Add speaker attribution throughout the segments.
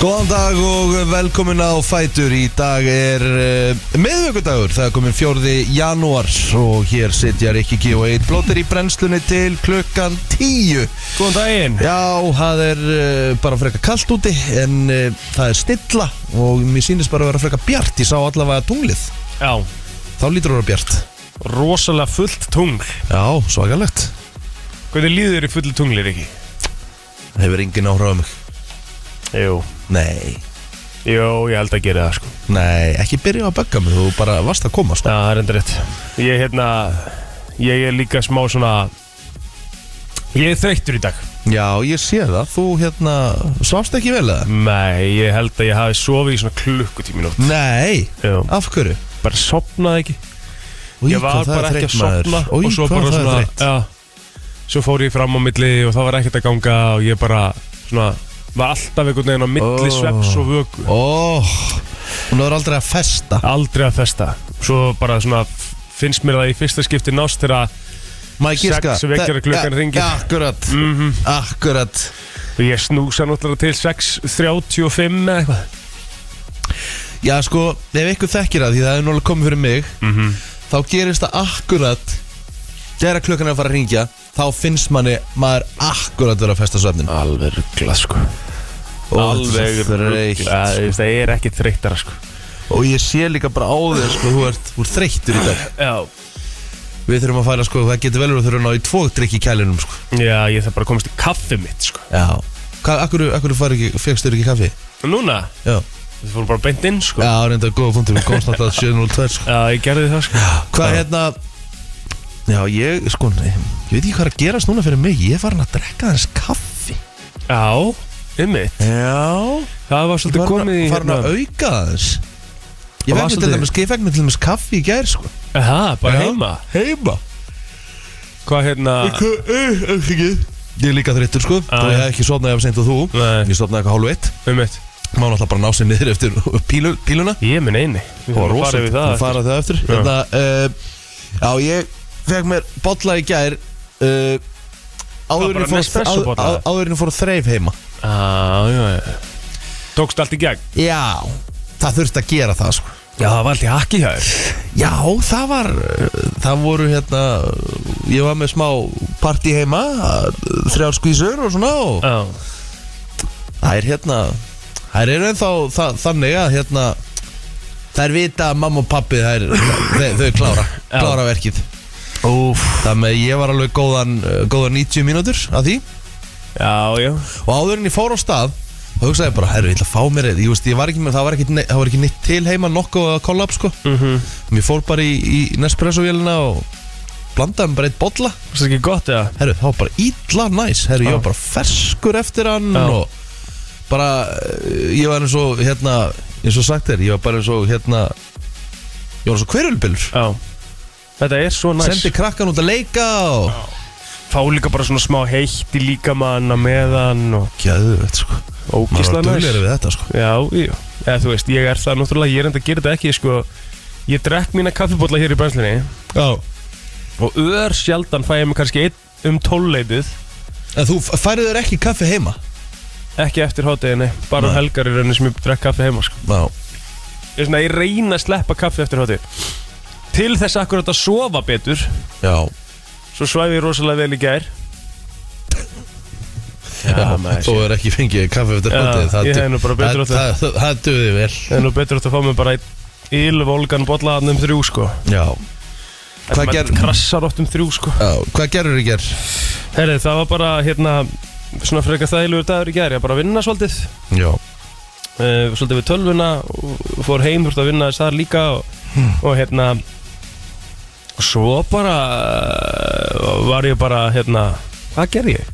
Speaker 1: Góðan dag og velkomin á Fætur Í dag er uh, miðvöggudagur Það er komin 4. janúar Og hér sitja Rikki G og Eitt Blóttir í brennslunni til klukkan 10
Speaker 2: Góðan daginn
Speaker 1: Já, það er uh, bara frekar kallt úti En uh, það er stilla Og mér sýnist bara að vera frekar bjart Ég sá allavega tunglið
Speaker 2: Já,
Speaker 1: Þá lítur það bjart
Speaker 2: rosalega fullt tungl
Speaker 1: Já, svakalegt
Speaker 2: Hvernig líður þér í fullu tungli, Riki?
Speaker 1: Það hefur engin áhrif á mig
Speaker 2: Jú
Speaker 1: Nei,
Speaker 2: Jú, ég held að gera það, sko
Speaker 1: nei, ekki byrja að bögga mig Þú bara varst að koma
Speaker 2: Já,
Speaker 1: sko.
Speaker 2: það er enda rétt Ég, hérna, ég er líka smá svona Ég er þreyttur í dag
Speaker 1: Já, ég sé það Þú hérna, svafst ekki vel eða?
Speaker 2: Nei, ég held að ég hafi sofið í svona klukkutími nótt
Speaker 1: Nei,
Speaker 2: Jú,
Speaker 1: af hverju?
Speaker 2: bara sopnaði ekki
Speaker 1: Új,
Speaker 2: Ég var
Speaker 1: hvað það er
Speaker 2: bara ekki að
Speaker 1: þreytt, maður.
Speaker 2: sopna
Speaker 1: Új,
Speaker 2: Og svo
Speaker 1: hvað
Speaker 2: bara
Speaker 1: það er
Speaker 2: svona
Speaker 1: þreytt.
Speaker 2: Já Svo fór ég fram á milli og það var ekkert að ganga Og ég bara, svona Var alltaf einhvern veginn á milli
Speaker 1: Ó.
Speaker 2: sveps og vöku
Speaker 1: Ó, Oh. hún er aldrei að festa
Speaker 2: aldrei að festa svo bara svona finnst mér það í fyrsta skipti nást þegar að
Speaker 1: Má ég giska?
Speaker 2: Sex vekjara klukkan
Speaker 1: Ja,
Speaker 2: hringir.
Speaker 1: Akkurat,
Speaker 2: Mhm.
Speaker 1: akkurat
Speaker 2: ég snúsa náttúrulega til 6.35 eða eitthvað
Speaker 1: Já, sko, ef ykkur þekkir það Því það er náttúrulega komið fyrir mig
Speaker 2: Mhm.
Speaker 1: Þá gerist það akkurat Þegar klukkan er að fara að ringja Þá finnst manni maður akkurat vera að festa svefnin
Speaker 2: alveg ruggla sko alveg
Speaker 1: Alveg
Speaker 2: ruggla það
Speaker 1: reykt
Speaker 2: það er ekki þreyttara sko
Speaker 1: sko. Og ég sé líka bara á þér, sko, þú ert, þú ert þreyttur í dag
Speaker 2: já.
Speaker 1: Við þurfum að færa, sko, það getur vel verið að þurfum að ná í tvo drikk í kælinum, sko
Speaker 2: já, ég þarf bara að komast í kaffi mitt sko
Speaker 1: Já Hvað, akkur, akkur fær ekki, fegst þér ekki kaffi?
Speaker 2: og núna,
Speaker 1: Já
Speaker 2: við fórum bara beint inn sko já,
Speaker 1: Já, reynda góða punktur, við komst náttúrulega 702 sko.
Speaker 2: ég gerði það sko
Speaker 1: Hvað hérna Já, ég, sko, nei, ég veit ekki hvað er að gerast núna fyrir mig Ég var hann að drekka hans kaffi
Speaker 2: já, ymmið
Speaker 1: Já
Speaker 2: það var
Speaker 1: Þú
Speaker 2: svolítið
Speaker 1: var hann
Speaker 2: komið í
Speaker 1: hérna. að auka hans Ég
Speaker 2: Það var
Speaker 1: fekk mér til
Speaker 2: svolítið-
Speaker 1: dæmis, ég fekk mér til dæmis kaffi í gær, sko
Speaker 2: aha, bara
Speaker 1: Já.
Speaker 2: heima
Speaker 1: Heima
Speaker 2: hvað hérna
Speaker 1: Eh, Ég er líka þreyttur, sko
Speaker 2: Já,
Speaker 1: Þú
Speaker 2: já.
Speaker 1: hef ekki sofnaði af seint og þú
Speaker 2: Nei.
Speaker 1: Ég sofnaði eitthvað hálfu eitt
Speaker 2: ymmið
Speaker 1: Má náttúrulega bara ná sér niður eftir pílu, píluna
Speaker 2: ég minn eini við
Speaker 1: Það var
Speaker 2: þurfum að fara
Speaker 1: rosalega
Speaker 2: yfir það
Speaker 1: Það fara það eftir
Speaker 2: Já.
Speaker 1: Hérna, uh, Já, ég fekk mér bolla í gær uh, áður en
Speaker 2: bara
Speaker 1: ég fór-
Speaker 2: Nespresso-bolla?
Speaker 1: áður- á- Áður en ég fór að þreif heima
Speaker 2: Já, já, já. Tókst allt í gegn?
Speaker 1: Já, það þurfti að gera það sko
Speaker 2: Já, það var allt í hakki hjá þér
Speaker 1: Já, það var, uh, það voru hérna, ég var með smá partí heima, uh, þrjár skvísur og svona og
Speaker 2: Já,
Speaker 1: það er hérna, það er ennþá það, þannig að hérna, það er vita að mamma og pappi, það er, þau, þau klára,
Speaker 2: Já.
Speaker 1: klára verkið.
Speaker 2: Úf.
Speaker 1: Þannig að ég var alveg góðan, uh, góðan 90 mínútur að því
Speaker 2: já, já
Speaker 1: Og áður en ég fór á stað Þá hugsaði ég bara, herru, ég ætla að fá mér Ég veist, ég var ekki með, það var ekki, ne- það var ekki neitt til heima Nokkuð að kollab, sko
Speaker 2: mm -hmm.
Speaker 1: Mér fór bara í, í Nespresso-vélina og Blandaði mér bara eitt bolla
Speaker 2: Það er ekki gott eða?
Speaker 1: Herru, það var bara ítla næs Herru,
Speaker 2: Já.
Speaker 1: ég var bara ferskur eftir hann
Speaker 2: Já.
Speaker 1: Og bara, eh, ég var eins og, hérna Eins og sagt þér, ég var bara eins og, hérna Ég var eins og hverjulbillur
Speaker 2: Já Þetta er svo næst
Speaker 1: Sendi krakkan út að leika og
Speaker 2: Fá líka bara svona smá heitt í líkamann að meðan og
Speaker 1: Gjöðvett, sko Maður
Speaker 2: ógisla
Speaker 1: var
Speaker 2: næst
Speaker 1: duglegri við þetta, sko
Speaker 2: Já, já Eða þú veist, ég er það náttúrulega, ég er enda að gera þetta ekki, sko Ég drekk mína kaffibólla hér í brænslinni
Speaker 1: Já
Speaker 2: Og ör sjaldan fæ ég mig kannski einn um tólleitið
Speaker 1: En þú færið þér ekki kaffi heima?
Speaker 2: Ekki eftir háteginni, bara um
Speaker 1: Nei.
Speaker 2: helgar í rauninni sem ég drekk kaffi heima, sko
Speaker 1: Já
Speaker 2: Ég, er svona, ég reyna að sleppa kaffi eftir hátíð Til þess akkurat að sofa betur
Speaker 1: Já
Speaker 2: Svo svæfi ég rosalega vel í gær
Speaker 1: Já, þú er ekki fengið kaffe eftir
Speaker 2: Já,
Speaker 1: hátið
Speaker 2: ég hefði nú bara betur á
Speaker 1: það það- það- Það duði vel
Speaker 2: Það er nú betur átt að fá mig bara í Ylvolgan bollaðan um þrjú sko
Speaker 1: Já, Hvað
Speaker 2: Þetta
Speaker 1: gerð-
Speaker 2: maður Krassar oft um þrjú sko
Speaker 1: já hvað gerur í ger?
Speaker 2: Herri, það var bara hérna Svona frekar þægilegur dagur í gær Ég bara að vinna svolítið
Speaker 1: Já
Speaker 2: uh, Svolítið við tölvuna og Fór heim, þurfti að vinna þess þar líka og,
Speaker 1: Hmm.
Speaker 2: og hérna Og svo bara eh, Var ég bara hérna Hvað gerði ég?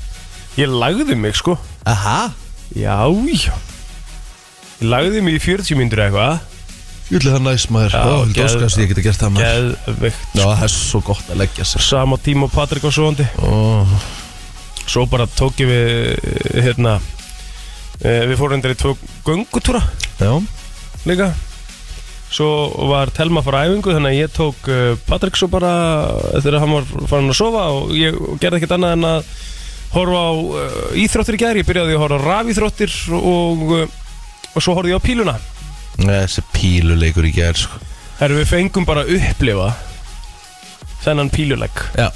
Speaker 2: Ég lagði mig sko
Speaker 1: Aha,
Speaker 2: Já, já Ég lagði mig í 40 mínútur eða eitthvað
Speaker 1: júlið það næs maður
Speaker 2: Já,
Speaker 1: Já, ég
Speaker 2: geð-
Speaker 1: doskast ég geti gert það maður
Speaker 2: Geðveikt
Speaker 1: Já, það er svo gott að leggja sér
Speaker 2: Sama tíma og Patrik var svoandi
Speaker 1: Ó,
Speaker 2: Svo bara tók ég við hérna eh, Við fórum endur í tvo göngutúra
Speaker 1: Já,
Speaker 2: líka Svo var Telma frá æfingu Þannig að ég tók eh, Patrik svo bara eh, Þegar hann var farin að sofa Og ég gerði ekkert annað en að Horfa á eh, íþróttir í gær Ég byrjaði að horfa á rafíþróttir Og eh, og svo horfði ég á píluna
Speaker 1: Þessi píluleikur í gerð sko.
Speaker 2: Herru, við fengum bara að upplifa þennan píluleik
Speaker 1: Já.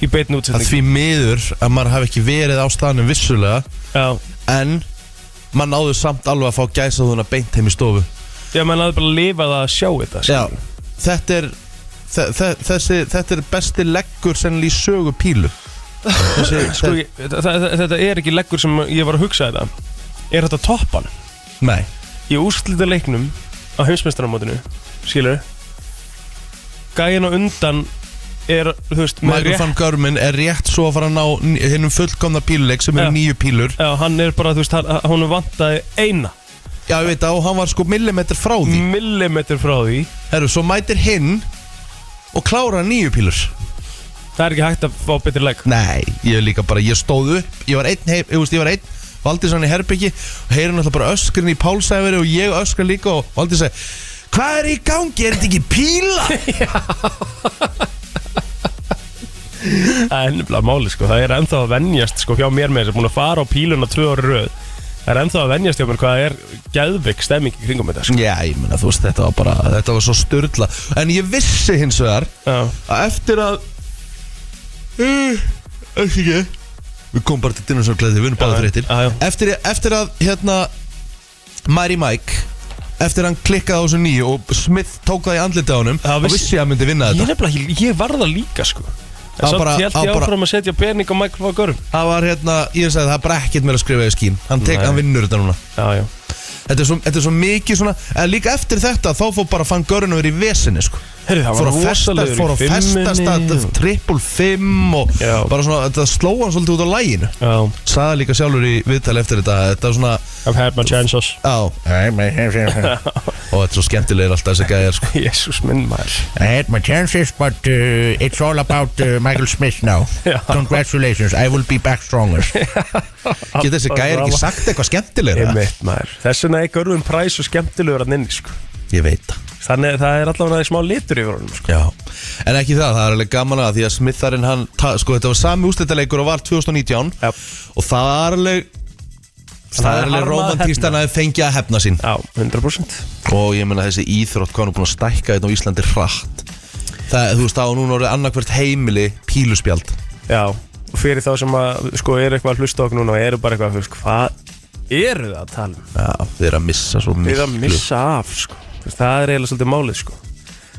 Speaker 2: í beitin útsending
Speaker 1: að því miður að maður hafi ekki verið á staðnum vissulega
Speaker 2: Já,
Speaker 1: en maður náðu samt alveg að fá gæsa þúna beint heim í stofu
Speaker 2: já menn að bara lifa það að sjá þetta
Speaker 1: Já,
Speaker 2: skilur.
Speaker 1: þetta er þe- þe- þessi, þetta er besti leggur sennilega í sögu pílu þessi,
Speaker 2: sko, ég, þa- þa- þa- Þetta er ekki leggur sem ég var að hugsa þetta Er þetta toppan?
Speaker 1: Nei,
Speaker 2: Ég úrslita leiknum á heimsmeistaramótinu Skilur Gæin á undan er, þú veist, með
Speaker 1: Michael
Speaker 2: rétt
Speaker 1: van Görmin er rétt svo að fara að ná n- hinnum fullkomna píluleik sem
Speaker 2: Já.
Speaker 1: eru nýju pílur
Speaker 2: Já, hann er bara, þú veist, hann, hann vantaði eina
Speaker 1: Já, ég veit að og hann var sko millimetr frá því
Speaker 2: millimetr frá því
Speaker 1: Herru, svo mætir hinn og klárar nýju pílur
Speaker 2: Það er ekki hægt að fá betri legg
Speaker 1: Nei, ég er líka bara, ég stóð upp Ég var einn, hei, ég, veist, ég var einn Valdís hann í herbyggi og heyrir náttúrulega bara öskrin í pálsæfri og ég öskrin líka og Valdís segi Hvað er í gangi? Er þetta ekki píla?
Speaker 2: Það er nefnilega máli sko, það er ennþá að venjast sko hjá mér með þess að búin að fara á píluna tvö ári röð Það er ennþá að venjast hjá mér hvað það er geðvik stemming í kringum þetta sko
Speaker 1: Já, ég meina, þú veist, þetta var bara, þetta var svo styrla En ég vissi hins vegar
Speaker 2: Já,
Speaker 1: að eftir að Uh, Ekki ekki Við komum bara til dinnarsvörgleði, við erum báðið
Speaker 2: Já,
Speaker 1: þreyttir
Speaker 2: já, já.
Speaker 1: eftir, eftir að, hérna, Mary Mike Eftir að hann klikkaði á þessu nýju og Smith tók það í andlita á honum
Speaker 2: Já,
Speaker 1: og
Speaker 2: vissi-
Speaker 1: vissi að hann myndi vinna
Speaker 2: ég
Speaker 1: þetta
Speaker 2: nefnilega, ég, ég var það líka sko
Speaker 1: Það
Speaker 2: Samt
Speaker 1: bara-
Speaker 2: bara, held
Speaker 1: það
Speaker 2: ég
Speaker 1: bara-
Speaker 2: áfram að setja pening á Michael van Görum
Speaker 1: Það var hérna, ég sagði það er bara ekkert meira að skrifa í skín Hann, tek,
Speaker 2: Nei.
Speaker 1: hann vinnur þetta núna
Speaker 2: Já, já,
Speaker 1: Þetta er svo, þetta er svo mikið svona En líka eftir þetta þá fór bara fann görun að vera í vesinni sko.
Speaker 2: Heyrðu, það var
Speaker 1: Fór að festa,
Speaker 2: rosalegur í
Speaker 1: fór að festast að
Speaker 2: fimmunni og-
Speaker 1: triple fimm Og
Speaker 2: Já.
Speaker 1: bara svona, þetta sló hann svolítið út á læginu
Speaker 2: já,
Speaker 1: Saða líka sjálfur í viðtali eftir þetta Þetta er svona,
Speaker 2: I've had my chances
Speaker 1: á
Speaker 3: I may have, uh,
Speaker 1: Og þetta er svo skemmtilegir alltaf þessi gæjar sko.
Speaker 2: Jésús minn maður
Speaker 3: I had my chances, but uh, it's all about uh, Michael Smith now.
Speaker 2: Yeah.
Speaker 3: Congratulations, I will be back stronger.
Speaker 1: Geta þessi gæjar ekki sagt eitthvað skemmtilegra
Speaker 2: Einmitt maður, þess vegna er Görum præs og skemmtilegur að nynni sko
Speaker 1: Ég veit það
Speaker 2: Þannig að það er allavega smá litur yfir honum sko
Speaker 1: Já, en ekki það, það er alveg gaman að því að Smitharinn hann, ta- sko þetta var sami úrslitaleikur og var 2019
Speaker 2: Já.
Speaker 1: og það er alveg það
Speaker 2: hann
Speaker 1: er alveg
Speaker 2: harmaði
Speaker 1: romantíst hann að fengja að hefna sín
Speaker 2: hérna. Já, 100%
Speaker 1: og ég meina þessi íþrótt hvað hann er búin að stækka þetta á Íslandi hratt það, þú veist það og núna orðið annarkvært heimili píluspjald
Speaker 2: Já, og fyrir þá sem að sko eru eitthvað að hlusta okkur núna og eru bara eitthvað þú veist, hvað eru það að tala um?
Speaker 1: Já, þið er að missa svo
Speaker 2: Við að
Speaker 1: miklu
Speaker 2: missa af, sko Þú veist, Það er eiginlega svolítið málið, sko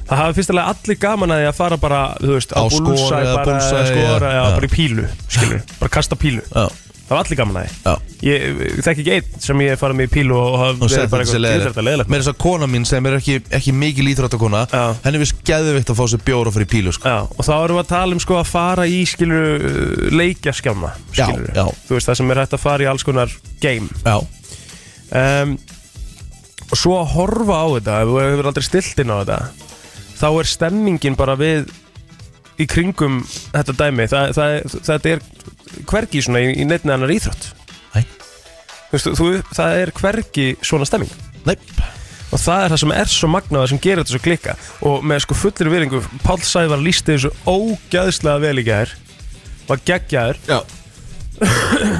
Speaker 2: Það hafa fyrstilega allir gaman að því að fara bara, þú veist,
Speaker 1: Á
Speaker 2: bullseye
Speaker 1: skor eða
Speaker 2: bara,
Speaker 1: bullseye,
Speaker 2: eða skora,
Speaker 1: já,
Speaker 2: já,
Speaker 1: já.
Speaker 2: bara í pílu, skilur Bara kasta pílu,
Speaker 1: Já,
Speaker 2: það var allir gaman að því
Speaker 1: já
Speaker 2: Ég ég þekki ekki einn sem ég hef farið með í pílu og hafa
Speaker 1: og
Speaker 2: verið
Speaker 1: setja
Speaker 2: bara
Speaker 1: þessi
Speaker 2: eitthvað
Speaker 1: leðilegt
Speaker 2: dýrðarta leðilegt
Speaker 1: Mér er þess að kona mín sem er ekki, ekki mikil íþróttakona
Speaker 2: Já.
Speaker 1: henni finnst geðvikt að fá sér bjóra fyrir pílu sko.
Speaker 2: Já, og þá erum við að tala um sko að fara í, skilur, leikjaskjáma,
Speaker 1: Já,
Speaker 2: skilur
Speaker 1: já.
Speaker 2: Þú veist, það sem er hægt að fara í alls konar game
Speaker 1: Já,
Speaker 2: um, og svo að horfa á þetta ef þú hefur aldrei stilt inn á þetta þá er stemmingin bara við í kringum þetta dæmi Þa, það, þetta er hvergi svona í, í neittni annar íþrótt
Speaker 1: Nei.
Speaker 2: Þú veist, þú, það er hvergi svona stemming
Speaker 1: nei,
Speaker 2: og það er það sem er svo magnað sem gerir þetta svo klikka og með sko fullir viðringu Páll Sævar lísti þessu ógæðslega vel í gær var geggjaður
Speaker 1: já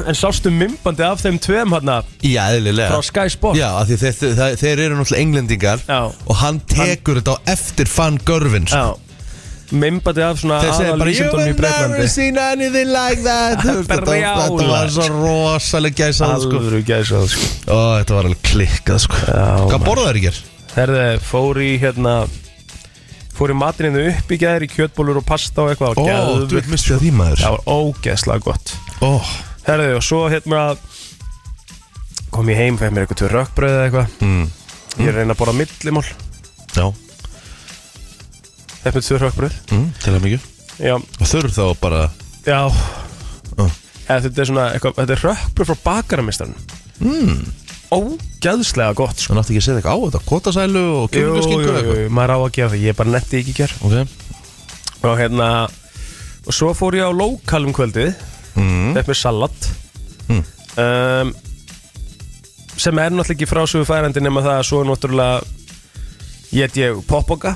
Speaker 2: en sástu mymbandi af þeim tveim hérna
Speaker 1: Já, eðlilega
Speaker 2: frá Sky Sport
Speaker 1: Já, af því þeir, þeir, þeir eru náttúrulega englendingar
Speaker 2: Já.
Speaker 1: Og hann tekur þetta á eftir fann görfin sko.
Speaker 2: Já Mimbati af
Speaker 4: Ah,
Speaker 2: svona
Speaker 1: Þeir segja bara You
Speaker 2: aðalvísindunum í
Speaker 1: have never
Speaker 2: Breitlandi
Speaker 1: seen anything like that Þú veist, þetta, var- þetta var
Speaker 2: Brjálað.
Speaker 1: svo rosaleg gæsa sko.
Speaker 2: Alvöru gæsað sko
Speaker 1: Ó, Þetta var alveg klikkað sko.
Speaker 2: Já,
Speaker 1: Hvað
Speaker 2: maður.
Speaker 1: borðaðu þær í gerð?
Speaker 2: Herði, sko. fór í hérna Fór í matininu upp í gæðir í kjötbólur og pasta og eitthvað
Speaker 1: Ó,
Speaker 2: og geðveikt. sko.
Speaker 1: þú veit mistið að því maður
Speaker 2: Það var ógeðslega gott
Speaker 1: Ó,
Speaker 2: Herði, og svo hérna Kom ég heim, fæði mér eitthvað til rökkbröð eða eitthvað
Speaker 1: Mm.
Speaker 2: Ég er að reyna að borða millimál
Speaker 1: Já,
Speaker 2: Fæði mér tvö rökkbröð
Speaker 1: mm, til að mikið
Speaker 2: Já,
Speaker 1: Þurr þá bara
Speaker 2: já
Speaker 1: Ó.
Speaker 2: Eða, Þetta er svona, eitthvað, þetta er rökkbröð frá bakaramistarinn mm. Ógeðslega gott sko
Speaker 1: Þannig átti ekki að setja eitthvað á þetta Kotasælu og
Speaker 2: Jú, jú,
Speaker 1: kjörgarskingur
Speaker 2: jú, maður á að gera það, ég bara netti ekki ger
Speaker 1: Ok,
Speaker 2: Og hérna, og svo fór ég á lokal um kvöldið
Speaker 1: mm,
Speaker 2: Þetta með salat
Speaker 1: Hm.
Speaker 2: um, Sem er náttúrulega ekki frásöfu færandi nema það að svo náttúrulega Get ég poppoka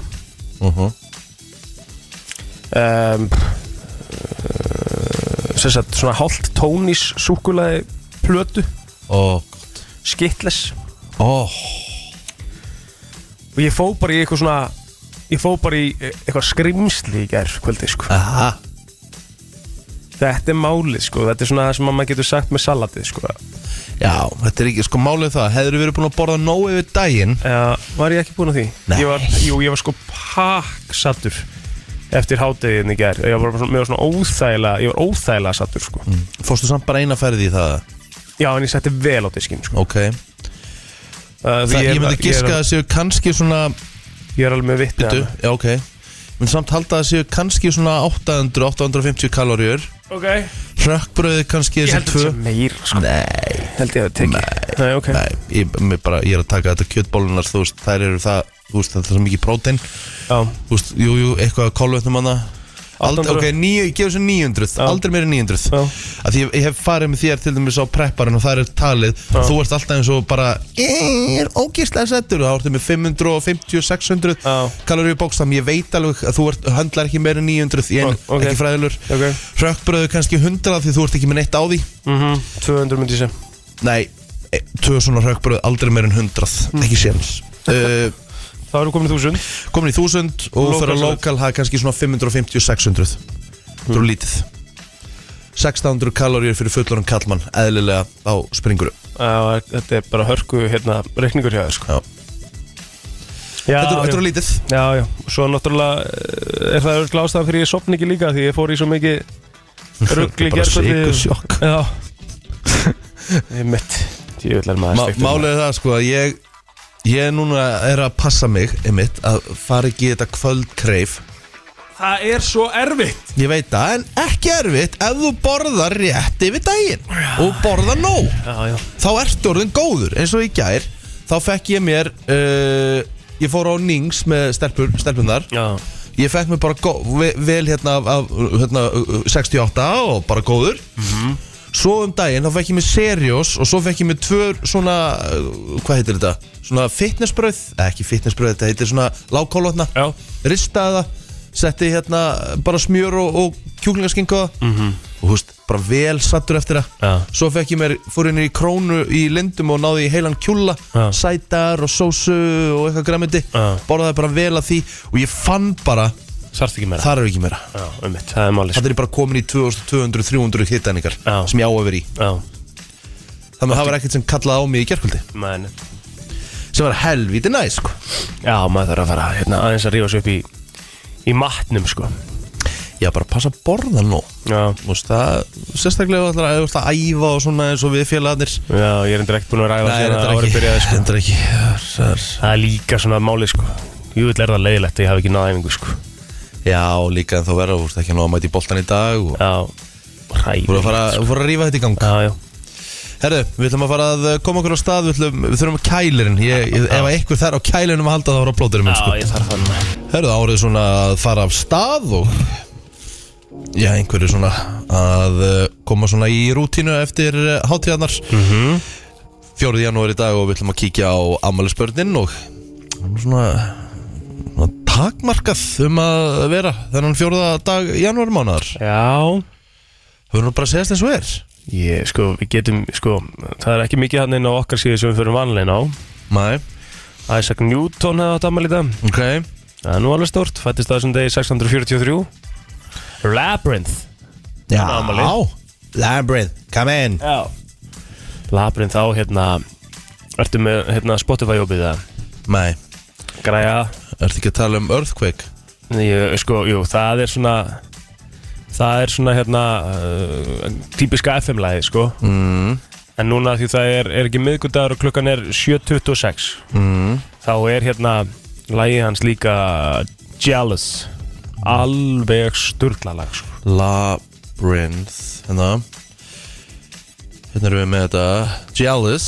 Speaker 1: uh
Speaker 5: Mhm.
Speaker 2: um, uh, eh, Sem sagt, svona hálft tónis súkulaði plötu
Speaker 1: Og
Speaker 2: Skittles
Speaker 1: Ó,
Speaker 2: og ég fó bara í eitthvað svona ég fó bara í e- eitthvað skrimsli í gær kvöldi sko
Speaker 1: aha
Speaker 2: þetta er málið sko, þetta er svona það sem að maður getur sagt með salatið sko
Speaker 1: Já, þetta er ekki, sko málið er það Hefur verið búin að borða nóg yfir daginn
Speaker 2: Eða, var ég ekki búin að því?
Speaker 1: Nei.
Speaker 2: Ég var, jú, ég var sko pakksatur eftir hátegiðin í gær ég var bara svona, mér var svona óþægilega ég var óþægilega sattur sko
Speaker 1: Mm. Fórstu samt bara eina ferði í það
Speaker 2: já, en ég setti vel á diskinn sko
Speaker 1: Ok,
Speaker 2: uh,
Speaker 1: það, ég myndi
Speaker 2: ég
Speaker 1: giska að
Speaker 2: er,
Speaker 1: það séu kannski svona
Speaker 2: ég er alveg með vitt
Speaker 1: Bitu, já ok Ég myndi samt halda að það séu kannski svona 800-850 kaloríur
Speaker 2: ok ég
Speaker 1: Rökkbröðið kannski þessi
Speaker 2: held
Speaker 1: tvö
Speaker 2: þetta sem meira sko
Speaker 1: Nei,
Speaker 2: held ég að tekið nei, nei ok
Speaker 1: nei, ég, mér bara, ég er að taka þetta kjötbólunar Þú veist, þær eru það, þú veist, það er svo mikið prótein
Speaker 2: já
Speaker 1: Þú veist, jú, jú, eitthvað kólvetnum hana Aldrei,
Speaker 2: 800.
Speaker 1: ok, níu, ég gef þessu 900
Speaker 2: Já.
Speaker 1: Aldrei meira en 900
Speaker 2: Já.
Speaker 1: Af Því ég, ég hef farið með þér til dæmis á prepparinn og það er talið Þú ert alltaf eins og bara Ég er ógeðslega settur Það ertu með 550, 600
Speaker 2: Já.
Speaker 1: kaloríu bókstam Ég veit alveg að þú ert, höndlar ekki meira en 900 Ég er
Speaker 2: Ó, ok.
Speaker 1: ekki fræðilur
Speaker 2: Ok.
Speaker 1: Hrökkbröðu kannski 100 því þú ert ekki með neitt á því
Speaker 2: mm 200 myndi ég sem
Speaker 1: Nei, e, tvö svona hrökkbröð aldrei meira en 100
Speaker 2: Mm.
Speaker 1: Ekki séns uh,
Speaker 2: þá eru komin 1000
Speaker 1: komin í 1000 og
Speaker 2: Local
Speaker 1: fyrir að
Speaker 2: salt.
Speaker 1: lokal hafa kannski svona 550-600 það
Speaker 2: Mm.
Speaker 1: er lítið 600 kaloríur fyrir fullorinn kallmann eðlilega á springuru
Speaker 2: já, þetta er bara hörku hérna reikningur hjá þér sko
Speaker 1: já.
Speaker 2: já,
Speaker 1: þetta, er-
Speaker 2: já.
Speaker 1: þetta er lítið
Speaker 2: Já, já, svo náttúrulega eh, er það örgla ástæðan fyrir ég sopni ekki líka því ég fór í svo mikið ruggli
Speaker 1: Bara sykursjokk.
Speaker 2: Já Ég mitt Djöflar maður
Speaker 1: Ma-
Speaker 2: steiktur
Speaker 1: málið er það sko að ég ég núna er að passa mig einmitt, að fara ekki í þetta kvöldkreif
Speaker 2: maður. Það er svo erfitt
Speaker 1: ég veit það, en ekki erfitt ef þú borðar rétt yfir daginn og borðar nóg
Speaker 2: Já, já
Speaker 1: þá ertu orðin góður eins og í gær þá fekk ég mér uh, ég fór á Nings með stelpur, stelpunar
Speaker 2: Já,
Speaker 1: ég fekk mér bara gó- ve- vel hérna, af, af, hérna uh, 68 og bara góður
Speaker 2: Mhm.
Speaker 1: svo um daginn þá fekk ég mér seriós og svo fekk ég mér tvö svona uh, hvað heitir þetta? svona fitnessbröð, eh, ekki fitnessbröð þetta heitir svona lágkólotna
Speaker 2: já,
Speaker 1: ristaði það setti hérna bara smjör og, og kjúklingarskingu mm -hmm. og húst, bara vel sattur eftir það
Speaker 2: Mhm. Já.
Speaker 1: svo fekk ég mér, fór inn í krónu í lindum og náði í heilan kjúla
Speaker 2: Já.
Speaker 1: sætar og sósu og eitthvað græmiti
Speaker 2: Já.
Speaker 1: borðaði bara vel að því og ég fann bara,
Speaker 2: þarft ekki meira
Speaker 1: þar er ekki meira
Speaker 2: Já, um mitt, það er málið
Speaker 1: það er ég bara komin í 2200-300 hittaningar
Speaker 2: Já.
Speaker 1: sem ég á að vera í
Speaker 2: sko. Já,
Speaker 1: þannig að það var ekkert sem kallaði á mig í gerkvöldi
Speaker 2: menn
Speaker 1: sem var helviti næ sko.
Speaker 2: Já, maður þarf að fara hérna, aðeins að rífa svo upp í í matnum, sko
Speaker 1: ég var bara að passa að borða nú
Speaker 2: Já,
Speaker 1: Þú veist, það, sérstaklega ef þú ætlar að- ef þú ætlar að æfa og svona eins og við félagarnir
Speaker 2: já, ég er endur ekkert búin að ræða
Speaker 1: Nei,
Speaker 2: síðan
Speaker 1: reyndar
Speaker 2: að árið
Speaker 1: ekki.
Speaker 2: byrjaði, sko.
Speaker 1: Reyndar ekki Það er-
Speaker 2: Það er líka svona málið, sko Júvill er það leiðilegt að ég hafi ekki náð æfingu, sko
Speaker 1: Já, líka en þá verður þú ert ekki nóg að mæta í boltan í dag og
Speaker 2: Já, ræði
Speaker 1: Þú voru að fara þú voru að rífa þetta í gang
Speaker 2: Já, já,
Speaker 1: Herðu, við ætlum að fara að uh, koma okkur á stað Við, ætlum, við þurfum að kælirinn ég, ég, Ef eitthvað þær á kælirinn að halda þá voru að blóta minn
Speaker 2: já,
Speaker 1: sko.
Speaker 2: ég þarf þann
Speaker 1: Herðu, árið svona að fara af stað og Já, einhverju svona að uh, koma svona í rútínu eftir uh, hátíðarnar mm -hmm.
Speaker 2: Mhm.
Speaker 1: 4. janúar í dag og við ætlum að kíkja á ammælisbörnin og svona, svona takmarkað um að vera þennan fjóruða dag janúarmánaðar
Speaker 2: Já,
Speaker 1: Við verðum nú bara að segjast eins og er
Speaker 2: ég, sko, við getum, sko Það er ekki mikið hann inn á okkar síðu sem við fyrir vanlegin á
Speaker 1: Mæ,
Speaker 2: Isaac Newton hefði átt ammæli í dag
Speaker 1: ok
Speaker 2: Það er nú alveg stórt, fættist það sem degi 643 Labyrinth
Speaker 1: Já,
Speaker 2: Afmæli.
Speaker 1: Labyrinth, come in
Speaker 2: Já Labyrinth á, hérna Ertu með, hérna, Spotify-jópið það
Speaker 1: Mæ,
Speaker 2: Græja
Speaker 1: ertu ekki að tala um Earthquake?
Speaker 2: ég, Sko, jú, það er svona Það er svona, hérna uh, Típiska FM-læði, sko
Speaker 1: Mm,
Speaker 2: En núna því það er, er ekki miðgudagur og klukkan er 7.26
Speaker 1: mm,
Speaker 2: Þá er hérna lægi hans líka Jealous Alveg sturgla lag sko.
Speaker 1: Labyrinth Hérna Hérna erum við með þetta Jealous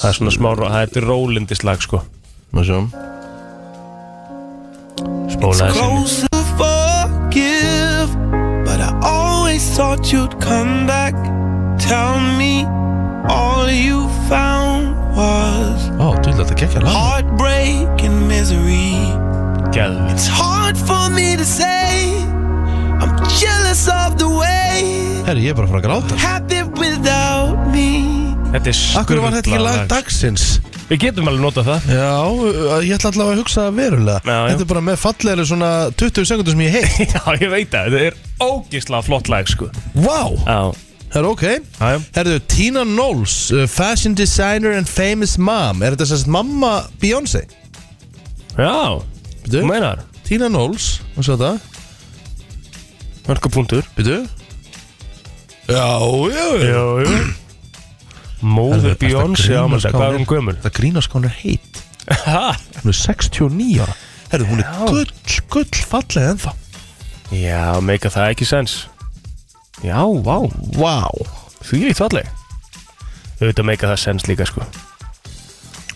Speaker 2: Það er svona smá, það er þetta rólindist lag sko
Speaker 1: Má sjáum
Speaker 2: Spólaði sinni
Speaker 4: close to forgive, but I always thought you'd come back. Tell me all you found was
Speaker 1: Ó, þú ætla þetta gekkja lag
Speaker 4: heartbreak and misery.
Speaker 2: Geðvitt
Speaker 4: It's hard for me to say, I'm jealous of the way
Speaker 1: Herri, ég er bara að fara að gráta
Speaker 4: happy without me.
Speaker 2: Þetta er sturgla
Speaker 1: Akkur var þetta ekki lag dagsins
Speaker 2: Við getum alveg notað það
Speaker 1: Já, ég ætla allavega að hugsa það verulega
Speaker 2: Já, já.
Speaker 1: Þetta er bara með fallegri svona 20 sekundur sem ég heilt
Speaker 2: Já, ég veit það, þetta er ógislega flott lag sko
Speaker 1: Vá,
Speaker 2: Já,
Speaker 1: það er ok
Speaker 2: já, já
Speaker 1: Herðu, Tina Knowles, uh, fashion designer and famous mom Er þetta sérst mamma Beyoncé?
Speaker 2: Já,
Speaker 1: Býtu,
Speaker 2: þú meinar
Speaker 1: Tina Knowles, hvað svo þetta?
Speaker 2: Mörka punktur
Speaker 1: Býtu Já, já,
Speaker 2: Já,
Speaker 1: já
Speaker 2: já
Speaker 1: Herðu,
Speaker 2: Móður
Speaker 1: ertu að
Speaker 2: Beyoncé
Speaker 1: grínast,
Speaker 2: ámælda, hvað er hún gömul?
Speaker 1: Það grínast hvað hún er heit
Speaker 2: Ha?
Speaker 1: Hún er 69 ára Herðu, hún er
Speaker 2: Já.
Speaker 1: gull, gull falleg ennþá
Speaker 2: Já, meika það ekki sens Já, vá,
Speaker 1: Vá
Speaker 2: því er það allir Auðvitað meika það sens líka sko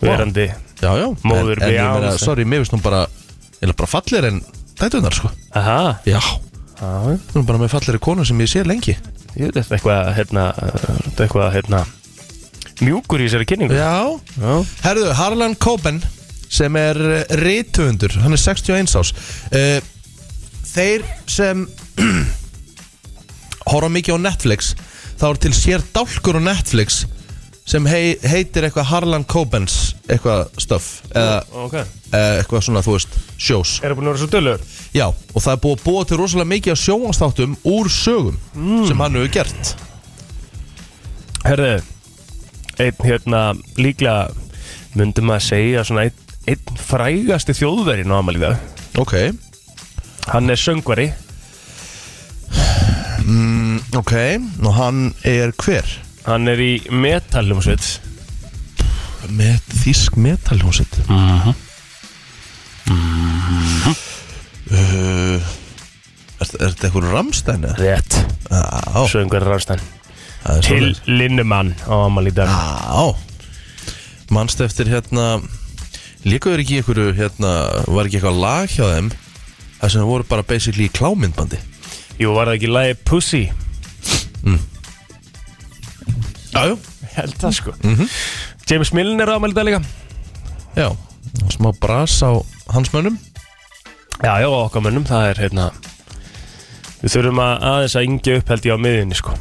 Speaker 2: Verandi
Speaker 1: Já, já
Speaker 2: Móðir
Speaker 1: En- en ég meina,
Speaker 2: Beyoncé.
Speaker 1: Sorry, mér finnst hún bara Eða bara fallegri en dætunar, sko
Speaker 2: Aha,
Speaker 1: Já,
Speaker 2: já, já
Speaker 1: hún er bara með fallegri konu sem ég sé lengi
Speaker 2: Ég veit þetta er eitthvað, hérna, þetta er eitthvað, hérna, mjúkur í þessari kynningu.
Speaker 1: Já
Speaker 2: Já.
Speaker 1: Herðu, Harlan Coben sem er rítuundur, hann er 61 ás Eh, Þeir sem horfa mikið á Netflix þá er til sér dálkur á Netflix sem hei, heitir eitthvað Harlan Cobens eitthvað stöf eða
Speaker 2: Ok. Er
Speaker 1: eh, eitthvað svona, þú veist, sjós
Speaker 2: það búin að vera svo dölur?
Speaker 1: Já, og það er búið að búa til rosalega mikið af sjónvastáttum úr sögum
Speaker 2: Mm.
Speaker 1: sem hann hefur gert
Speaker 2: Herðu, einn, hérna, líklega, myndum maður segja svona einn, einn frægasti þjóðverinn á amal í dag.
Speaker 1: Ok,
Speaker 2: Hann er söngvari.
Speaker 1: Mm, ok, og hann er hver?
Speaker 2: Hann er í metallumsveit.
Speaker 1: Met, þísk metalhjónsett uh -huh.
Speaker 2: Mhm.
Speaker 1: Mm-hmm. uh, Er er þetta eitthvað ramstæni?
Speaker 2: Rétt.
Speaker 1: Já,
Speaker 2: Söngvari Ránstæn.
Speaker 1: það er
Speaker 2: Til
Speaker 1: svoleiðis.
Speaker 2: Linnemann á amal í dag.
Speaker 1: Já, manstu eftir hérna Líkaður ekki í einhverju hérna Var ekki eitthvað lag hjá þeim Það sem voru bara basically í klámyndbandi
Speaker 2: Jú, var það ekki lagi Pussy?
Speaker 1: Jájú
Speaker 2: Ég Held það sko.
Speaker 1: Mhm.
Speaker 2: James Milner á amal í dag líka.
Speaker 1: Já, smá bras á hans mönnum
Speaker 2: Já, já, á okkar mönnum, það er hérna Við þurfum að aðeins að yngja upp held ég á miðinni sko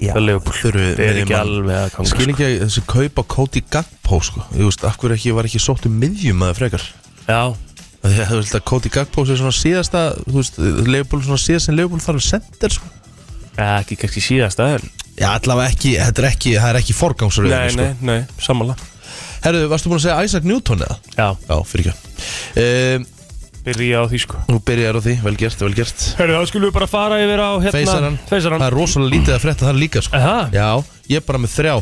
Speaker 2: Já, það
Speaker 1: þurfum við
Speaker 2: er ekki
Speaker 1: miðjumann.
Speaker 2: alveg að ganga
Speaker 1: Skil
Speaker 2: sko.
Speaker 1: ekki að þessi kaup á Cody Gagpo sko. Þú veist, af hverju ekki var ekki sótt um miðjum að frekar
Speaker 2: Já,
Speaker 1: Af Því að þú veist að Cody Gagpo er svona síðasta Þú veist, Leifból svona síðast sem Leifból þarf að senda sko.
Speaker 2: ja, ekki kannski síðast aðeins
Speaker 1: Já, allavega ekki, þetta er ekki, það er ekki forgangsröðin
Speaker 2: Nei, nei, nei, sammála
Speaker 1: Herðu, varstu búin að segja Isaac Newton eða?
Speaker 2: Já,
Speaker 1: Já, fyrir ekki um,
Speaker 2: byrja á því sko
Speaker 1: Nú byrjar á því, vel gert, vel gert
Speaker 2: Hörru, þá skulum við bara fara yfir á hérna
Speaker 1: Feysaran, það
Speaker 2: Feysaran.
Speaker 1: er rosalega lítið að frétta það líka sko.
Speaker 2: Aha.
Speaker 1: Já, ég er bara með þrjá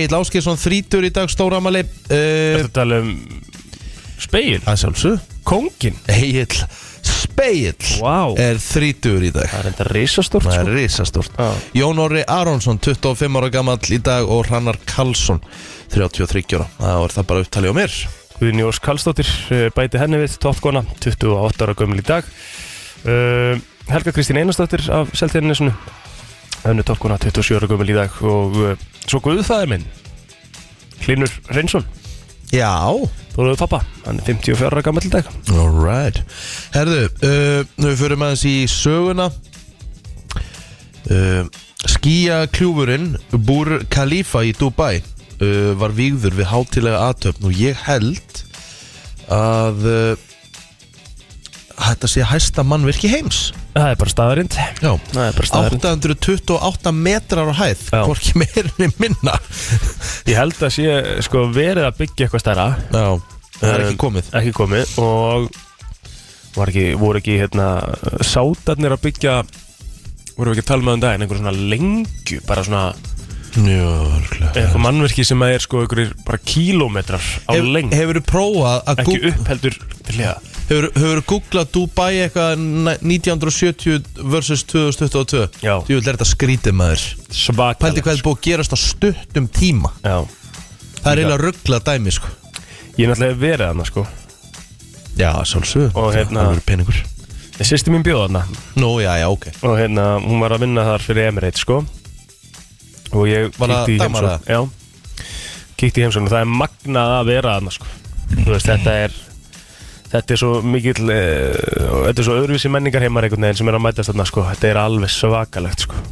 Speaker 1: Egil Áskeiðsson þrítur í dag, stóramali uh,
Speaker 2: Þetta tala um Spegil,
Speaker 1: Það er sjálfsög
Speaker 2: kóngin
Speaker 1: Egil Speill
Speaker 2: Vá.
Speaker 1: er þrítur í dag
Speaker 2: Það er enda risastórt
Speaker 1: Það
Speaker 2: sko
Speaker 1: er risastort
Speaker 2: Já.
Speaker 1: Jón Orri Aronsson, 25 ára gamall í dag og Hrannar Karlsson 33 ára, það var það bara upptalið á mér
Speaker 2: Guðni Ós Kallstóttir eh, bæti henni við toppkona, 28 ára gömul í dag uh, Helga Kristín Einarstóttir af Seltjarnesinu henni toppkona, 27 ára gömul í dag og uh, svo Guðfæðir minn Hlinur Reynsson,
Speaker 1: Já,
Speaker 2: Þóruðu pappa hann er 54 ára gammal í dag
Speaker 1: alright Herðu, uh, nú fyrir maður í söguna uh, Skía kljúfurinn Búr Khalifa í Dubai uh, var vígður við hátilega aðtöfn og ég held að uh, þetta sé hæsta mannverki heims
Speaker 2: Það er bara staðarind
Speaker 1: Já,
Speaker 2: Það er bara staðarind
Speaker 1: 828 metrar á hæð
Speaker 2: Já.
Speaker 1: Hvorki meirinni minna
Speaker 2: Ég held að sé sko, verið að byggja eitthvað stærra
Speaker 1: Já, það er ekki komið
Speaker 2: ekki komið og var ekki, voru ekki hérna, sátarnir að byggja voru ekki að tala með um daginn einhver svona lengju, bara svona
Speaker 1: Já, örgulega
Speaker 2: eitthvað mannverki sem er sko einhverjir bara kílómetrar á Hef, lengd
Speaker 1: Hefurðu prófað að
Speaker 2: ekki
Speaker 1: gú-
Speaker 2: upp heldur til hliða
Speaker 1: hefur, hefur googlað Dubai eitthvað n- 1970 vs 2022
Speaker 2: Já.
Speaker 1: Þú vil þetta skrítið maður Pældi
Speaker 2: svakalegt
Speaker 1: hvað er búið að gerast á stuttum tíma
Speaker 2: já.
Speaker 1: Það er eiginlega rugglað dæmi sko
Speaker 2: ég er náttúrulega verið þarna sko
Speaker 1: Já, sjálfsög
Speaker 2: Og hérna-
Speaker 1: Það er peningur
Speaker 2: sýsti mín bjóð þarna
Speaker 1: Nú, já, já, ok
Speaker 2: og hérna hún var að vinna þar fyrir Emirates sko og ég
Speaker 1: Var það
Speaker 2: kíkti í
Speaker 1: dagmar
Speaker 2: heimsókn já kíkti í heimsókn og það er magnað að vera þarna sko þú veist þetta er þetta er svo mikill eh, og þetta er svo öðruvísi menningar heimar einhvern veginn sem er að mætast þarna sko þetta er alveg svakalegt sko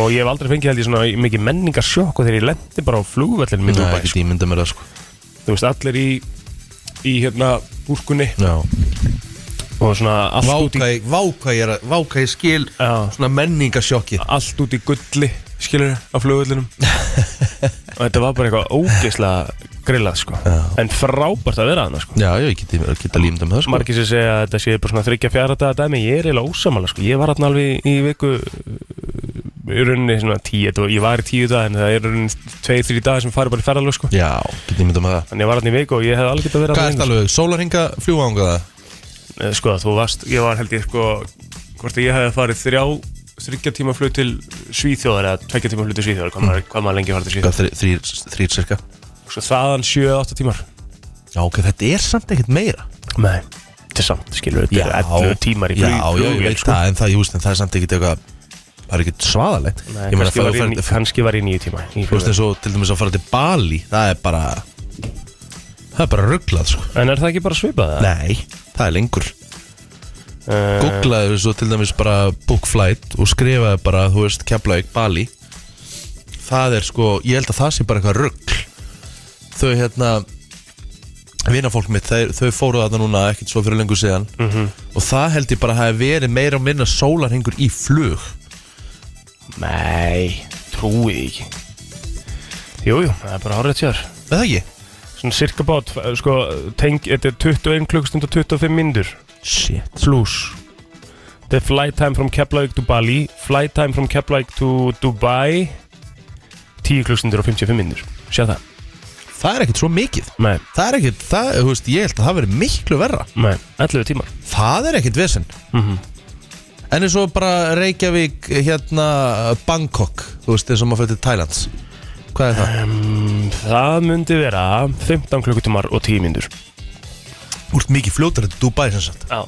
Speaker 2: Og ég hef aldrei fengið held ég svona í mikið menningarsjokk og þegar ég lendi bara á flugvellinu minn
Speaker 1: Nei,
Speaker 2: Nei,
Speaker 1: ekki tímynda mér það sko
Speaker 2: Þú veist, allir í, í hérna búrkunni
Speaker 1: Já.
Speaker 2: og svona allt
Speaker 1: Vá
Speaker 2: út í,
Speaker 1: hvað ég- vá hvað ég er að- vá hvað ég skil
Speaker 2: já,
Speaker 1: Svona menningasjokki
Speaker 2: allt út í gulli skilur á flugvellinum og þetta var bara eitthvað ógeðslega grillað sko, en frábært að vera þarna sko
Speaker 1: Já, já, ég geti, geti límda með það sko
Speaker 2: Margir sem segja að þetta sé bara svona þryggja fjara daga dæmi, ég er eiginlega ósamála sko. Ég var hérna alveg í viku uh, í rauninni svona tíu, þetta var- ég var í tíu daga en það er rauninni tveir, þrjir dagar sem fari bara í ferðalög sko.
Speaker 1: Já, geti límda með það
Speaker 2: Þannig ég var hérna í viku og ég hefði alveg getað verið
Speaker 1: Hvað er
Speaker 2: þarna
Speaker 1: þetta alveg? Sólarhinga fljúanga það?
Speaker 2: inni. Eh, Sko þú varst, ég var held ég sko, hvort að ég hefði farið þrjá, þryggja tíma flug til Svíþjóðar eða tveggja tíma flug til Svíþjóðar,
Speaker 1: Mm.
Speaker 2: hvað maður, hvað maður lengi var til Svíþjóðar.
Speaker 1: Þrýr, þrýr cirka
Speaker 2: Svo þaðan 7-8 tímar.
Speaker 1: Já, ok, þetta er samt ekkert meira
Speaker 2: Nei, til samt skilur, þetta
Speaker 1: Já.
Speaker 2: er 11 tímar í sko.
Speaker 1: Já,
Speaker 2: flug,
Speaker 1: já, ég veit það, en það, ég veist, en það er samt ekkert eitthvað Það er ekkert svaðalegt
Speaker 2: Nei,
Speaker 1: Ég meina,
Speaker 2: kannski,
Speaker 1: það
Speaker 2: var í,
Speaker 1: fer, fer,
Speaker 2: kannski var í nýju tíma í
Speaker 1: þú veist, eins og til dæmis að fara til Bali Það er bara Það er bara rugglað, sko
Speaker 2: En er það ekki bara svipað það?
Speaker 1: Nei, það er lengur
Speaker 2: uh,
Speaker 1: Googlaðu svo til dæmis bara book flight og skrifaðu bara, þú veist, Keflavík, Bali Það er sko, ég held að það sé bara eitthvað rugg Þau hérna vinafólk mitt, þau, þau fóru þarna núna ekkert svo fyrir lengur síðan
Speaker 2: Mhm.
Speaker 1: -hmm. og það held ég bara að hafi verið meira og minna sólarhengur í flug
Speaker 2: Nei, trúið því ekki Jújú, jú, það er bara hárið tjár
Speaker 1: Er það ekki?
Speaker 2: Svona cirka bát, sko, tenk, þetta er 21 klukkstund og 25 myndur
Speaker 1: Shit
Speaker 2: Plus Þetta er flight time from Keflavík to Bali Flight time from Keflavík to Dubai 10 klukkstundir og 55 myndur Sjá það?
Speaker 1: Það er ekkert svo mikið
Speaker 2: Nei,
Speaker 1: Það er ekkert, það, þú veist, ég held að það verið miklu verra
Speaker 2: nei, 11 tímar
Speaker 1: Það er ekkert vesinn
Speaker 2: Mhm.
Speaker 1: En eins og bara Reykjavík, hérna Bangkok, þú veist, eins og maður fyrir til Thailands Hvað er það?
Speaker 2: um, Það myndi vera 15 klukkutímar og 10 myndur
Speaker 1: Þú ert mikið fljótar til Dubai sem sagt
Speaker 2: Já,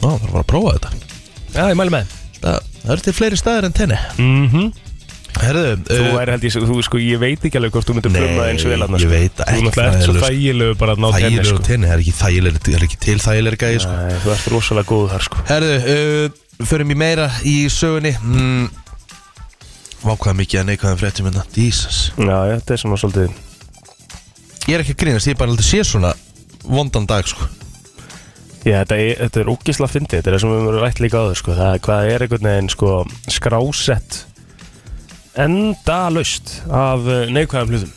Speaker 1: Ná, það var að prófa þetta
Speaker 2: Já ég mæli með
Speaker 1: Það, það eru til fleiri staðir en tenni
Speaker 2: Mhm
Speaker 1: Herðu,
Speaker 2: Þú
Speaker 1: uh,
Speaker 2: er held ég, þú sko, ég veit ekki alveg hvort þú myndir
Speaker 1: Nei,
Speaker 2: pluma eins og vel aðna
Speaker 1: ég veit
Speaker 2: það
Speaker 1: það ekki,
Speaker 2: Þú náttúrulega ert svo
Speaker 1: það er-
Speaker 2: þægilegu bara að ná tenni
Speaker 1: þægilegur
Speaker 2: sko
Speaker 1: sko. tenni, það er ekki þægilegur, það er ekki til þægilegur gæði sko.
Speaker 2: Nei, þú ert rosalega góð þar sko
Speaker 1: Herðu, uh, förum í meira í sögunni mm, Vákvað mikið að neikvæðan fréttum hérna Jesus
Speaker 2: Já, já, þetta er svona svolítið
Speaker 1: Ég er ekki að grínast, ég bara aldrei sé svona vondan dag sko
Speaker 2: Já, þetta er, þetta er ógisla fyndið, þetta er það sem við verðum rætt líka á þau sko Það er hvað er einhvern veginn sko skrásett enda laust af eh, neikvæðum hlutum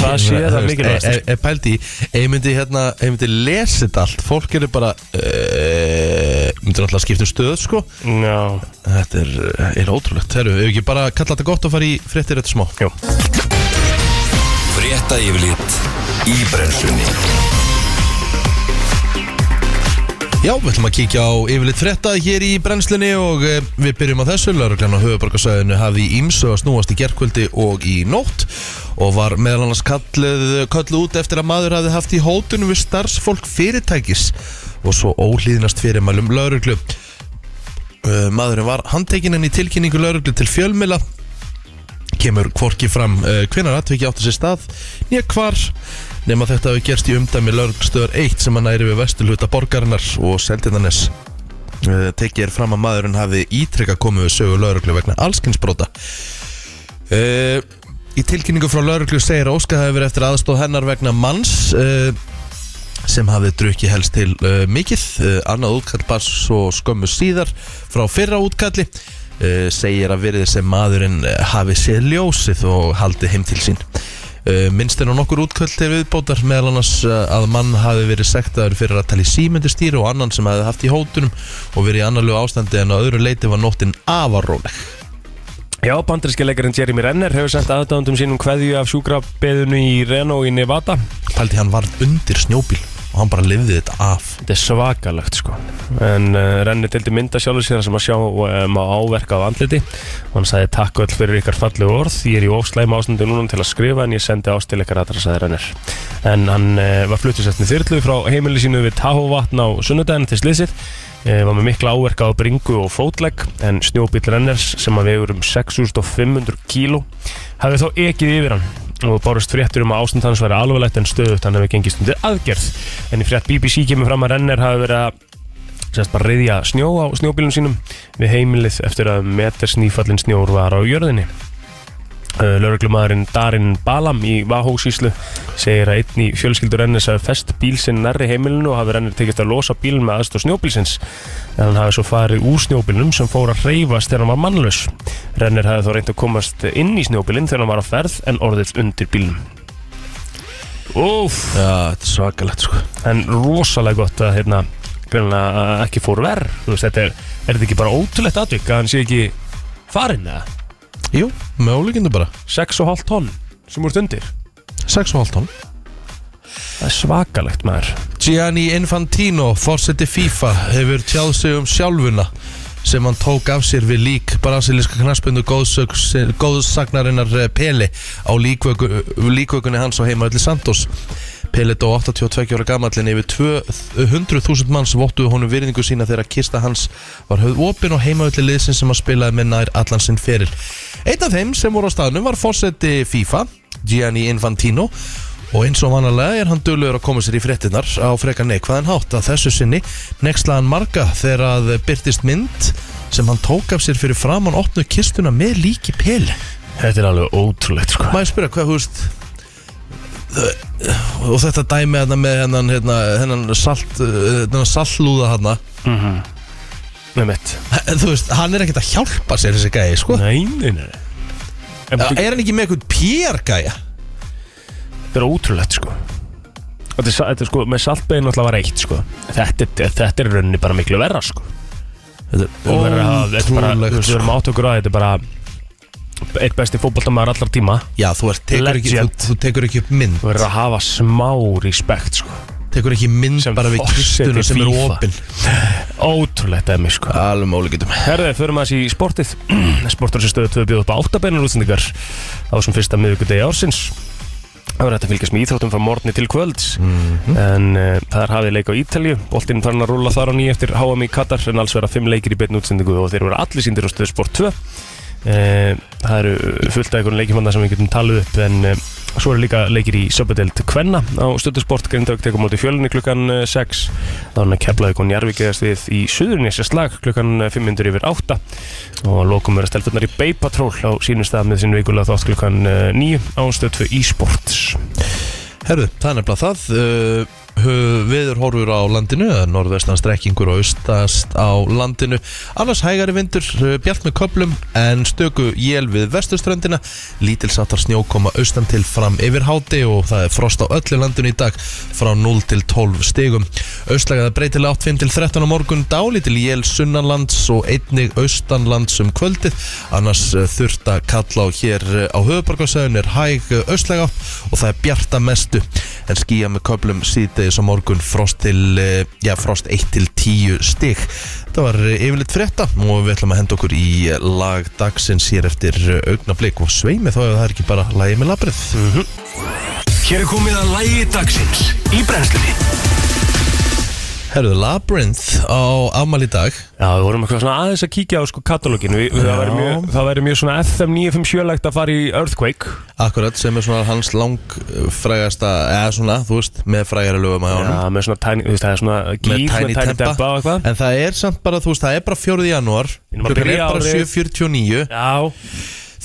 Speaker 2: Það
Speaker 1: Ég
Speaker 2: sé
Speaker 1: meina,
Speaker 2: það
Speaker 1: þú veist,
Speaker 2: mikilvægast.
Speaker 1: e- e- e- Pældi, í, ef ég myndi hérna, ef ég myndi lesa þetta allt Fólk eru bara, uh, myndi náttúrulega skipta um stöð sko
Speaker 2: Já,
Speaker 1: Þetta er, er ótrúlegt Herru, ef ekki bara kalla þetta gott að fara í fréttir þetta smá
Speaker 2: jú
Speaker 6: Frétta yfirlit í brennslunni
Speaker 1: Já, við ætlum að kíkja á yfirleitt frétta hér í brennslunni og eh, við byrjum á þessu Lörglann á höfuborgarsæðinu hafði ímsu að snúast í gerkvöldi og í nótt og var meðal annars kallið, kallið út eftir að maður hafði haft í hótunum við starfsfólk fyrirtækis og svo óhlýðnast fyrirmælum Lörglu Maðurinn var handtekinn en í tilkynningu Lörglu til fjölmila kemur hvorki fram uh, hvenar atviki átti sér stað nýja hvar nema þetta hafi gerst í umdæmi lörgstöðar 1 sem hann æri við vesturluta borgarinnar og seldindanes uh, tekið er fram að maðurinn hafi ítrekka komið við sögu lörglu vegna allskynsbrota uh, í tilkynningu frá lörglu segir að Óska hafi verið eftir aðstóð hennar vegna manns uh, sem hafði drukkið helst til uh, mikið uh, annað útkall bara svo skömmu síðar frá fyrra útkalli uh, segir að verið sem maðurinn uh, hafi séð ljósið og haldið heim til sín uh, minnst er á nokkur útkall til viðbótar meðal annars uh, að mann hafi verið sektaður fyrir að tala í símyndustýri og annan sem hafi haft í hótunum og verið í annarlegu ástandi en á öðru leiti var nóttin afaróleg
Speaker 2: Já, bandaríski leikarinn Jeremy Renner hefur sendt aðdándum sínum kveðju af sjúkrabeðinu í Reno í Nevada
Speaker 1: pælti hann varð undir snjóbíl og hann bara lifði þetta af
Speaker 2: Þetta er svakalegt sko En uh, Renni tildi mynda sjálfur sér þar sem að sjá um, á áverka af andliti og hann sagði takk öll fyrir ykkar fallegu orð ég er í ofslæma ástundu núna til að skrifa en ég sendi ást til ykkar aðra sagði Renner En hann uh, var fluttisett með þyrlu frá heimili sínu við Tahovatn á sunnudaginn til sliðsið uh, var með mikla áverka á bringu og fótlegg en snjóbíl Renners sem að vegur um 6500 kíló hafði þá ekið yfir hann og bárust fréttur um að ástand hans væri alvarlegt en stöðugt hann hefði gengist undir aðgerð en í frétt BBC kemur fram að Renner hafi verið að sérst bara reyðja snjó á snjóbílum sínum við heimilið eftir að metersnýfallin snjór var á jörðinni. Lörglumadurinn Eh, Darin Balam í Vahósíslu segir að einn í fjölskyldur ennis hafi fest bíl sinn nærri heimilinu og hafi rennir tekist að losa bílum með aðstof snjóbílsins en hann hafi svo farið úr snjóbílnum sem fór að hreyfast þegar hann var mannlaus. Renner hafi þó reynt að komast inn í snjóbílinn þegar hann var að ferð en orðist undir bílnum. Úf,
Speaker 1: Já, þetta er svakalegt sko
Speaker 2: en rosalega gott að hérna greinlega að ekki fór verð þú veist, þetta er, er þetta ekki bara ótrúlegt atvik að hann sé ekki farinn eða
Speaker 1: Jú, með ólíkindu bara
Speaker 2: 6,5 tonn sem úr stundir
Speaker 1: 6,5 tonn
Speaker 2: það er svakalegt maður
Speaker 1: Gianni Infantino, fórseti FIFA hefur tjáð sig um sjálfuna sem hann tók af sér við lík brasilíska knarsbyndu góðsagnarinnar eh, Pele á líkvöku, líkvökunni hans á heimaöldi Santos Pele dó 82 ára gamallin yfir 200.000 manns vottuðu honum virðingu sína þegar kista hans var höfð opin og heimaöldi liðsin sem hann spilaði með nær allan sinn feril Einn af þeim sem voru á staðnum var fórseti FIFA Gianni Infantino Og eins og vanalega er hann dölur að koma sér í fréttinnar á freka neikvæðan hátt að þessu sinni nexlaðan marga þegar að byrtist mynd sem hann tók af sér fyrir framann opnu kistuna með líki peli.
Speaker 2: þetta er alveg ótrúlegt sko
Speaker 1: Maður spyrja hvað, þú veist, þ- og þetta dæmi hérna með hennan, hérna, hennan salt, uh, hennan saltlúða hérna,
Speaker 2: Mhm. með mitt
Speaker 1: þú veist, hann er ekkert að hjálpa sér þessi gæi, sko.
Speaker 2: nei, nei, nei en,
Speaker 1: Er hann ekki með eitthvað pér gæja?
Speaker 2: þetta er ótrúlegt sko Þetta er, sa- þetta er sko, með saltbeginn alltaf var eitt sko Þetta, er- þetta er í rauninni bara miklu verra sko Þetta er
Speaker 1: Ótrúlegt,
Speaker 2: verra að- þetta er bara- Þú veist, við
Speaker 1: sko.
Speaker 2: erum átt okkur á að þetta er bara Eitt besti fótboltamaður allar tíma
Speaker 1: Já, þú, ert, tekur ekki, þú,
Speaker 2: Legend.
Speaker 1: þú tekur ekki upp mynd,
Speaker 2: Þú verður að hafa smá respekt sko
Speaker 1: tekur ekki mynd
Speaker 2: Sem
Speaker 1: bara við
Speaker 2: forseti
Speaker 1: kistuna sem er
Speaker 2: FIFA.
Speaker 1: opinn.
Speaker 2: Ótrúlegt emmi sko
Speaker 1: Alveg máli getum.
Speaker 2: Herðið, förum aðeins í sportið Sportur sem stöðu tvö bjóð upp á áttabeinar útsendingar á þessum fyrsta miðvikudegi ársins Það var hægt að fylgjast með íþróttum frá morgni til kvölds
Speaker 1: Mhm.
Speaker 2: en uh, það er hafið leik á Ítalju Boltinn farin að rúla þar á nýja eftir HM í Katar en alls vera fimm leikir í beinn útsendingu og þeir vera allir síndir á stöðu sport 2 uh, Það eru fullt af einhvern leikimanna sem við getum talið upp en uh, svo eru líka leikir í söpudeld Kvenna á stöðu sport Grindavík tekur móti fjölunni klukkan eh, 6 þá hann að keflaði hún Jarvík eðast við í Suðurnesja slag klukkan 500 yfir 8 og að lokum vera stelpunar í Bay Patrol á sínum stað með sinn veikulega þátt klukkan eh, 9 ástöð 2 e-sports
Speaker 1: Herðu, það er nefnilega það uh, hu- Viður horfur á landinu eða norðvestan strekkingur og austast á landinu Annars hægari vindur, uh, bjart með köplum en stöku jél við vesturströndina Lítilsáttar snjókoma austan til fram yfir háti og það er frost á öllu landinu í dag frá 0 til 12 stigum Austlægaða breytilega 8, 5 til 13 á morgun dálítil jél sunnanlands og einnig austanlands um kvöldið annars uh, þurft að kalla á hér uh, á höfuborgarsöðun er hæg uh, austlæga átt og það er bjarta mestu en skýja með köplum síðdegis á morgun frost til, eh, já, frost 1 til 10 stig. Það var eh, yfirleitt frétta og við ætlum að henda okkur í eh, lag dagsins hér eftir eh, augnablik og sveimi þá ef það er ekki bara lagið með labrið.
Speaker 6: Hér er komið að lægi dagsins í brennslunni
Speaker 1: Herðu, Labyrinth á afmæli í dag
Speaker 2: Já, við vorum eitthvað svona aðeins að kíkja á sko katalóginu það væri mjög, það væri mjög svona FM 957 legt að fara í Earthquake
Speaker 1: Akkurat sem er svona hans langfrægasta eh, eða svona, þú veist, með frægara lögum að honum
Speaker 2: Já, með svona tiny, þú veist, það er svona
Speaker 1: Með
Speaker 2: gíf,
Speaker 1: Tiny Tempa.
Speaker 2: og eitthvað
Speaker 1: En það er samt bara, þú veist, það er bara 4. janúar
Speaker 2: erum að
Speaker 1: Klukkan er
Speaker 2: byrja
Speaker 1: bara
Speaker 2: árið.
Speaker 1: 7.49
Speaker 2: Já,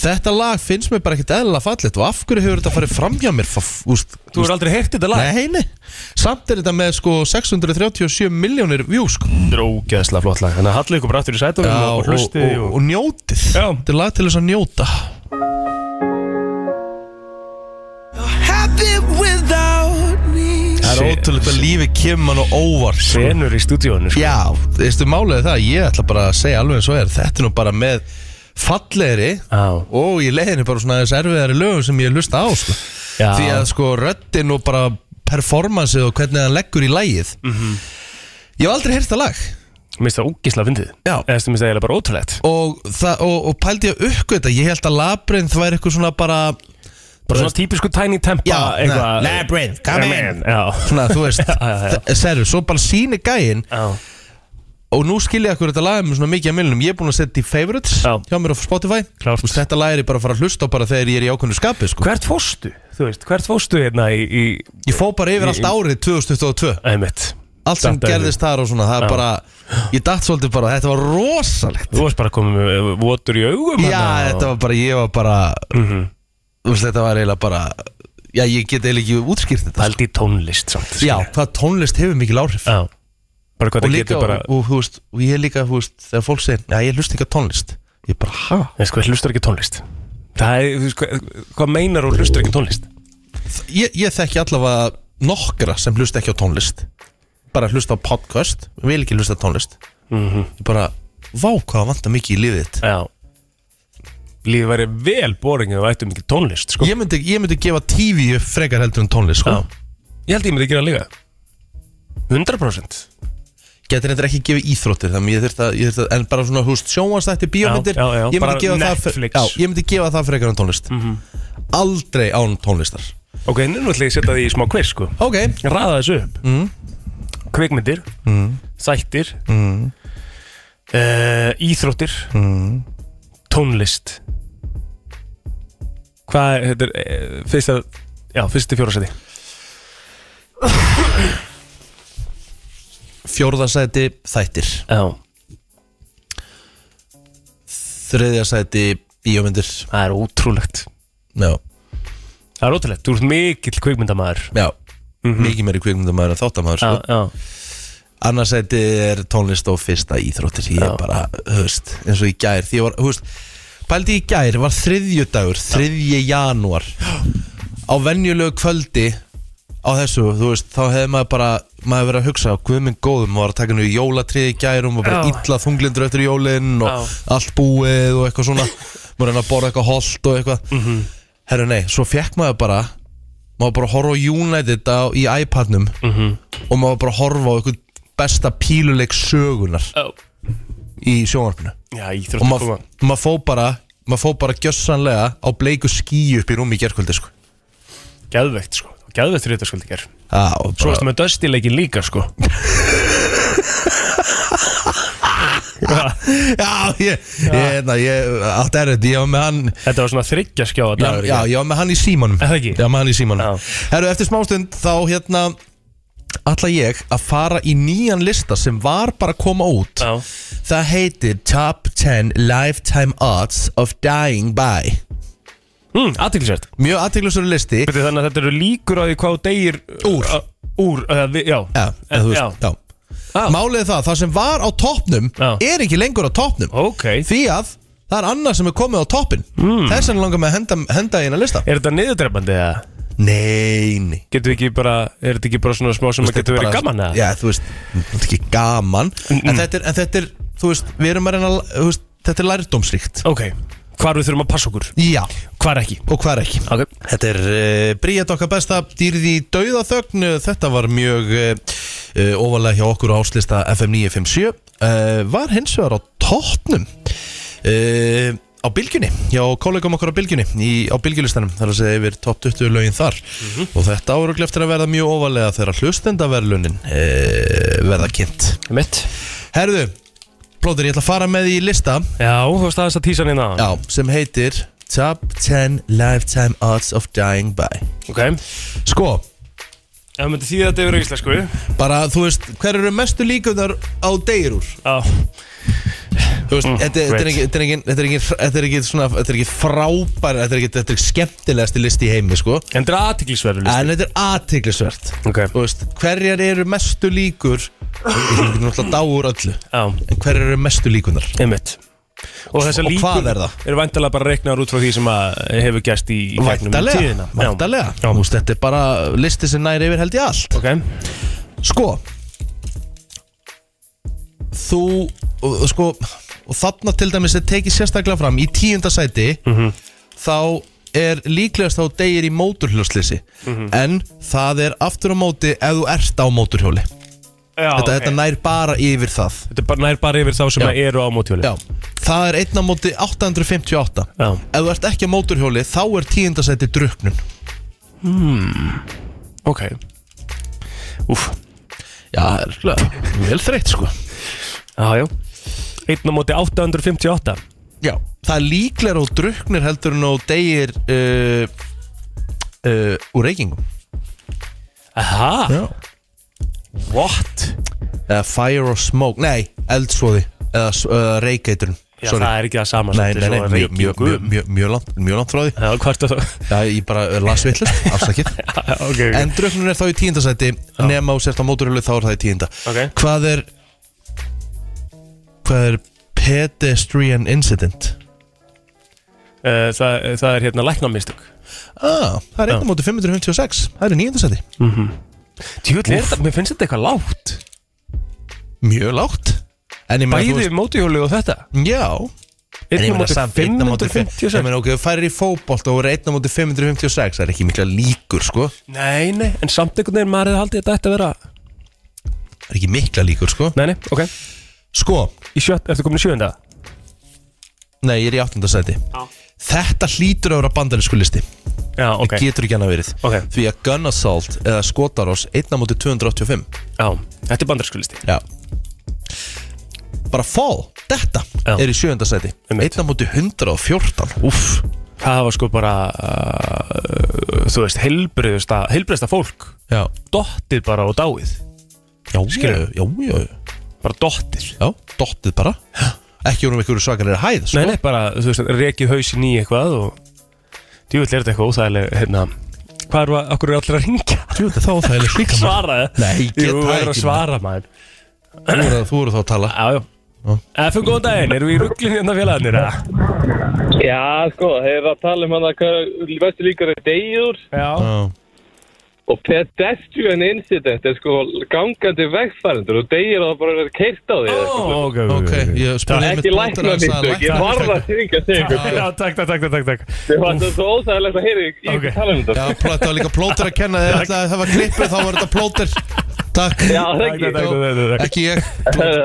Speaker 1: Þetta lag finnst mér bara ekkert eðla fallegt og af hverju hefur þetta farið fram hjá mér Fa- úst,
Speaker 2: þú hefur aldrei heyrt þetta lag
Speaker 1: Nei, nei Samt er þetta með sko 637 miljónir vjú sko
Speaker 2: Þetta er ógeðslega flott lag
Speaker 1: hérna.
Speaker 2: Þannig að hallið ykkur brættur í sætunum og hlusti
Speaker 1: og, og njótið
Speaker 2: Já.
Speaker 1: Þetta er lag til þess að njóta
Speaker 4: Happy without me.
Speaker 1: Það er
Speaker 2: Se-
Speaker 1: ótrúlega að lífi kemur mann og óvart sko.
Speaker 2: senur í stúdíónu sko.
Speaker 1: Já, veistu málið er það Ég ætla bara að segja alveg eins og er Þetta er nú bara með fallegri
Speaker 2: Já.
Speaker 1: Og í leiðinni bara svona þess erfiðari lögum sem ég hlusta á sko.
Speaker 2: Já.
Speaker 1: Því að sko röddin og bara performansið og hvernig hann leggur í lagið Ég hef aldrei heyrt það lag
Speaker 2: Mhm. Mér finnst það ógeðslega fyndið
Speaker 1: Já.
Speaker 2: Eða þú finnst það eiginlega bara ótrúlegt
Speaker 1: og, það, og, og pældi ég að uppgöta Ég held að labyrinth væri eitthvað svona bara
Speaker 2: Bara svona típisku tiny tempa
Speaker 1: Já,
Speaker 2: Ah, eitthvað-
Speaker 1: na- Labyrinth, come
Speaker 2: Come
Speaker 1: in.
Speaker 2: Já
Speaker 1: Svona, þú veist,
Speaker 2: Já, já, já.
Speaker 1: serðu, svo bara síni gæinn
Speaker 2: Já,
Speaker 1: Og nú skil ég akkur þetta lagið með svona mikið að milnum Ég er búin að setja í favorites
Speaker 2: Já.
Speaker 1: hjá mér á Spotify
Speaker 2: Klárt.
Speaker 1: Þú veist, Þetta lag er ég bara að fara að hlusta á bara þegar ég er í ákveðnu skapi sko.
Speaker 2: Hvert fórstu? Þú veist, hvert fórstu hérna í, í
Speaker 1: Ég fó bara yfir allt árið 2022
Speaker 2: Einmitt
Speaker 1: Allt sem
Speaker 2: Þetta er-
Speaker 1: gerðist þar og svona Það er
Speaker 2: Já.
Speaker 1: bara Ég datt svolítið bara, þetta var rosalegt
Speaker 2: Þú varst bara komið með votur í augum
Speaker 1: Já, þetta var bara, ég var bara
Speaker 2: Mhm.
Speaker 1: Þú veist, þetta var eiginlega bara Já, ég get eiginlega ekki útskýrt þetta sko.
Speaker 2: Aldi tónlist samt
Speaker 1: Já, hvað tónlist hefur mikil áhrif
Speaker 2: Já. Bara hvað
Speaker 1: Og
Speaker 2: það
Speaker 1: líka,
Speaker 2: getur bara
Speaker 1: og, og, þú veist, og ég líka, þú veist Þegar fólk segir, já, ég hlust ekki á tónlist Ég bara, ha?
Speaker 2: Nei, sko, hlustar ekki á tónlist Það er, þú veist, hvað, hvað meinar og hlustar ekki á tónlist?
Speaker 1: Ég, ég þekki allavega nokkra sem hlust ekki á tónlist Bara hlusta á podcast Vil ekki hlusta á tónlist Ég bara, vá hvað það vantar mikið í lífið þitt
Speaker 2: Mhm. Já Lífið væri vel boring ef við ættum ekki tónlist, sko
Speaker 1: Ég myndi, ég myndi gefa TV upp frekar heldur en tónlist sko.
Speaker 2: Já. Ég held ég myndi gera líka 100%
Speaker 1: Getur þetta ekki gefið íþróttir þannig ég þyrst að, ég þyrst að, en bara svona húst sjónvarsnætti bíómyndir,
Speaker 2: Já, já, já,
Speaker 1: ég myndi
Speaker 2: bara
Speaker 1: gefa það fre-
Speaker 2: Netflix. Mhm.
Speaker 1: já, ég myndi gefa það frekar en tónlist Aldrei án tónlistar
Speaker 2: Ok, nú ætla ég að setja því í smá quiz, sko
Speaker 1: Ok,
Speaker 2: Raða þessu upp mm. Kvikmyndir mm. Þættir mm.
Speaker 1: Eh,
Speaker 2: Mm. Íþróttir Tónlist Hvað er, þetta er uh, fyrsta, Já, fyrsti fjórasæti
Speaker 1: fjórðasæti þættir
Speaker 2: Já,
Speaker 1: Þriðjasæti bíómyndir
Speaker 2: það er ótrúlegt
Speaker 1: Já,
Speaker 2: Það er ótrúlegt, þú ert mikill kvikmyndamaður Mhm.
Speaker 1: já Mikið meiri kvikmyndamaður en þáttamæður
Speaker 2: Já,
Speaker 1: sko.
Speaker 2: já
Speaker 1: Annarsæti er tónlist og fyrsta íþróttir Ég
Speaker 2: Já.
Speaker 1: bara, höfst, eins og í gær Því ég var, höfst, pældi í gær Var þriðjudagur, þriðji janúar Á venjulegu kvöldi Á þessu, þú veist Þá hefði maður bara, maður verið að hugsa Guðminn góðum, maður var að taka henni í jólatrið í gær Og maður bara
Speaker 2: Já.
Speaker 1: illa þunglindur eftir jólin Og
Speaker 2: Já.
Speaker 1: allt búið og eitthvað svona Maður reyna að borða eitthvað holdt og eitthvað mm
Speaker 2: Mhm.
Speaker 1: -hmm. Herru nei, svo fekk maður bara Maður bara að horfa á United á, í iPadnum
Speaker 2: Mhm.
Speaker 1: og maður bara að horfa á einhvern besta píluleik sögunar
Speaker 2: Já.
Speaker 1: í sjónvarpinu
Speaker 2: Já,
Speaker 1: og
Speaker 2: íþróttir
Speaker 1: maður
Speaker 2: koma
Speaker 1: mað fó bara maður fó bara gjössanlega á bleiku skíu upp í rúmi í gerkvöldi sko.
Speaker 2: Gæðvegt, sko Gæðvegt þrjóta skuldi ger
Speaker 1: ah, og
Speaker 2: Svo
Speaker 1: bara,
Speaker 2: varstu með döstileikin líka, sko
Speaker 1: já, ég, ég, na, ég allt er þetta, ég var með hann
Speaker 2: Þetta var svona þryggja skjáða
Speaker 1: já,
Speaker 2: dagur í
Speaker 1: já,
Speaker 2: gær.
Speaker 1: ég var með hann í símanum
Speaker 2: Er það ekki?
Speaker 1: ég var með hann í símanum
Speaker 2: Já.
Speaker 1: herru, eftir smástund þá hérna ætla ég að fara í nýjan lista sem var bara að koma út
Speaker 2: Já.
Speaker 1: það heitir Top 10 Lifetime Odds of Dying By
Speaker 2: Mm, athyglisvert.
Speaker 1: mjög aðteglustur listi
Speaker 2: Byrju, Þannig að þetta eru líkur á því hvað þú deyir
Speaker 1: Úr.
Speaker 2: Ö, Úr, uh, við, já
Speaker 1: Já, eða
Speaker 2: já.
Speaker 1: þú veist, já.
Speaker 2: Já.
Speaker 1: Málið er það, það sem var á toppnum
Speaker 2: Já.
Speaker 1: er ekki lengur á toppnum
Speaker 2: Ok, Hmm.
Speaker 1: Því að það er annað sem er komið á toppin mm. Þess vegna langar mig að henda, henda í hérna lista
Speaker 2: er þetta niðurdrepandi eða?
Speaker 1: Nei, nei
Speaker 2: Getur við ekki bara, er þetta ekki bara svona smá sem að getur verið gaman eða?
Speaker 1: Já, þú veist, þetta er ekki gaman en, þetta er, en þetta er, þú veist, við erum að reyna að- þú veist, Þetta er lærdómsríkt
Speaker 2: Ok, hvar við þurfum að passa okkur,
Speaker 1: Já,
Speaker 2: hvar ekki
Speaker 1: og hvað er ekki
Speaker 2: Ok,
Speaker 1: Þetta er uh, Bríett okkar besta dýrið í dauðaþögn Þetta var mjög uh, uh, ofalega hjá okkur á áslista FM 957 uh, Var hins vegar á tóttnum uh, Á bylgjunni, hjá kollegum okkur á bylgjunni í, Á bylgjulistanum, þar að segja yfir top 20 lögin þar
Speaker 2: Mhm.
Speaker 1: Og þetta áruglega eftir að verða mjög ofalega Þegar hlustendaverlunin uh, verða kynnt
Speaker 2: mitt
Speaker 1: Herðu, plóður, ég ætla að fara með í lista
Speaker 2: Já, þú varst aðeins að tísa hann hérna
Speaker 1: Já, sem heitir Top 10 Lifetime Odds of Dying By
Speaker 2: Ok, ef
Speaker 1: Sko,
Speaker 2: maður myndi þýða að þetta eru íslensku
Speaker 1: bara, þú veist, hver eru mestu líkunar á deyr úr?
Speaker 2: Já, Mm,
Speaker 1: Þú veist, þetta þetta er
Speaker 2: great.
Speaker 1: ekki- þetta er ekki- þetta er ekki þetta er ekki svona, þetta er ekki frábær þetta er ekki, þetta er ekki skemmtilegasti listi í heimi, sko
Speaker 2: en þetta er athyglisverður listi
Speaker 1: en þetta er athyglisvert
Speaker 2: Ok,
Speaker 1: Þú veist, hverjar eru mestu líkur þú veist, náttúrulega dá úr öllu
Speaker 2: já,
Speaker 1: en hverjar eru mestu líkunar?
Speaker 2: einmitt Og þessar
Speaker 1: Og
Speaker 2: líkur
Speaker 1: hvað er það?
Speaker 2: Eru væntalega bara reiknaður út frá því sem að hefur gæst í í gegnum
Speaker 1: Væntalega,
Speaker 2: tíðina. Já.
Speaker 1: væntalega Þú veist, þetta er bara listi sem næri yfir held ég allt
Speaker 2: Ok,
Speaker 1: Sko Þú og, og Sko Og þarna til dæmis er tekið sérstaklega fram Í tíunda sæti
Speaker 2: Mhm.
Speaker 1: Þá er líklegast þá degir í móturhjólslisi
Speaker 2: Mhm.
Speaker 1: En það er aftur á móti Ef þú ert á móturhjóli
Speaker 2: já,
Speaker 1: þetta,
Speaker 2: ok.
Speaker 1: þetta nær bara yfir það
Speaker 2: Þetta er bara, nær bara yfir þá sem
Speaker 1: Já.
Speaker 2: að eru á mótjóli
Speaker 1: Já Það er einn á móti 858
Speaker 2: Já.
Speaker 1: Ef þú ert ekki á móturhjóli Þá er tíunda sæti druknun
Speaker 2: Hmm, Ok Úf
Speaker 1: Já, það er hljóða Vel þreytt sko
Speaker 2: Já, já Einn á móti 858
Speaker 1: Já, það er líklegra og druknir heldur en á degir uh, uh, úr reykingum
Speaker 2: Aha
Speaker 1: Já
Speaker 2: What?
Speaker 1: Eða fire or smoke, nei eldsvoði eða s- eða reykeitrun
Speaker 2: Já, það er ekki það sama
Speaker 1: Nei, nei, nei, mjög, mjög, mjög, mjög, mjög, langt, mjög langt frá því
Speaker 2: Já, hvort að það
Speaker 1: Já, ég bara eh, las vittlust, afsakið
Speaker 2: Ok, ok.
Speaker 1: En dröknun er þá í tíundasæti Nema og sérst á móturölu þá er það í tíunda
Speaker 2: Ok.
Speaker 1: Hvað er Hvað er pedestrian incident?
Speaker 2: Eh, það, það er hérna læknamistök
Speaker 1: Ah, það er 1 móti 556 Það er í níundasæti
Speaker 2: Tjúli, mér finnst þetta eitthvað lágt
Speaker 1: Mjög lágt En ég meina, þú
Speaker 2: Bæði mótihjóli og þetta
Speaker 1: veist- Já, En ég
Speaker 2: Einnig
Speaker 1: meina
Speaker 2: móti
Speaker 1: samt einn á móti fimm- Ég
Speaker 2: 556
Speaker 1: meina, ok, þú færir í fótbolt og verður 1 á móti 556 Það er ekki mikla líkur, sko Það
Speaker 2: Nei, nei, en samt einhvern veginn maður hefði haldið þetta ætti að vera
Speaker 1: er ekki mikla líkur, sko
Speaker 2: Nei, nei, ok
Speaker 1: Sko,
Speaker 2: Í sjött, ertu komin í sjönda?
Speaker 1: nei, ég er í 8. sæti Þetta hlýtur að vera bandarísku listi
Speaker 2: Já, ok
Speaker 1: Getur ekki hann að verið
Speaker 2: Ok.
Speaker 1: Því að gun assault eða skotarás 1 á móti 285
Speaker 2: Já, þetta er bandarskulisti
Speaker 1: Já Bara fall, þetta
Speaker 2: Já.
Speaker 1: er í 7. sæti
Speaker 2: Einmitt.
Speaker 1: 1 á móti 114
Speaker 2: Úff Það var sko bara, uh, þú veist, heilbriðasta, heilbriðasta fólk
Speaker 1: Já,
Speaker 2: Dottið bara og dáið
Speaker 1: já, já,
Speaker 2: Skilurðu?
Speaker 1: já, já,
Speaker 2: Bara dottið
Speaker 1: já Dottið bara Ekki vorum ykkur svakar er hæð, sko
Speaker 2: Nei, nei, bara, þú veist, rekið hausinn í eitthvað og djúvill er þetta eitthvað óþægileg, hérna, hvað er það, okkur er allir að ringja?
Speaker 1: Jú, þetta er þá það er líka maður.
Speaker 2: Svaraði?
Speaker 1: Nei, ég get
Speaker 2: Jú,
Speaker 1: það
Speaker 2: þú verður að
Speaker 1: ekki,
Speaker 2: svara, maður.
Speaker 1: Þú voru- Þú voru þá að tala
Speaker 2: Já, já. FM, góðan daginn, erum við í rugglinni hérna félagarnir, eða?
Speaker 5: Já, sko, hefur að tala um hann að hvað vestu líkur er degjur
Speaker 2: Já.
Speaker 1: Já.
Speaker 5: og pedestrian incident er sko gangandi vegfærendur og degjur að það bara verið keirt á því.
Speaker 2: Ó, ok, ok,
Speaker 1: Ok, ég spurði
Speaker 5: Ekki lækna mistök, ég varð að syngja sig ykkur.
Speaker 2: Já, takk, takk, takk, takk, takk.
Speaker 5: Ég var þetta svo óþægilegt að heyra í
Speaker 2: Ok.
Speaker 5: ykkur tala um
Speaker 1: Já,
Speaker 5: þetta.
Speaker 1: plá- þetta var líka plóter að kenna Þegar ætlaði að hafa klippur þá var þetta plóter Takk
Speaker 5: Já, það
Speaker 2: Takk, takk,
Speaker 5: ekki.
Speaker 2: takk, takk, takk, takk.
Speaker 1: Ekki ég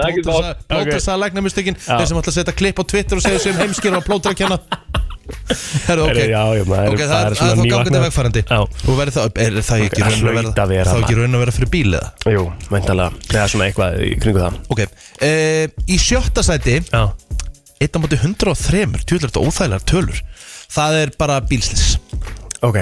Speaker 5: Ekki þá.
Speaker 1: Plóter
Speaker 2: Ok.
Speaker 1: sagði lækna mistökin Þeir sem ætla að setja klipp á Twitter og segja sem heimskir var plóter að kenna Herru, ok
Speaker 2: Herru, já, já, maður,
Speaker 1: Ok, það
Speaker 2: það
Speaker 1: er
Speaker 2: er
Speaker 1: það
Speaker 2: svona
Speaker 1: er þá gangandi
Speaker 2: nývaknað.
Speaker 1: vegfærandi
Speaker 2: Já.
Speaker 1: Og verður það, er það ekki
Speaker 2: það
Speaker 1: raun að verða
Speaker 2: hlaut að vera
Speaker 1: Þá
Speaker 2: það.
Speaker 1: ekki raun að vera fyrir bíl eða
Speaker 2: Jú, veintalega, það er svona eitthvað í kringu það.
Speaker 1: Ok, eh, í sjötta sæti
Speaker 2: Já.
Speaker 1: 1 á móti 103 Tjúlega þetta óþægilegar tölur Það er bara bílslis
Speaker 2: Ok.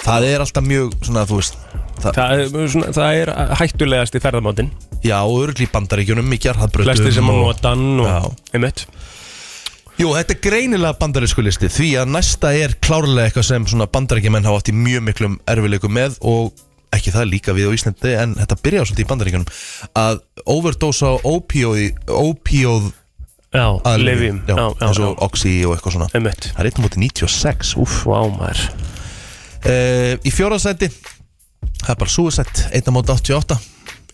Speaker 1: Það er alltaf mjög, svona, þú veist það,
Speaker 2: Það er, svona, það er hættulegast í ferðamáttin.
Speaker 1: Já, örgl í bandaríkjunum, í jarðabröðum
Speaker 2: Flestir sem að nota hann
Speaker 1: Já.
Speaker 2: og, einmitt.
Speaker 1: Jú, þetta er greinilega bandarísku listi Því að næsta er klárlega eitthvað sem svona bandaríkjumenn hafa átt í mjög miklum erfileikum með og ekki það líka við á Íslandi en þetta byrjaði svolítið í bandaríkjunum að overdosa á opioði opioð
Speaker 2: Já, lefjum.
Speaker 1: aðlyfjum, já,
Speaker 2: Já, já,
Speaker 1: eins
Speaker 2: já.
Speaker 1: og oxy og eitthvað svona
Speaker 2: Einmitt.
Speaker 1: Það er 1 mútið 96, úff
Speaker 2: Vá, maður.
Speaker 1: uh, Í fjóraðsæti, það er bara súðsætt 1 mútið 88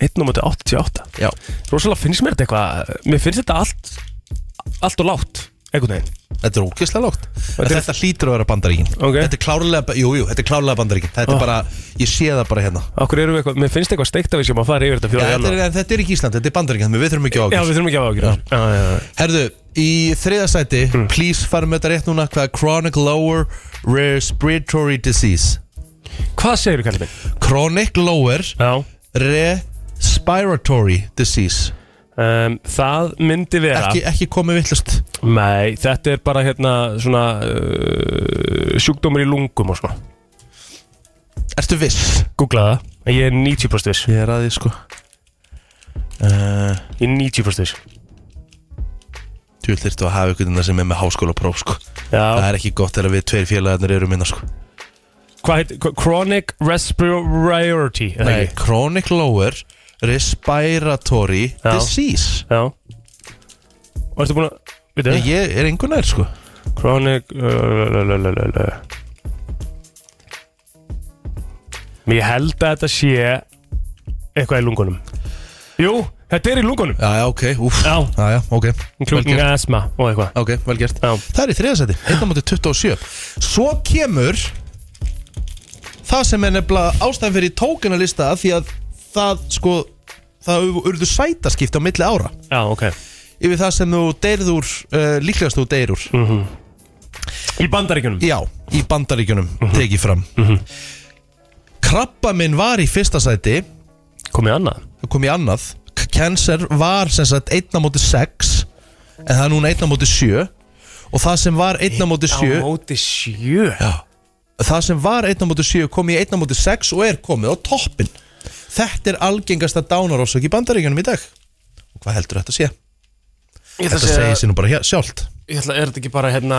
Speaker 2: 1 á móti 88.
Speaker 1: Já,
Speaker 2: Rósalega finnst mér þetta eitthvað, mér finnst þetta allt, allt og látt, einhvern veginn.
Speaker 1: Þetta er ógeðslega lágt
Speaker 2: Þetta
Speaker 1: Þetta,
Speaker 2: er-
Speaker 1: þetta hlýtur að vera bandaríkin
Speaker 2: Ok.
Speaker 1: Þetta er klárlega, jú, jú, þetta er klárlega bandaríkin Þetta
Speaker 2: Ah.
Speaker 1: er bara, ég sé það bara hérna
Speaker 2: Okkur erum við eitthvað, mér finnst eitthvað steikt af því sem að fara yfir þetta
Speaker 1: Já,
Speaker 2: fjóra
Speaker 1: þetta, er,
Speaker 2: januar.
Speaker 1: en þetta er ekki Ísland, þetta er bandaríkin Þannig við þurfum ekki
Speaker 2: Já,
Speaker 1: á ákvæmst
Speaker 2: við þurfum ekki að hafa ákjör. Já, já, já. Mm.
Speaker 1: Herðu, í þriðasæti Please farum þetta rétt núna Hvað er Chronic Lower Respiratory Disease
Speaker 2: Hvað segir þú, kallið minn?
Speaker 1: Chronic Lower
Speaker 2: Já.
Speaker 1: Respiratory Disease
Speaker 2: Um, það myndi vera,
Speaker 1: Ekki, ekki komið villust
Speaker 2: nei, þetta er bara hérna svona uh, sjúkdómur í lungum og svona.
Speaker 1: Ertu viss?
Speaker 2: Googla það, en ég er 90% viss.
Speaker 1: Ég er að því sko uh,
Speaker 2: Ég er 90% viss.
Speaker 1: Þú þurftu að hafa ykkur þetta sem er með háskóla próf sko Það
Speaker 2: Já.
Speaker 1: er ekki gott þegar við tveir félagarnir eru minna sko
Speaker 2: Hvað heit, hva- chronic respiratory, er það
Speaker 1: Nei,
Speaker 2: ekki?
Speaker 1: chronic lower respiratory
Speaker 2: Já.
Speaker 1: disease
Speaker 2: Já. Og ertu búin að, veitu
Speaker 1: Ég, ég er einhvern veginn sko
Speaker 2: Chronic lalalala. Mér held að þetta sé eitthvað í lungunum Jú, þetta er í lungunum
Speaker 1: Já, já, ok, úff
Speaker 2: Já.
Speaker 1: já, já, ok Vel
Speaker 2: Klungin
Speaker 1: gert.
Speaker 2: asma og eitthvað
Speaker 1: Ok, vel gert
Speaker 2: Já.
Speaker 1: Það er í þriðasæti, 1.27 Svo kemur Það sem er nefnilega ástæðan fyrir tókina lista Því að það sko Það urðu sætaskipti á milli ára
Speaker 2: Já, ok
Speaker 1: Yfir það sem þú deyrð úr uh, Líklegast þú deyr úr
Speaker 2: Mhm. Í bandaríkjunum Mhm.
Speaker 1: Já, í bandaríkjunum Tekið fram Krabba minn var í fyrsta sæti
Speaker 2: Komið annað
Speaker 1: það kom í annað K- Cancer var sem sagt 1 á móti 6 en það er núna 1 á móti 7 og það sem var 1 á móti 7
Speaker 2: móti sjö
Speaker 1: það sem var 1 á móti 7 kom í 1 á móti 6 og er komið á toppin þetta er algengasta dánarósök í bandaríkjunum í dag og Hvað heldur þetta sé?
Speaker 2: Ég ætla að
Speaker 1: Þetta segir
Speaker 2: segja,
Speaker 1: sér nú bara hér- sjálft
Speaker 2: ég ætla, er þetta ekki bara hérna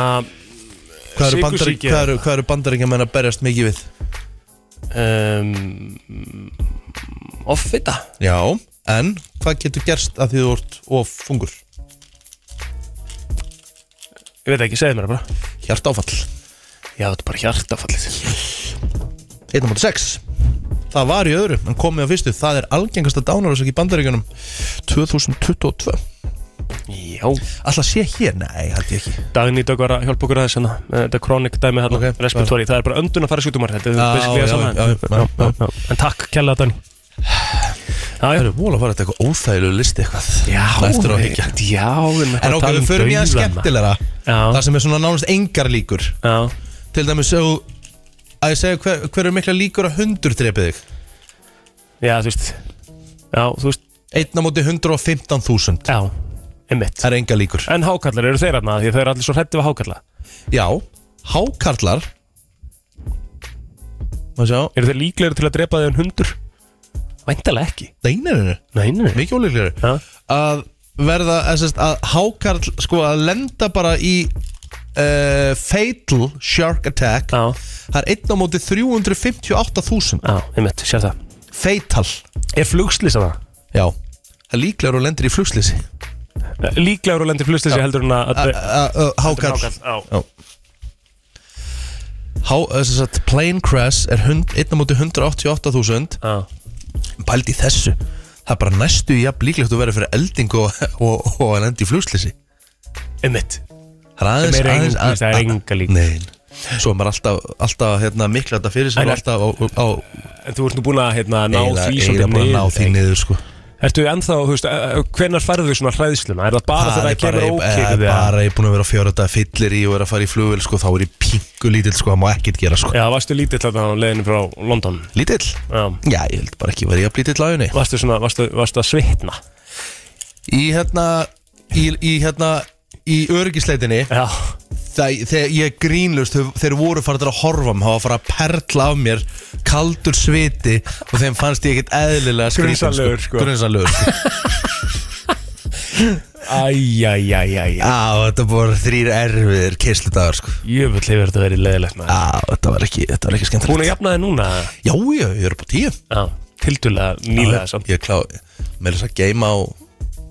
Speaker 1: Hvað eru, bandar,
Speaker 2: Sykursýki
Speaker 1: hvað
Speaker 2: eða?
Speaker 1: eru, hvað eru bandaríkjamenn að berjast mikið við?
Speaker 2: um, offita?
Speaker 1: Já, en hvað getur gerst að því þú ert of fungur?
Speaker 2: Ég veit ekki, segðu mér það bara.
Speaker 1: Hjart áfall
Speaker 2: Já, þetta er bara hjartafallið.
Speaker 1: 1.6 Það var í öðru, en komið á fyrstu Það er algengasta dánarásök í bandaríkjunum 2022
Speaker 2: Já.
Speaker 1: Alltaf sé hér? Nei, held ég ekki
Speaker 2: Dagný Dögg var að hjálpa okkur að þess hana. Þetta er chronic dæmi hérna,
Speaker 1: Ok,
Speaker 2: respiratory. Það er bara öndun að fara sjúkdómar. Þetta er
Speaker 1: Já,
Speaker 2: basically
Speaker 1: já,
Speaker 2: það sama.
Speaker 1: já, já, já, já.
Speaker 2: En takk, kella Dagný. Já,
Speaker 1: Það
Speaker 2: já.
Speaker 1: eru múl að fara þetta eitthvað óþægilegu listi eitthvað
Speaker 2: Já,
Speaker 1: Eftir á að
Speaker 2: við-
Speaker 1: higgja
Speaker 2: Já, við erum
Speaker 1: En
Speaker 2: eitthvað að
Speaker 1: okkar,
Speaker 2: tala um
Speaker 1: við förum í að
Speaker 2: dauðann.
Speaker 1: skemmtilegra Það
Speaker 2: Já,
Speaker 1: sem er svona nánast engar líkur
Speaker 2: já,
Speaker 1: Til dæmis ef þú- að ég segja hver, hver er mikla líkur að hundur drepið þig
Speaker 2: já, þú veist Já, þú veist,
Speaker 1: Einn á móti 115.000
Speaker 2: já, einmitt
Speaker 1: Það er engar líkur
Speaker 2: En hákallar eru þeir aðna, því að þeir eru allir svo hrætti við hákalla
Speaker 1: Já, hákarlar Má sjá
Speaker 2: Eru þeir líklegri til að drepa þig en hundur? Væntalega ekki
Speaker 1: Deinirinu,
Speaker 2: Nei, nei, nei
Speaker 1: mikið ólíklegri
Speaker 2: Já,
Speaker 1: að verða að, sérst, að hákarl sko að lenda bara í uh, fatal shark attack
Speaker 2: já,
Speaker 1: það er einn á móti 358.000
Speaker 2: já, einmitt, sér það
Speaker 1: fatal
Speaker 2: Er flugslýsa það?
Speaker 1: já það er líklegur að lendir í flugslýsi
Speaker 2: Líklegur og lendir flugslýsi heldur en að að-
Speaker 1: hákarl
Speaker 2: hákarl, já.
Speaker 1: Já. Há, eh, sem sagt, plane crash er hund, einn á móti 188.000
Speaker 2: Já,
Speaker 1: pælt í þessu það er bara næstu í jafn líklegt að vera fyrir elding og, og, og að lenda í flugslýsi
Speaker 2: einmitt
Speaker 1: Það er
Speaker 2: Sem er
Speaker 1: aðeins,
Speaker 2: engu-
Speaker 1: aðeins,
Speaker 2: það er enga lík.
Speaker 1: Nein. Svo er maður alltaf, alltaf hérna, mikla þetta fyrir sér
Speaker 2: En
Speaker 1: og alltaf á, á
Speaker 2: En þú ert nú búin að hérna, ná
Speaker 1: eiginlega-
Speaker 2: því
Speaker 1: eiginlega
Speaker 2: svolítið
Speaker 1: bara ná því
Speaker 2: niður
Speaker 1: niður sko.
Speaker 2: Ertu ennþá, þú veist, eh, hvenær færðu þau svona hræðsluna? Er það bara þegar það kemur
Speaker 1: er eh,
Speaker 2: ókýrðu
Speaker 1: bara ég búin að vera að fjóra þetta fyllir í og er að fara í flugvél sko, þá er ég pingu lítill sko, það má ekkert gera sko.
Speaker 2: Já, varstu lítill þarna á leiðinu frá London
Speaker 1: Lítill?
Speaker 2: Já
Speaker 1: Já, ég held bara ekki að vera ég að lítill á henni
Speaker 2: Varstu svona, varstu, varstu að svitna
Speaker 1: Í hérna í, í hérna í öryggisleitinni
Speaker 2: Já
Speaker 1: það- þegar ég er grínlust þeir, þeir voru farið að horfa mig, hafa farið að perla af mér kaldur sviti og þeim fannst ég ekkert eðlilega skrýtin,
Speaker 2: Grunsamlegur, sko.
Speaker 1: grunsamlegur sko.
Speaker 2: Æjæjæjæjæ
Speaker 1: Já, þetta voru þrýr erfiðir keisludagar sko
Speaker 2: Jöfull hefur þetta verið leiðilegt maður
Speaker 1: Já, þetta var ekki, þetta var ekki
Speaker 2: Búin
Speaker 1: skemmtilegt
Speaker 2: að jafna þig núna
Speaker 1: Já, já, ég er upp á tíu
Speaker 2: Já Tildulega nýlega samt
Speaker 1: Ég er klá, með þess að geima á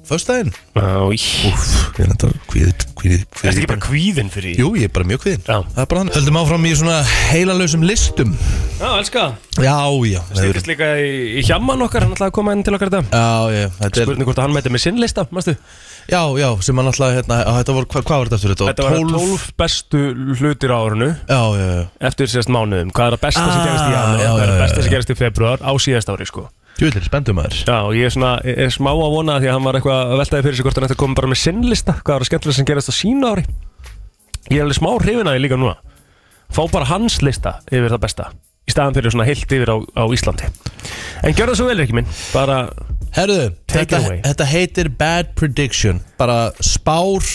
Speaker 1: Föstdæðin
Speaker 2: Já Úf
Speaker 1: Ég er þetta kvíðið, kvíðið,
Speaker 2: Er
Speaker 1: kvíðið
Speaker 2: ekki bara kvíðin fyrir því?
Speaker 1: Jú, ég er bara mjög kvíðin
Speaker 2: Já.
Speaker 1: Það er bara hann Höldum áfram í svona heilalösum listum
Speaker 2: Já, elska
Speaker 1: Já, já það eru-
Speaker 2: Styrkast líka í, í hjamman okkar Hann ætlaði að koma inn til okkar þetta
Speaker 1: Já, já, þetta er
Speaker 2: Spurning hvort að hann mæti með sinn lista, mástu?
Speaker 1: Já, já, sem hann alltaf, hérna, á, þetta voru, hvað, hvað var þetta eftir þetta?
Speaker 2: Þetta var 12 bestu hlutir á árunu
Speaker 1: Já, já, já
Speaker 2: eftir sérst mánuðum Hvað er að besta sem
Speaker 1: Ah,
Speaker 2: gerist í janúar,
Speaker 1: já,
Speaker 2: hvað er að
Speaker 1: já, já,
Speaker 2: besta sem
Speaker 1: já.
Speaker 2: gerist í februar á síðast ári sko
Speaker 1: Júlir, spendum maður
Speaker 2: Já, og ég er svona, ég er smá að vona því að hann var eitthvað að veltaði fyrir sig hvort hann ætti að koma bara með sinnlista hvað var að skemmtilega sem gerast á sína ári Ég er alveg smá hrifin að því líka núna Fá bara hans lista yfir það besta í staðan fyrir svona heilt yfir á, á Íslandi En gjör það svo vel ekki minn bara,
Speaker 1: Herðu,
Speaker 2: Take it
Speaker 1: þetta,
Speaker 2: away.
Speaker 1: þetta heitir Bad Prediction Bara spár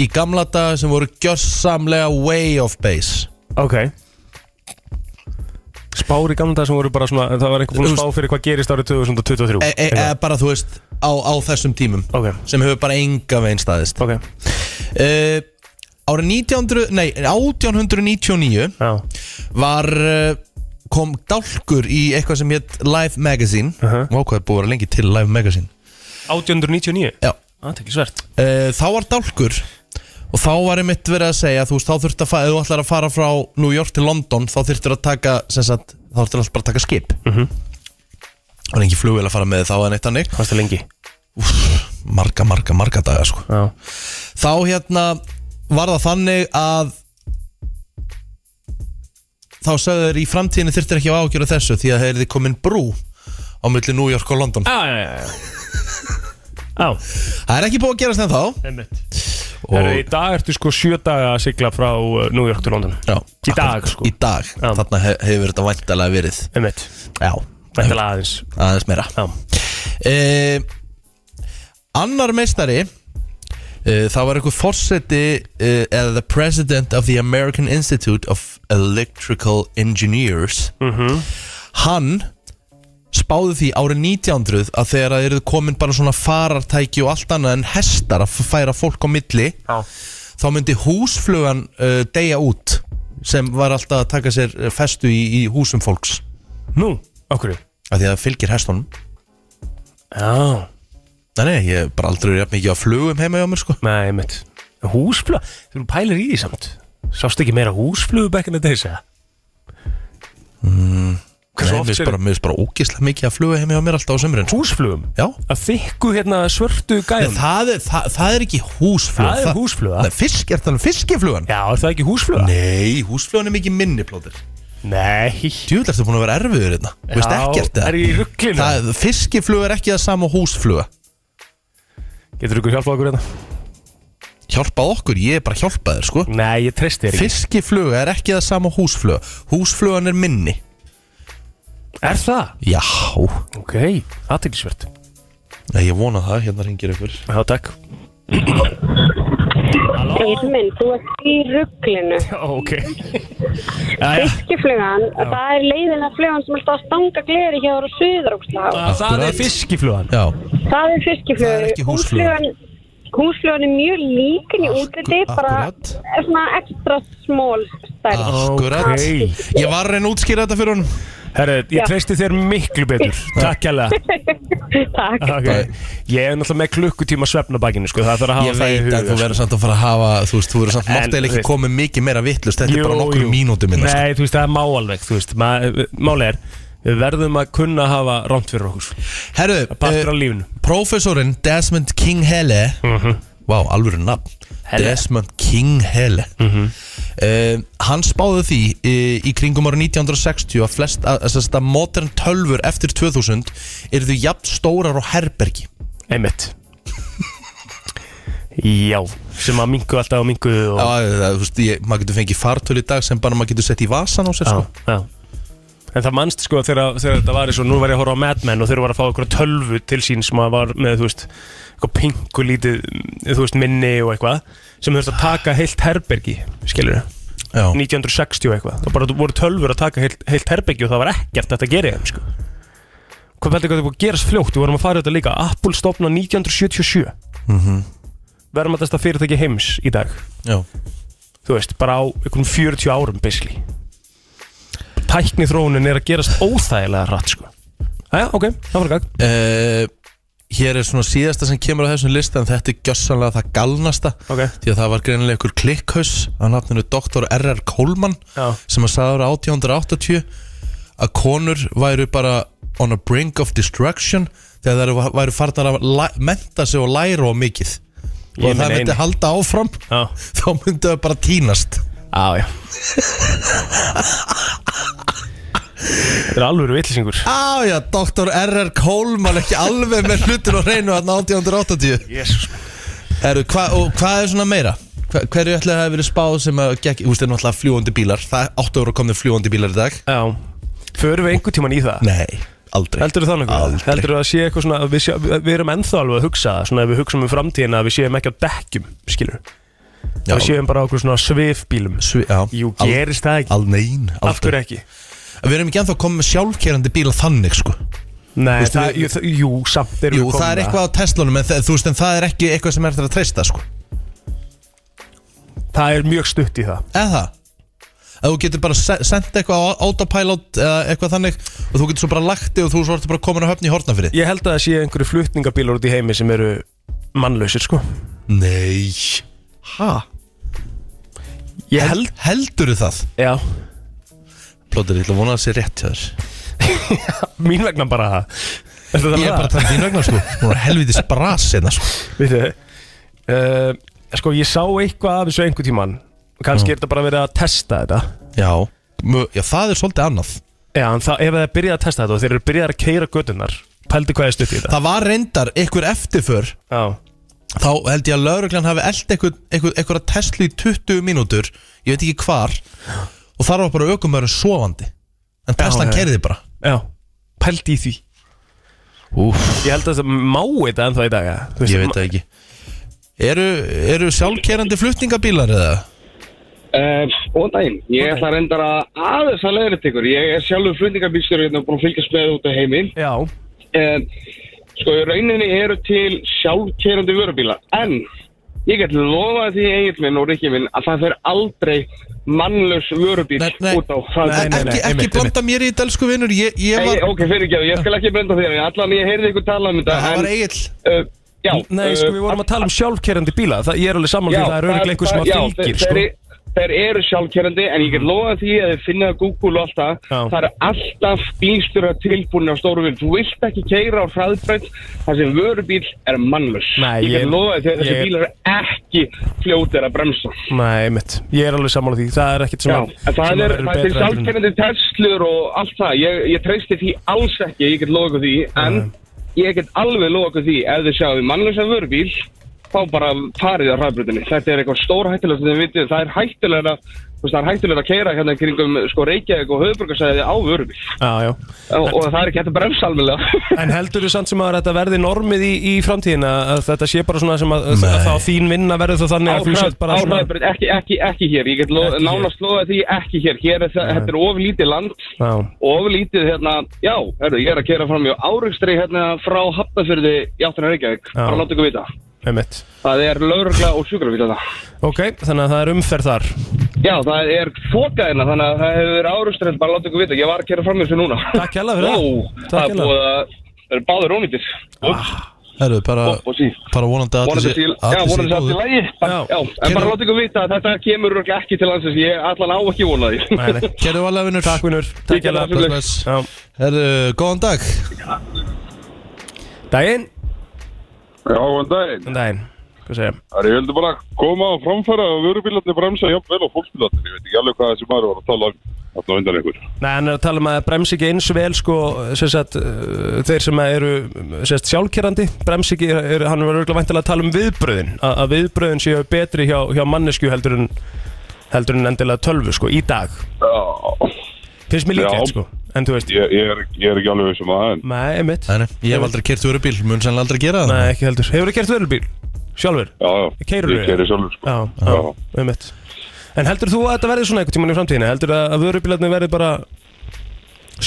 Speaker 1: í gamla daga sem voru gjörsamlega way off base E,
Speaker 2: ok Spár í gamla dag sem voru bara svona það var einhver búin að spá fyrir hvað gerist árið 2023
Speaker 1: e, e, e,
Speaker 2: Eitthvað.
Speaker 1: Bara þú veist, á, á þessum tímum
Speaker 2: Ok,
Speaker 1: Sem hefur bara enga veginn staðist
Speaker 2: ok,
Speaker 1: uh, Árið 1900, nei, 1899
Speaker 2: já
Speaker 1: var eh, kom dálkur í eitthvað sem hétt Life Magazine uh
Speaker 2: Mhm.
Speaker 1: og ákvæði búið að vera lengi til Life Magazine
Speaker 2: 1899
Speaker 1: Já
Speaker 2: Það er ekki svært
Speaker 1: Eh, þá var dálkur og þá var einmitt verið að segja þú veist, þá þurft að fara, ef þú ætlar að fara frá New York til London, þá þurftur að taka sem sagt, þá þurftur alltaf bara að taka skip mm
Speaker 2: Mhm.
Speaker 1: -hmm. og engin flugvél að fara með þá en eitt annig,
Speaker 2: Hvað er það lengi?
Speaker 1: marga, marga, marga daga sko.
Speaker 2: Já,
Speaker 1: þá hérna var það þannig að þá sagðu þeir í framtíðinu þurftur ekki að ágjöra þessu því að þeir þið komin brú á milli New York og London
Speaker 2: já, já, já, já. Já,
Speaker 1: það er ekki búið að gerast en þá
Speaker 2: einmitt Herru, í dag ertu sko sjö daga að sigla frá uh, New York til London
Speaker 1: já,
Speaker 2: Í dag sko
Speaker 1: í dag,
Speaker 2: Já.
Speaker 1: þarna he- hefur þetta væntalega verið
Speaker 2: Einmitt,
Speaker 1: Já,
Speaker 2: væntalega aðeins
Speaker 1: aðeins meira
Speaker 2: Já,
Speaker 1: e, Annar meistari e, Það var einhver forseti e, eða the president of the American Institute of Electrical Engineers
Speaker 2: mhm
Speaker 1: Hann spáði því árið 1900 að þegar það eruð komin bara svona farartæki og allt annað en hestar að færa fólk á milli
Speaker 5: Já.
Speaker 1: þá myndi húsflugan uh, deyja út sem var alltaf að taka sér eh, festu í, í húsum fólks
Speaker 2: Nú, okkur
Speaker 1: af því að það fylgir hestunum
Speaker 2: Já,
Speaker 1: Nei, nei, ég hef bara aldrei verið jafn mikið á flugum heima hjá mér sko
Speaker 2: nei, mitt Húsflug, þú pælir í því samt Sást ekki meira húsflugu back in the days, eða?
Speaker 1: Nei,
Speaker 2: Mm, Hversu
Speaker 1: mér
Speaker 2: oft
Speaker 1: finnst
Speaker 2: er-
Speaker 1: bara, mér finnst bara ógislega mikið að fluga heima hjá mér alltaf á sömurinn
Speaker 2: Húsflugum?
Speaker 1: Já,
Speaker 2: Að þykku hérna svörtu
Speaker 1: en
Speaker 2: gæðum
Speaker 1: það er, það, það er ekki húsfluga
Speaker 2: Það er húsfluga.
Speaker 1: Nei, fisk, er það um fiskiflugan?
Speaker 2: Já, er það ekki húsfluga?
Speaker 1: Nei, húsflugan er mikið minni plóðir
Speaker 2: Nei
Speaker 1: Djúvill ertu búin að vera erfiður hérna Þú veist
Speaker 2: Já,
Speaker 1: ekkert eða?
Speaker 2: er ég í ruglinu?
Speaker 1: Það, fiskiflug er ekki það sama og húsfluga
Speaker 2: Getur ykkur hjálpað okkur hérna?
Speaker 1: Hjálpað okkur, ég er bara að hjálpa þér sko
Speaker 2: Nei, ég treysti þér ekki
Speaker 1: Fiskifluga er ekki það sama og húsfluga Húsflugan er minni
Speaker 2: Er það?
Speaker 1: Já,
Speaker 2: Ok, aðteglisvert
Speaker 1: Nei, ég vona það, hérna ringir ykkur
Speaker 2: Já, takk
Speaker 7: Egil minn, þú ert í rugglinu.
Speaker 2: Ok Jæja,
Speaker 7: Fiskiflugan, það er leiðina flugan sem er alltaf að stanga gleri hjá þér á suðuróksláð.
Speaker 2: Það er fiskiflugan
Speaker 1: Já,
Speaker 7: Það er fiskiflugan.
Speaker 1: Það er ekki húsflugan.
Speaker 7: Húsflugan- Húsflugan er mjög líkin í útliti, bara
Speaker 1: akkurat.
Speaker 7: er svona ekstra smól stærð.
Speaker 1: akkurat
Speaker 2: Ok.
Speaker 1: Ég var að reyna að útskýra þetta fyrir honum
Speaker 2: Herru,
Speaker 7: Já.
Speaker 2: ég treysti þér miklu betur Takk hérlega
Speaker 7: Takk.
Speaker 2: okay. Ég er náttúrulega með klukkutíma svefna bakinu sko. Það þarf að hafa
Speaker 1: Ég
Speaker 2: það í huga
Speaker 1: veit
Speaker 2: sko.
Speaker 1: að þú verður samt að fara að hafa Þú veist, þú verður samt
Speaker 2: En,
Speaker 1: máttið
Speaker 2: þú
Speaker 1: ekki
Speaker 2: veist-
Speaker 1: komið mikið meira vittlust Þetta er bara
Speaker 2: Jú,
Speaker 1: nokkur
Speaker 2: jú.
Speaker 1: mínútum hérna, sko. minna
Speaker 2: Nei, þú veist, það er má alveg þú veist, ma Máli er, við verðum að kunna hafa rámt fyrir okkur sko.
Speaker 1: Herru,
Speaker 2: Partur
Speaker 1: eh,
Speaker 2: á lífinu
Speaker 1: Professorinn Desmond King Hele
Speaker 2: Mhm.
Speaker 1: Vá, alvöru nafn
Speaker 2: Hele.
Speaker 1: Desmond King Hele mm
Speaker 2: Mhm.
Speaker 1: Hann spáði því uh, í kringum ára 1960 að flest að, að, að modern tölfur eftir 2000 eru því jafn stórar og herbergi
Speaker 2: Einmitt Já, sem að mingu alltaf og mingu og,
Speaker 1: Já, það, þú veist, ég, maður getur fengið fartöl í dag sem bara maður getur sett í vasan á sér
Speaker 2: já,
Speaker 1: sko.
Speaker 2: já. En það mannst sko þegar, þegar þetta var eins og nú var ég að horfa á Mad Men og þeir voru að fá okkur tölvu til sín sem að var með þú veist eitthvað pingu lítið þú veist minni og eitthvað sem þurfti að taka heilt herbergi skilur
Speaker 1: Já.
Speaker 2: 1960 og eitthvað og bara voru tölvur að taka heilt, heilt herbergi og það var ekkert þetta að gera í þeim sko Hvað veldur hvað þetta búið að gerast fljótt við vorum að fara í þetta líka Apple stopna 1977 mm -hmm. verðum að þetta fyrirtæki heims í dag
Speaker 1: Mhm. Já.
Speaker 2: þú veist, bara á einhvern 40 árum basically tækni þróunin er að gerast óþægilega rætt sko Æja, ok, það var gag
Speaker 1: Eh, hér er svona síðasta sem kemur á þessum lista en þetta er gjössanlega það galnasta
Speaker 2: Ok.
Speaker 1: því að það var greinilega ykkur klikkhaus að nafninu Dr. R.R. Coleman
Speaker 2: Já.
Speaker 1: sem að sagði ára 1880 að konur væru bara on a brink of destruction þegar þær væru farnar að læ- mennta sig og læra á mikið og
Speaker 2: Ég
Speaker 1: að það
Speaker 2: meina
Speaker 1: myndi
Speaker 2: einu.
Speaker 1: halda áfram
Speaker 2: Já,
Speaker 1: þá myndi það bara tínast
Speaker 2: á, já Þetta er alveg vitlisingur
Speaker 1: Á já, Dr. R.R. Coleman ekki alveg með hlutin og reynu hann 1880
Speaker 2: Jésus
Speaker 1: Heru, hva, og hvað er svona meira? Hva, hverju ætlaði að hafa verið spáð sem að gekk, þú veist, það er náttúrulega fljúandi bílar það er 8 ára komnir fljúandi bílar í dag
Speaker 2: Já, förum við einhvern tíman í það?
Speaker 1: Nei, aldrei
Speaker 2: Heldur þú þannig?
Speaker 1: Aldrei.
Speaker 2: Heldur þú að sé eitthvað svona að við, sé, við, við erum ennþá alveg að hugsa það svona ef við hugsaum um framtíðina að við séum ekki á dekkjum skilur,
Speaker 1: Já,
Speaker 2: við séum bara á okkur svona svifbílum
Speaker 1: svi, já,
Speaker 2: Jú, gerist það ekki?
Speaker 1: Al, nein, aldrei
Speaker 2: Af hverju ekki?
Speaker 1: Við erum ekki ennþá komið með sjálfkerandi bíla þannig sko
Speaker 2: Nei,
Speaker 1: Veistu,
Speaker 2: það,
Speaker 1: við-
Speaker 2: jú, það, jú, samt erum
Speaker 1: Jú,
Speaker 2: við komin
Speaker 1: það er eitthvað á Teslunum en það, þú veist, en það er ekki eitthvað sem er eftir að treysta sko
Speaker 2: Það er mjög stutt í það
Speaker 1: Eða það? Að þú getur bara se- sent eitthvað á autopilot eða eitthvað þannig og þú getur svo bara lagt þig og þú svo ertu bara komin að höfni í hortnafyrði
Speaker 2: Ég held að það sé einhverju flutningabílar út í heimi sem eru mannlausir sko
Speaker 1: Nei Hæ?
Speaker 2: Ég held
Speaker 1: Heldur það?
Speaker 2: Já
Speaker 1: Plóter, ég ætla að vona að það sé rétt hjá þér
Speaker 2: Mín vegna bara það Þetta það
Speaker 1: Ég er bara að tala um þín vegna sko Hún er helvitis bras hérna sko
Speaker 2: Við þau uh, Sko ég sá eitthvað af þessu einhver tíman Kannski er þetta bara verið að testa þetta
Speaker 1: Mm. Já Mö, Já, það er svolítið annað
Speaker 2: Já, en það, ef það er byrjað að testa þetta og þeir eru byrjað að keira gödunar Pældi hvað er stutt í þetta
Speaker 1: Það var reyndar ykkur eftirför
Speaker 2: Já
Speaker 1: Þá held ég að lauruglan hafi eld ykkur, ykkur, ykkur að Tesla í 20 mínútur Ég veit ekki hvar Og þar var bara aukumöður sofandi En Teslan
Speaker 2: já.
Speaker 1: kerði bara
Speaker 2: Já Pældi í því
Speaker 1: Úf,
Speaker 2: Ég held að það má þetta ennþá í dag ja.
Speaker 1: Ég veit það ekki Eru, eru sjálfkerandi flutningabílar eða?
Speaker 8: Um, og daginn, ég ætla reyndar að aðeins að leiðrætt ykkur, ég er sjálfur flutningabílstjóri hérna og búin að fylgjast með út af heiminn
Speaker 2: Já,
Speaker 8: um, sko í rauninni eru til sjálfkerandi vörubíla en ég get lofað því eigin minn og rikki minn að það fer aldrei mannlaus vörubíl
Speaker 1: Nei, nei.
Speaker 8: út á það
Speaker 2: Nei, nei, nei,
Speaker 1: Ekki, ekki
Speaker 2: einmitt,
Speaker 1: blanda mér í þetta, elsku vinnur Ég, ég var,
Speaker 8: ok, fyrirgjáðu, ég skal ekki brenda þér allan ég heyrði ykkur tala um þetta
Speaker 1: það var
Speaker 8: en,
Speaker 1: eigill
Speaker 8: uh, já, uh,
Speaker 2: Nei, sko, við vorum að tala um sjálfkerrandi bíla það, Ég er alveg saman því að það er öruglega einhver sem að
Speaker 8: já,
Speaker 2: fylgir
Speaker 8: þeir,
Speaker 2: sko.
Speaker 8: sko. þeir eru sjálfkerandi en ég get lofað því að þið finna Google og allt það,
Speaker 2: Já.
Speaker 8: það eru alltaf bílstjóra tilbúin á stóru vil þú vilt ekki keira á hraðbreynd þar sem vörubíl er mannlaus
Speaker 2: Nei,
Speaker 8: ég
Speaker 2: ég-
Speaker 8: get lofað því að þessi
Speaker 2: ég-
Speaker 8: bílar eru ekki fljótir að bremsa
Speaker 2: Nei, mitt, ég er alveg saman því Það er ekkert sem
Speaker 8: Já,
Speaker 2: að
Speaker 8: en það
Speaker 2: sem að
Speaker 8: er,
Speaker 2: verður
Speaker 8: það er
Speaker 2: betra heldur en-
Speaker 8: sjálfkerandi testlur og allt það, ég, ég treysti því alls ekki, ég get loka því, en ég get alveg loka því ef þið sjáum mannlösa vörubíl, þá bara farið á hraðbrutinni, þetta er eitthvað stóra hættilegt sem þið vitið, það er hættilega þú veist, það er hættilega að keira hérna kringum sko Reykjavík og höfbrukarsæði á vörubíl
Speaker 2: Já, já.
Speaker 8: og, og það er ekki hægt að bremsa alveg
Speaker 2: En heldur þú samt sem að þetta verði normið í, í framtíðina að þetta sé bara svona sem að, að
Speaker 1: Nei.
Speaker 2: þá þín vinna verður þá þannig
Speaker 8: á
Speaker 2: að þú sett bara svona
Speaker 8: hraðbrut, ekki, ekki, ekki hér, ég get lo,
Speaker 2: Ekki hér.
Speaker 8: nánast loka því ekki hér, hér er það, þetta er oflítið land
Speaker 2: Já,
Speaker 8: oflítið hérna, já, herru, ég er að kera fram í árygstri hérna frá Hafnafjörði í áttunar Reykjavík,
Speaker 2: Já.
Speaker 8: bara láta ykkur vita
Speaker 2: einmitt
Speaker 8: það er lögregla og sjúkrafíl þetta
Speaker 2: Ok, þannig að það er umferð þar
Speaker 8: já, það er fokaðina, þannig að það hefur verið árygstri bara láta ykkur vita, ég var að kera fram í þessu núna
Speaker 2: Takk hella fyrir
Speaker 8: Ó,
Speaker 2: það
Speaker 8: það
Speaker 2: Takk Ah,
Speaker 8: er
Speaker 2: hella
Speaker 8: búið að það eru báður ónýttir upp,
Speaker 1: Herru, bara,
Speaker 8: upp og sí
Speaker 1: bara vonandi að
Speaker 8: vonandi
Speaker 1: allir sé-
Speaker 8: til, já,
Speaker 1: allir sé
Speaker 8: vonandi til allt í
Speaker 1: góðir.
Speaker 8: lægi
Speaker 2: ah, Já.
Speaker 8: já, en
Speaker 1: Kemur-
Speaker 8: bara láta ykkur vita að þetta kemur örugglega ekki til landsins, ég allan á ekki vona því
Speaker 2: Nei, nei.
Speaker 1: Gerðu alveg vinnur
Speaker 2: Takk vinnur, takk
Speaker 8: Ég gerði það
Speaker 2: hella
Speaker 8: fyrir
Speaker 1: Bless, bless.
Speaker 2: Já.
Speaker 1: Herru, góðan dag
Speaker 2: Daginn,
Speaker 9: Já, en daginn.
Speaker 2: Góðan daginn, hvað segja
Speaker 9: Það er ég heldur bara að koma á framfæra að vörubílarnir bremsa jafnvel og fólksbílarnir. Ég veit ekki alveg hvað þessi maður var að tala um þarna á undan ykkur.
Speaker 2: Nei, hann er að tala um að brems ekki eins vel sko, sem sagt, uh, þeir sem að eru sem sagt, sjálfkerrandi, brems ekki er, hann var örgulega væntilega að tala um viðbröðin að, að viðbröðin séu betri hjá, hjá mannesku heldur en, heldur en endilega tölvu sko, í dag,
Speaker 9: Já,
Speaker 2: finnst mér líklegt
Speaker 9: Já.
Speaker 2: sko en þú veist,
Speaker 9: ég, ég, er, ég er ekki alveg sem að það, en
Speaker 2: nei, einmitt
Speaker 1: Nei, nei, Ég hef aldrei kert vörubíl, mun sennilega aldrei gera það
Speaker 2: nei, ekki heldur, hefur þú kert vörubíl sjálfur,
Speaker 9: já, já,
Speaker 2: Keyrðu
Speaker 9: ég
Speaker 2: þig?
Speaker 9: keiri sjálfur, sko.
Speaker 2: já, já, einmitt en heldur þú að þetta verði svona einhvern tímann í framtíðinu heldur að, að vörubílarnir verði bara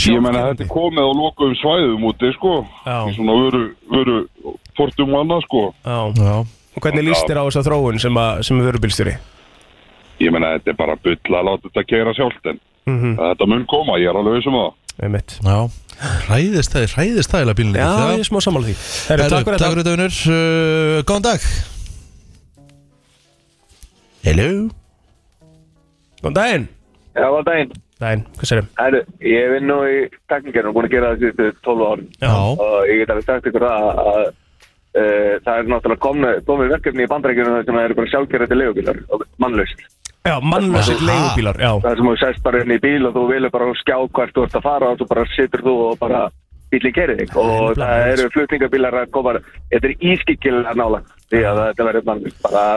Speaker 9: Ég menna þetta er komið á lokuðum svæðum úti, sko.
Speaker 2: Já.
Speaker 9: Í svona vöru, vöru, portum og annað, sko.
Speaker 2: já,
Speaker 1: Já,
Speaker 2: og hvernig líst þér á þessa þróun sem, að, sem er vörubílstjóri
Speaker 9: Ég menna þetta er bara bull að láta þetta keira sjálft, en
Speaker 2: Mhm.
Speaker 9: þetta mun koma, ég er alveg sem að það.
Speaker 2: einmitt
Speaker 1: já Ræðist það, ræðist það eða bílinn
Speaker 2: Já, ég er smá sammála því Herru, takk fyrir
Speaker 1: Takk
Speaker 2: þetta
Speaker 1: fyrir þetta vinnur Uh, Góðan dag Hello
Speaker 2: Góðan daginn
Speaker 8: já, góðan daginn
Speaker 2: Daginn, hvað sérum?
Speaker 8: Herru, ég vinn nú í teknikernu og búin að gera það síðustu 12 árum
Speaker 1: Já,
Speaker 8: og ég get alveg sagt ykkur það að, að uh, það er náttúrulega komið, komið verkefni í bandarækjunum þar sem það eru bara sjálfgerðandi leigubílar og mannlaust.
Speaker 2: Já, mannlösir leigubílar, já
Speaker 8: Það sem þú sest bara inn í bíl og þú vilur bara skjá hvert þú ert að fara og þú bara situr þú og bara bílinn gerir þig og
Speaker 2: nefnilega
Speaker 8: það
Speaker 2: mannlaust.
Speaker 8: eru flutningabílar að koma þetta er ískikkilega nálagt því að þetta verður mannlaust bara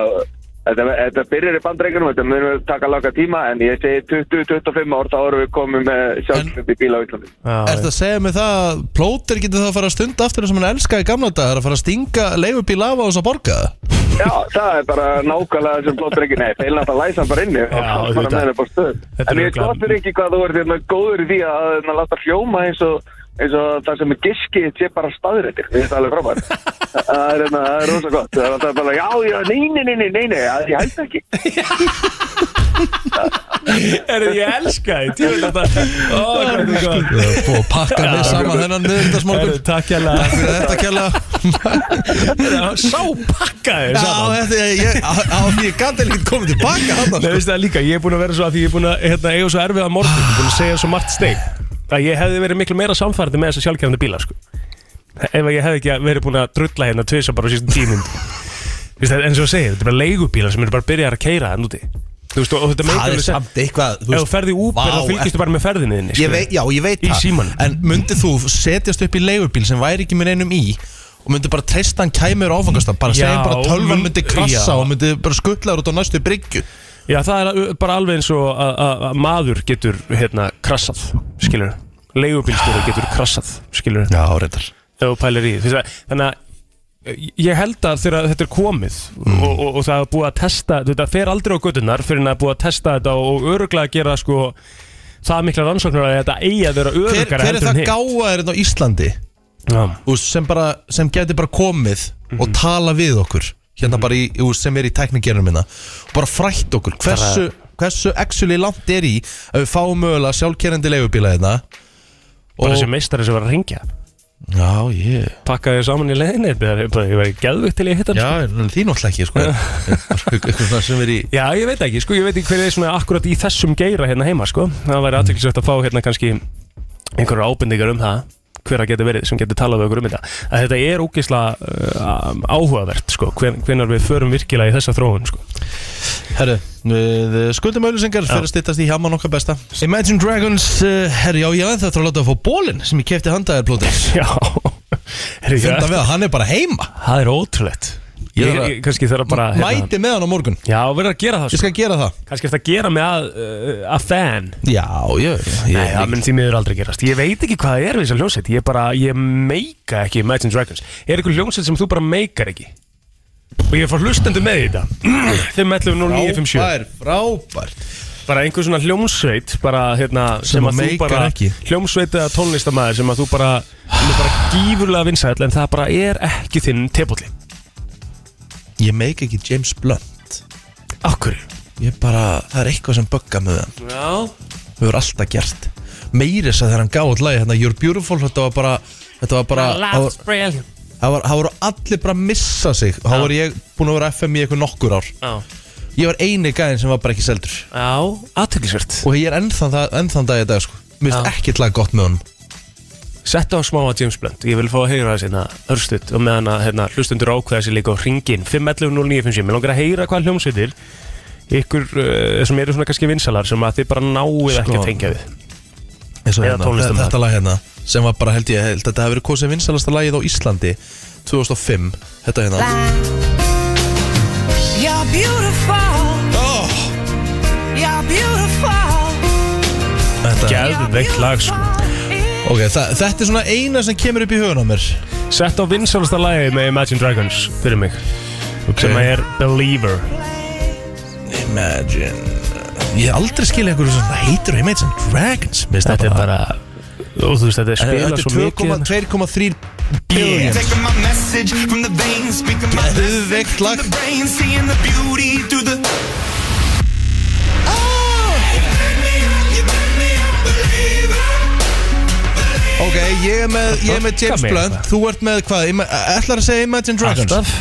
Speaker 8: Þetta, þetta byrjar í bandreikunum, þetta munum taka langa tíma en ég segi 20-25 ár þá erum við komið með sjálfsmyndi bíla á Íslandi.
Speaker 1: er það að segja mig það að Plóter getur það að fara að stunda aftur það sem hann elskaði í gamla dag Það er að fara að stinga leigubíl af á þess að borga það
Speaker 8: Já, það er bara nákvæmlega sem blóttur ekki Nei, feilna þetta læsa hann bara inni og
Speaker 2: Já,
Speaker 8: bara
Speaker 2: auðvitað.
Speaker 8: með henni bara stöð
Speaker 2: Þetta er
Speaker 8: En ég
Speaker 2: örugglega-
Speaker 8: gottur ekki hvað þú ert hérna, góður í því að hérna, láta hljóma eins og eins og það sem er giskið sé bara staðrættir Ég finnst það alveg frábært Það er, hérna, það er rosa gott Það er alltaf bara, já, já, nei, nei, nei, nei, nei, nei að- Ég held ekki
Speaker 2: Herru, ég elska þið Ég veit þetta Ó, hvað er þetta gott
Speaker 1: Það er búið að pakka mig saman þennan
Speaker 2: Herru,
Speaker 1: miðvitaðsmorgun
Speaker 2: takk hérna
Speaker 1: Takk fyrir þetta kjalla
Speaker 2: Sá
Speaker 4: Oh,
Speaker 2: pakkaði
Speaker 1: Já,
Speaker 2: saman
Speaker 1: þetta er ég á- Á því ég gæti ekkert komið tilbaka sko. hann
Speaker 2: Nei, veistu það líka, ég er búin að vera svo að því ég er búin að hérna, eiga svo erfið að morgun, ég er búin að segja svo margt steik að ég hefði verið miklu meira samfærandi með þessa sjálfkjærandi bíla, sko ef að ég hefði ekki verið búin að drulla hérna tvisa bara á sístum tímum Veistu það, eins og ég segir, þetta er bara leigubílar sem eru bara að byrja að keira þann úti Þú veist, og og þetta meikar
Speaker 1: Það er
Speaker 2: alveg sens.
Speaker 1: samt eitthvað þú
Speaker 2: Ef þú
Speaker 1: veist,
Speaker 2: ferði í Uber
Speaker 1: vá,
Speaker 2: þá fylgistu bara með ferðinni þinni
Speaker 1: Ég
Speaker 2: skilur.
Speaker 1: veit, já, ég veit
Speaker 2: sko. Í
Speaker 1: það
Speaker 2: símanum.
Speaker 1: En myndið þú setjast upp í leigubíl sem væri ekki með einum í og myndið bara treysta hann kæmur áfangast bara
Speaker 2: Já,
Speaker 1: segja bara að tölvan
Speaker 2: mynd-
Speaker 1: myndið krassa
Speaker 2: já.
Speaker 1: og myndið bara skuttlaður út á næstu bryggju
Speaker 2: Já, það er bara alveg eins og að- að að maður getur hérna krassað, skilur leigubílstjóri getur krassað, skilur
Speaker 1: Já, reyndar
Speaker 2: ef þú pælir í því. Þú veist það, þannig að eh, ég held að þegar þetta er komið
Speaker 1: Mm.
Speaker 2: og, og, og það er búið að testa þetta fer aldrei á göttunar fyrir en það er búið að testa þetta og öruglega gera sko það mikla rannsóknar að þetta eigi að vera
Speaker 1: hver,
Speaker 2: örugara
Speaker 1: hver er það gáa er þetta á Íslandi
Speaker 2: Já. Mhm.
Speaker 1: úr, sem, bara, sem geti bara komið og tala við okkur hérna bara í, úr, sem er í teknikerunum minna og bara frætt okkur hversu, hversu actually langt er í að við fáum mögulega sjálfkerandi leigubíla hérna og,
Speaker 2: bara sem meistari sem var að ringja
Speaker 1: já, ég
Speaker 2: pakka þér saman í leiðinni bara, bara, ég væri geðvögt til ég hitta hann,
Speaker 1: já, en því náttúrulega ekki sko, eitthvað svona sem er í
Speaker 2: Já, ég veit ekki, sko, ég veit ekki hver er svona akkurat í þessum geira hérna heima, sko Það væri aðtöklisvægt að fá hérna kannski einhverjar ábendingar um það hver að geti verið sem geti talað við okkur um þetta að þetta er ógisla uh, áhugavert sko, hven, hvenar við förum virkilega í þessa þróun sko.
Speaker 1: Herru, við skuldum auðlýsingar fyrir að stýttast í hjaman okkar besta Imagine Dragons, uh, herru, já, ég ætla að láta að fá bólinn sem ég kefti handaðir plótið
Speaker 2: Já er ekki,
Speaker 1: Funda við að hann er bara heima
Speaker 2: Það er ótrúlegt
Speaker 1: Ég
Speaker 2: Ég,
Speaker 1: er að-
Speaker 2: ég kannski þarf að bara hérna,
Speaker 1: Mæti með hann á morgun
Speaker 2: Já, verður að gera það
Speaker 1: Ég
Speaker 2: sko.
Speaker 1: skal gera það
Speaker 2: Kannski eftir að gera mig að, uh, að fan
Speaker 1: Já, ég, ég
Speaker 2: Nei, það mun því miður aldrei gerast Ég veit ekki hvað það er við þessar hljómsveit Ég bara, ég meika ekki Imagine Dragons Er einhver hljómsveit sem þú bara meikar ekki? Og ég fór hlustendur með í þetta 511 0957
Speaker 1: Frábær, frábært
Speaker 2: Bara einhver svona hljómsveit bara, hérna,
Speaker 1: Sem að
Speaker 2: þú
Speaker 1: meikar
Speaker 2: bara,
Speaker 1: ekki.
Speaker 2: Hljómsveit eða tónlistamæður sem að þú bara Hún er bara gífurlega vinsæll En það bara er ekki þinn tepulli
Speaker 1: Ég meik ekki James Blunt
Speaker 2: Akkur
Speaker 1: Ég bara, það er eitthvað sem bugga með hann
Speaker 2: Já
Speaker 1: Við erum alltaf gert Meiri þess að þegar hann gáði alltaf Hérna, You're Beautiful, þetta var bara Þetta var bara Það var-
Speaker 2: brilliant
Speaker 1: það var- það voru allir bara að missa sig Þá var ég búin að vera FM í eitthvað nokkur ár
Speaker 2: Já,
Speaker 1: Ég var eini gæðin sem var bara ekki seldur
Speaker 2: já aðteklisvert
Speaker 1: Og ég er ennþann, það- ennþann dag í dag sko
Speaker 2: Já.
Speaker 1: Mér finnst ekkert lag gott með honum
Speaker 2: Setta á smá að James Blunt Ég vil fá að heyra það sérna örstuð og meðan að hérna, hlustundur ákveða sér líka á ringin 511-0957 Mér langar að heyra hvað hljómsveitir ykkur uh, sem eru svona kannski vinsalar sem að þið bara náið ekki
Speaker 1: Sko.
Speaker 2: að tengja við
Speaker 1: eins og
Speaker 2: Eða
Speaker 1: hérna,
Speaker 2: tónlistarmaður.
Speaker 1: þetta lag hérna sem var bara held ég, held að þetta hafi verið kosið vinsalasta lagið á Íslandi 2005, þetta hérna
Speaker 4: You're beautiful
Speaker 1: oh,
Speaker 4: You're beautiful
Speaker 1: þetta,
Speaker 2: Geðveikt lag sko
Speaker 1: ok, þa þetta er svona eina sem kemur upp í hugun á mér
Speaker 2: Sett á vinsalasta lagi með Imagine Dragons fyrir mig sem að er Believer
Speaker 1: Imagine ég hef aldrei skilja einhverju svona heitur Imagine Dragons, mér finnst
Speaker 2: Þetta
Speaker 1: það
Speaker 2: er bara og þú veist þetta er
Speaker 1: Þetta
Speaker 2: spila svo
Speaker 1: er
Speaker 2: mikið hérna.
Speaker 1: 2,3 2,3 billion
Speaker 4: Taking my message from the veins Speaking my message
Speaker 1: Geðveikt
Speaker 4: from
Speaker 1: lag
Speaker 4: the brain Seeing the beauty through the
Speaker 1: Oh! Ok, ég er með, ég er með James
Speaker 2: Bugga mig
Speaker 1: Blunt,
Speaker 2: eitthvað.
Speaker 1: þú ert með hvað Ima- Ætlar að segja Imagine Dragons
Speaker 2: Alltaf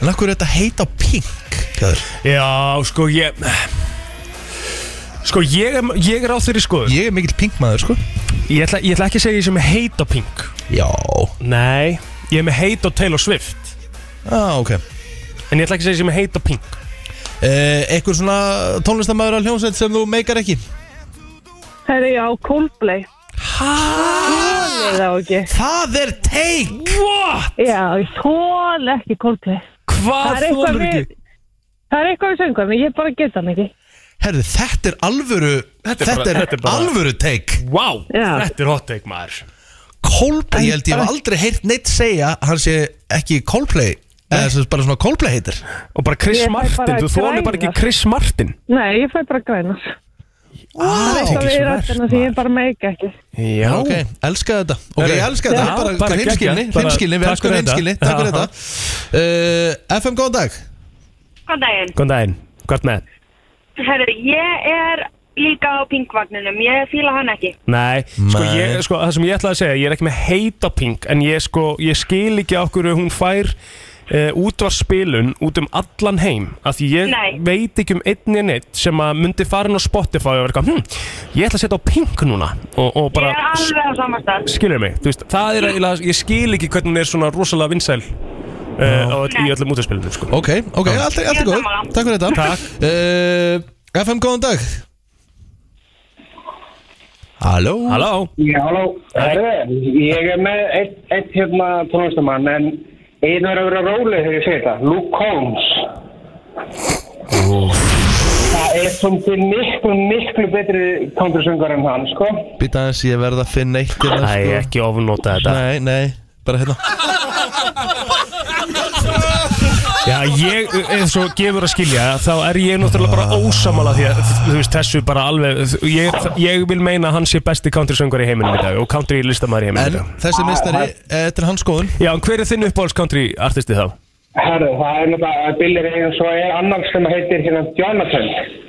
Speaker 1: En akkur er þetta heit á pink Kjör.
Speaker 2: Já sko ég Sko ég er, ég er á þeirri skoðun
Speaker 1: Ég er mikill pink maður sko
Speaker 2: Ég ætla, ég ætla ekki að segja ég sem heit á Pink
Speaker 1: Já
Speaker 2: Nei, ég er með heit á Taylor Swift
Speaker 1: ah, ok
Speaker 2: En ég ætla ekki að segja sem heit á Pink
Speaker 1: Eh, Eitthvað svona tónlistamæður á hljómsveit sem þú meikar ekki
Speaker 7: Herri, já, Coldplay. Hæ? Það er ekki.
Speaker 1: Það er teik
Speaker 2: What?
Speaker 7: Já, ég þól ekki Coldplay.
Speaker 2: Hvað þólar ekki?
Speaker 7: Það er eitthvað við söngum, ég bara geta hann ekki.
Speaker 1: Herðu, þetta er alvöru Þetta
Speaker 2: er
Speaker 1: er,
Speaker 2: bara- þetta er bara-
Speaker 1: alvöru teik
Speaker 2: Wow,
Speaker 7: Já.
Speaker 2: þetta er hot take maður
Speaker 1: Coldplay, ég held ég hef aldrei heyrt neitt segja að Hann sé ekki Coldplay Eða sem bara svona Coldplay heitir
Speaker 2: Og bara Chris
Speaker 7: Ég fæ
Speaker 2: Martin,
Speaker 7: bara
Speaker 2: þú þólar bara ekki
Speaker 7: grænar.
Speaker 2: Chris Martin
Speaker 7: Nei, ég fæ bara græna.
Speaker 1: ah,
Speaker 7: Það
Speaker 2: ekki
Speaker 7: er
Speaker 2: svo
Speaker 7: rættina
Speaker 2: verst,
Speaker 7: því ég bara meika ekki.
Speaker 2: Já
Speaker 1: Ok, elska þetta Ok,
Speaker 2: Herru,
Speaker 1: ég elska þetta,
Speaker 2: já,
Speaker 1: bara,
Speaker 2: bara
Speaker 1: bara hreinskilni
Speaker 2: geggjað, bara-
Speaker 1: Hreinskilni, við
Speaker 2: takk
Speaker 1: elskum
Speaker 2: fyrir þetta.
Speaker 1: hreinskilni Takk fyrir
Speaker 2: Já.
Speaker 1: þetta uh, FM, góðan dag
Speaker 7: Góðan daginn.
Speaker 2: Góðan daginn, hvað með?
Speaker 7: Herri, ég er líka á pingvagninum, ég fíla hann ekki.
Speaker 2: Nei, sko,
Speaker 1: Nei.
Speaker 2: ég, sko, það sem ég ætlaði að segja, ég er ekki með heit á Pink En ég, sko, ég skil ekki okkur hún fær Uh, útvarspilun út um allan heim af því ég
Speaker 7: Nei.
Speaker 2: veit ekki um einn en einn sem að myndi farin á Spotify og vera eitthvað, hm, ég ætla að setja á pink núna og, og bara
Speaker 7: Ég er alveg á samastað.
Speaker 2: skilur mig, þú veist, það er eiginlega, ég skil ekki hvernig hún er svona rosalega vinsæl uh, á, öll- í öllum útaspilinu, sko.
Speaker 1: Ok, ok, allt er
Speaker 7: Ég er
Speaker 1: góð
Speaker 7: sammála.
Speaker 1: Takk fyrir þetta
Speaker 2: Takk.
Speaker 1: Eh, FM, góðan dag Halló
Speaker 2: Halló,
Speaker 8: Já, halló. Herðu, ég er með eitt, eitt hérna tónlistamann, en einu er að vera róleg þegar ég segi þetta. Luke Combs. Það er svolítið miklu, miklu betri country-söngar en hann, sko.
Speaker 1: Býta aðeins, ég verð að finna eitt hérna,
Speaker 2: það er ekki ofnóta þetta
Speaker 1: Nei, nei bara hérna
Speaker 2: Já, ég, eins og gefur að skilja þá er ég náttúrulega bara ósamala því að þú veist, þessu bara alveg ég, ég vil meina að hann sé besti country söngur í heiminum í dag og country listamæður í heiminum í
Speaker 1: En
Speaker 2: dag
Speaker 1: þessi mistari, Eh, þetta er hans skoðun
Speaker 2: Já, en hver er þinn uppáhalds country artisti þá?
Speaker 10: Herru, það er náttúrulega Billy Ray og svo er annar sem heitir hérna Jonathan.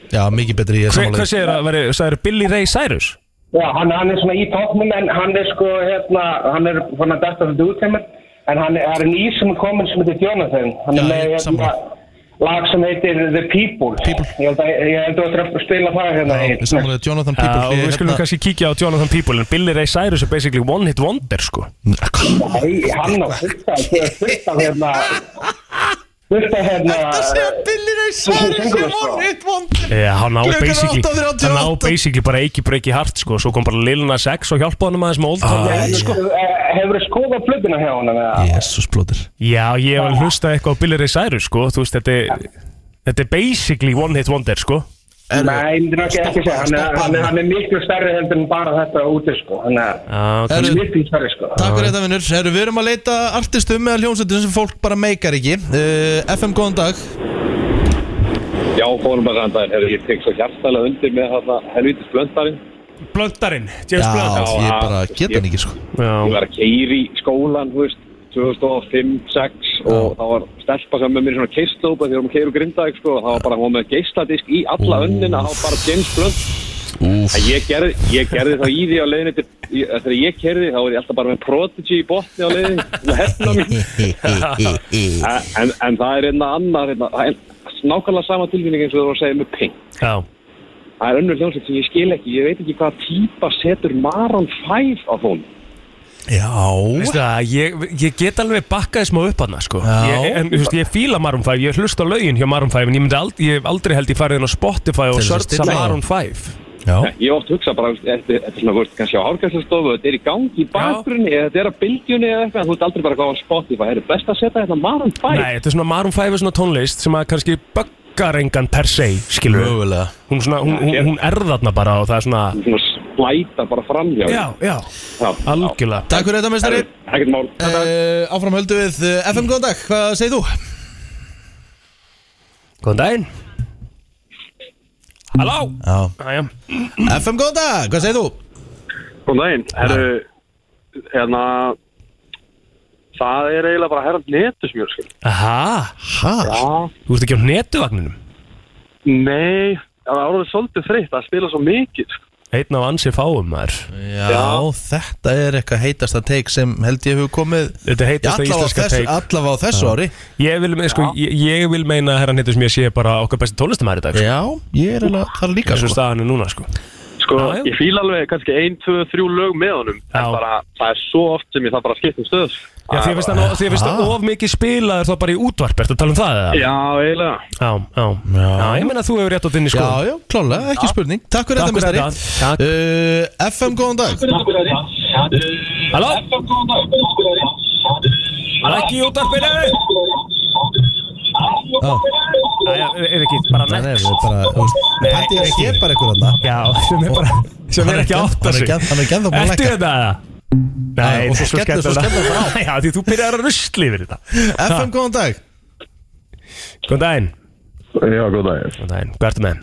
Speaker 1: Já, mikið betri ég
Speaker 2: Hver,
Speaker 1: er sammála
Speaker 2: hvað segir það? Veri, sagði Billy Ray Cyrus?
Speaker 10: Já, hann, hann er svona í tóknum en hann er sko hérna, hann er fann að dæsta þetta út heimur en hann er, það er nýr sem er komin sem heitir Jonathan. Hann
Speaker 1: Já, ég
Speaker 10: er
Speaker 1: er
Speaker 10: með hérna
Speaker 1: sammála.
Speaker 10: lag sem heitir The People.
Speaker 1: People.
Speaker 10: Ég held að, ég held að þú ættir að spila það hérna.
Speaker 1: Já,
Speaker 10: Egill.
Speaker 1: Ég er sammála Jonathan People hérna-
Speaker 2: Já, og við skulum kannski kíkja á Jonathan People en Billy Ray Cyrus er basically one hit wonder sko
Speaker 1: kannski
Speaker 10: Nei, hann á fyrsta, fyrsta hérna, fyrsta hérna.
Speaker 1: Þetta sé að Billy Ray Cyrus er one hit wonder
Speaker 2: Já, hann á
Speaker 1: Klukkan er
Speaker 2: basically
Speaker 1: 8:38.
Speaker 2: hann á basically bara ekki breaki hart sko svo kom bara Lil Nas X og hjálpa honum aðeins með Old Town
Speaker 1: Ah,
Speaker 2: Road sko
Speaker 10: Hefur þið skoðað blöðina hjá hann?
Speaker 1: Jésús blóðir
Speaker 2: Já, ég hef alveg hlustað eitthvað á Billy Ray Cyrus sko, þú veist, þetta er, þetta er basically one hit wonder sko
Speaker 10: Nei, ég myndi ekki ekki segja, hann er, hann, er, hann er miklu stærri heldur en bara þetta úti sko, hann er
Speaker 2: Já, ok.
Speaker 1: Herru,
Speaker 10: miklu stærri sko.
Speaker 1: Takk fyrir þetta vinnur, Herru, við erum að leita artistum eða hljómsveitum sem fólk bara meikar ekki uh, FM góðan dag
Speaker 9: Já, fórum bara hann daginn, hefur ég tekst svo hjartalega undir með þarna helvitis blöndarinn.
Speaker 2: Blöndarinn,
Speaker 1: Já,
Speaker 2: James Blöndar
Speaker 1: ég bara get hann ekki sko
Speaker 9: Ég
Speaker 2: Já,
Speaker 9: var að keiri í skólan, þú veist, 2005, 6 og þá var stelpa sem með mér í svona keistlópa þegar við vorum að keira úr grindaðið, sko, og það var bara hún með geisladisk í alla önnina, þá bara James Blunt.
Speaker 1: Úf,
Speaker 9: En Ég gerði, ég gerði þá í því á leiðinni til, í- þegar ég kerði þá var ég alltaf bara með Prodigy í botni á leiðinni með hefna mín en, en, en það er einna annar einna, það er nákvæmlega sama tilfinning eins og þú voru að segja með Pink
Speaker 2: já,
Speaker 9: það er önnur hljómsveit sem ég skil ekki ég veit ekki hvaða típa setur Maron 5 á þón
Speaker 1: já
Speaker 2: veistu það, ég, ég get alveg bakkaði smá upp hana sko
Speaker 1: Já.
Speaker 2: ég, En, þú veist, ég fíla Maroon 5, ég hlusta á lögin hjá Maroon 5 En ég myndi aldrei, ég hef aldrei held ég farið inn á Spotify og
Speaker 1: Til þess að
Speaker 2: searcha
Speaker 1: stilla á.
Speaker 2: Maroon 5
Speaker 1: Já,
Speaker 9: ég oft hugsa bara þetta þetta er svona þú veist, kannski á hálfgæðslastofu þetta er í gangi í bakgrunni eða þetta er á bylgjunni eða eitthvað þú ert aldrei bara að á Spotify er best að setja hérna þetta Maron 5
Speaker 2: Nei, þetta er svona Maroon 5 er svona tónlist sem að kannski böggar engan per se, skilur við
Speaker 1: mögulega
Speaker 2: Hún, svona, hún, hún, hún er þarna bara og það er svona
Speaker 9: svona slæta bara framhjá
Speaker 2: Já, já,
Speaker 9: Já, já.
Speaker 2: algjörlega
Speaker 1: Takk fyrir þetta mistari
Speaker 9: ekkert mál
Speaker 1: uh, Áfram höldu við uh, FM góðan dag, hvað segir þú?
Speaker 2: Góðan daginn Halló
Speaker 1: Já.
Speaker 2: Æja
Speaker 1: FM góðan dag, hvað segir þú?
Speaker 8: Góðan daginn, herru, hérna, það er eiginlega bara herrand netusmjör, skil.
Speaker 2: Aha,
Speaker 1: Ha?
Speaker 2: þú ert ekki á netuvagninum
Speaker 8: Nei, það var orðið svolítið þreytt að spila svo mikið, sko.
Speaker 2: Einn á ansi fáum maður
Speaker 1: Já, þetta er eitthvað heitasta teik sem held ég hefur komið
Speaker 2: Þetta heitast að
Speaker 1: Allavega á
Speaker 2: íslenska
Speaker 1: þessu-
Speaker 2: teik
Speaker 1: allavega á þessu ári
Speaker 2: ég vil, me- sko, ég, ég vil meina að herra netus mér sé bara okkar besti tónlistamæri í dag sko.
Speaker 1: Já, ég er alveg þar líka
Speaker 2: Eins og
Speaker 1: sko.
Speaker 2: staðan er núna sko
Speaker 8: Sko,
Speaker 2: Já, já.
Speaker 8: ég fíla alveg kannski ein, tvö, þrjú lög með honum,
Speaker 2: Já.
Speaker 8: en bara, það er svo oft sem ég það bara skipt um stöðs.
Speaker 2: Já,
Speaker 9: Ah.
Speaker 2: því að finnst það- því að finnst það
Speaker 1: Ah.
Speaker 2: of mikið spilaður þá bara í útvarp Ertu að tala um það eða?
Speaker 8: Já, eiginlega.
Speaker 2: Já, já, já ég meina að þú hefur rétt á þinni sko
Speaker 1: Já, já, klálega, ekki spurning Takk
Speaker 2: Takk
Speaker 1: fyrir þetta
Speaker 2: fyrir
Speaker 1: mistari
Speaker 2: þetta. Takk.
Speaker 1: uh, FM góðan dag
Speaker 2: Halló Ekki í útvarpinu
Speaker 1: Já,
Speaker 2: Æja, er ekki, bara
Speaker 1: Nei, nei,
Speaker 2: next
Speaker 1: við bara, þú veist
Speaker 2: Nei,
Speaker 1: Patti er
Speaker 2: ekki.
Speaker 1: skepar ykkur þarna
Speaker 2: Já, sem er bara sem
Speaker 1: Hann
Speaker 2: er
Speaker 1: er
Speaker 2: ekki
Speaker 1: ekki-
Speaker 2: átt
Speaker 1: hann er ekki- hann er ekki ennþá búinn að
Speaker 2: Ertu hérna?
Speaker 1: lækka.
Speaker 2: þetta?
Speaker 1: Já, og svo
Speaker 2: þetta er
Speaker 1: skellir- svo
Speaker 2: skemmtilegt.
Speaker 1: skellir bara á.
Speaker 2: Já, því þú byrjar að rusli yfir þetta
Speaker 1: FM góðan dag
Speaker 2: Góðan daginn
Speaker 9: Já, góð daginn
Speaker 2: Góðan daginn, hvað ertu með?